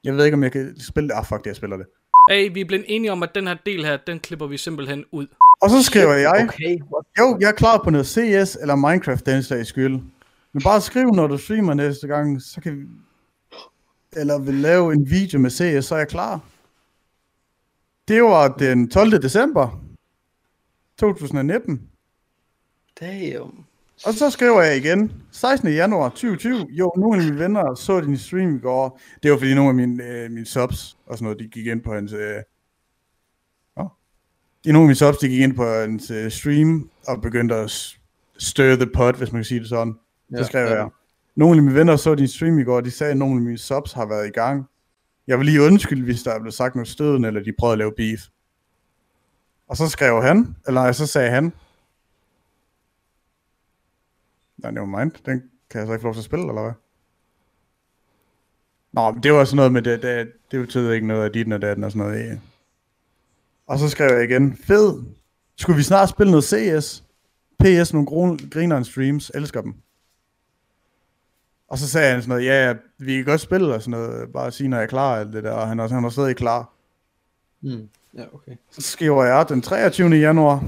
Speaker 4: Jeg ved ikke om jeg kan spille det. Ah, fuck det, jeg spiller det.
Speaker 1: Hey, vi er blevet enige om, at den her del her, den klipper vi simpelthen ud.
Speaker 4: Og så skriver jeg,
Speaker 3: Okay, what?
Speaker 4: Jo, jeg er klar på noget CS eller Minecraft den sags skyld. Men bare skriv, når du streamer næste gang, så kan vi... Eller vil lave en video med CS, så er jeg klar. Det var den 12. december 2019.
Speaker 3: Damn.
Speaker 4: Og så skriver jeg igen, 16. januar 2020, jo, nogle af mine venner så din stream i går. Det var fordi nogle af mine, øh, mine subs og sådan noget, de gik ind på hans... Øh... Oh. Nogle af mine subs, de gik ind på hans øh, stream og begyndte at s- stir the pot, hvis man kan sige det sådan. Ja,
Speaker 3: Ja,
Speaker 4: så skrev
Speaker 3: ja.
Speaker 4: jeg, nogle af mine venner så din stream i går, og de sagde, at nogle af mine subs har været i gang. Jeg vil lige undskylde, hvis der er blevet sagt noget stødende, eller de prøvede at lave beef. Og så skrev han, eller nej, så sagde han, Nej, nevermind. Den kan jeg så ikke få lov til at spille, eller hvad? Nå, men det var sådan noget med det. Det, det betød ikke noget af dit og datten og sådan noget. Ja. Og så skrev jeg igen. Fed. Skulle vi snart spille noget CS? PS, nogle gro- grineren streams. Elsker dem. Og så sagde han sådan noget, ja, ja, vi kan godt spille og sådan noget, bare sige, når jeg er klar og alt det der, og han var, han var stadig klar.
Speaker 3: Mm. Ja, okay.
Speaker 4: Så skriver jeg den 23. januar.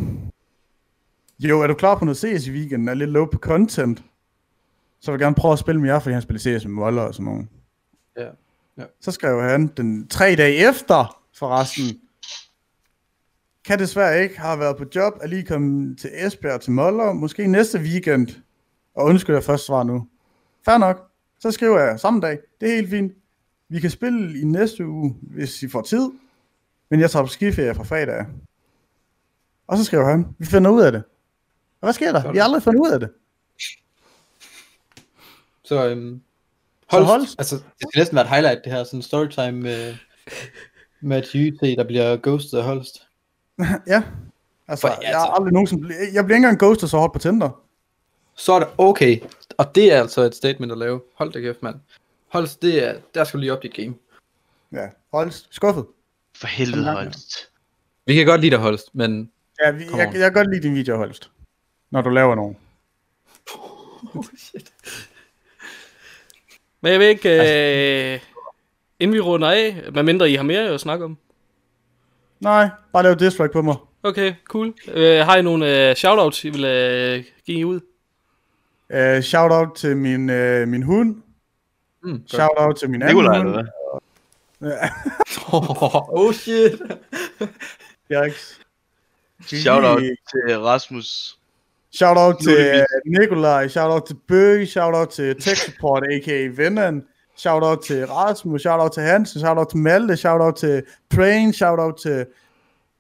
Speaker 4: Jo, er du klar på noget CS i weekenden? Er lidt low på content. Så vil jeg gerne prøve at spille med jer, fordi han spiller CS med Moller og sådan noget.
Speaker 3: Ja.
Speaker 4: Så skrev han den tre dage efter, forresten. Kan desværre ikke, har været på job, er lige kommet til Esbjerg til Moller, måske næste weekend. Og undskyld, jeg først svar nu. Fair nok. Så skriver jeg samme dag. Det er helt fint. Vi kan spille i næste uge, hvis I får tid. Men jeg tager på skiferie fra fredag. Og så skriver han, vi finder ud af det. Og hvad sker der? Vi har aldrig fundet ud af det.
Speaker 3: Så, øhm,
Speaker 4: Så
Speaker 3: Holst,
Speaker 4: Holst.
Speaker 3: altså, det skal næsten være et highlight, det her, sådan storytime med, med YT, der bliver ghostet af Holst.
Speaker 4: Ja. Altså,
Speaker 3: For-
Speaker 4: jeg har aldrig nogensinde... ble- Jeg bliver ikke engang ghostet så hårdt på Tinder.
Speaker 3: Så er det okay, og det er altså et statement at lave. Hold da kæft, mand. Holst, det er, der skal du lige op dit game.
Speaker 4: Ja. Holst, skuffet.
Speaker 2: For helvede,
Speaker 4: Sådan langt,
Speaker 2: Holst.
Speaker 3: Vi kan godt lide dig, Holst, men
Speaker 4: Ja, vi,
Speaker 3: Come
Speaker 4: jeg,
Speaker 3: on.
Speaker 4: jeg kan godt lide din video, Holst. Når du laver nogen.
Speaker 1: Men jeg ved ikke, øh, inden vi runder af, medmindre I har mere at snakke om.
Speaker 4: Nej, bare lav dislike på mig.
Speaker 1: Okay, cool. Øh, har I nogle øh, shoutouts, I vil øh, give ud?
Speaker 4: Uh, shout out til min, uh, min hund.
Speaker 3: Mm, godt.
Speaker 4: shout out til min anden
Speaker 2: Nikolaj,
Speaker 4: hund.
Speaker 2: eller hvad?
Speaker 3: [LAUGHS] oh shit.
Speaker 4: Jaks.
Speaker 2: Shout out til Rasmus.
Speaker 4: Shout out til
Speaker 2: Muligvis.
Speaker 4: øh, Nikolaj, shout out til Bøge, shout out til Tech Support, [LAUGHS] a.k.a. Venneren, shout out til Rasmus, shout out til Hansen, shout out til Malte, shout out til Prane, shout out til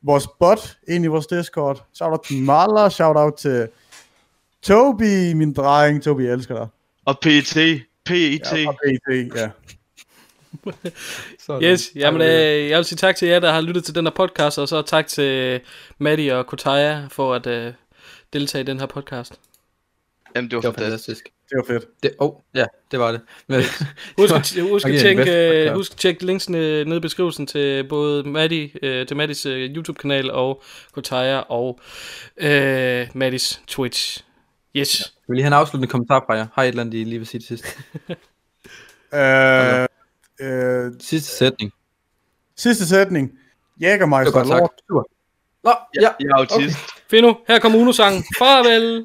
Speaker 4: vores bot ind i vores Discord, shout out til Maller, shout out til Tobi, min dreng, Tobi, jeg elsker dig.
Speaker 2: Og E PET. PET.
Speaker 4: Ja, og BT, ja.
Speaker 3: Sådan.
Speaker 1: Yes, jamen, øh, jeg vil sige tak til jer, der har lyttet til den her podcast, og så tak til Maddie og Kotaya for at øh, deltage i den her podcast.
Speaker 2: Jamen, det var
Speaker 3: Det var
Speaker 2: fantastisk.
Speaker 3: fantastisk.
Speaker 4: Det var fedt.
Speaker 3: Det, oh, ja, det var det. Men,
Speaker 1: Husk, at- husk,
Speaker 3: nok en
Speaker 1: at
Speaker 3: af de
Speaker 1: tjekke,
Speaker 3: bedste
Speaker 1: øh,
Speaker 3: podcasts.
Speaker 1: husk at tjekke linksene nede i beskrivelsen til både Maddie, øh, til Maddis øh, YouTube-kanal og Kotaya og øh, Maddis Twitch. Yes. Ja.
Speaker 3: Jeg [LAUGHS] vil lige have en afsluttende kommentar fra jer. Har I et eller andet, I lige vil sige til sidst?
Speaker 4: Øh, øh,
Speaker 3: Sidste sætning.
Speaker 4: sidste sætning.
Speaker 3: Det var
Speaker 4: Jægermeister,
Speaker 3: godt sagt.
Speaker 4: lort.
Speaker 3: Super. Nå, ja.
Speaker 2: Jeg er autist.
Speaker 1: Fino, her kommer Uno-sangen. Farvel!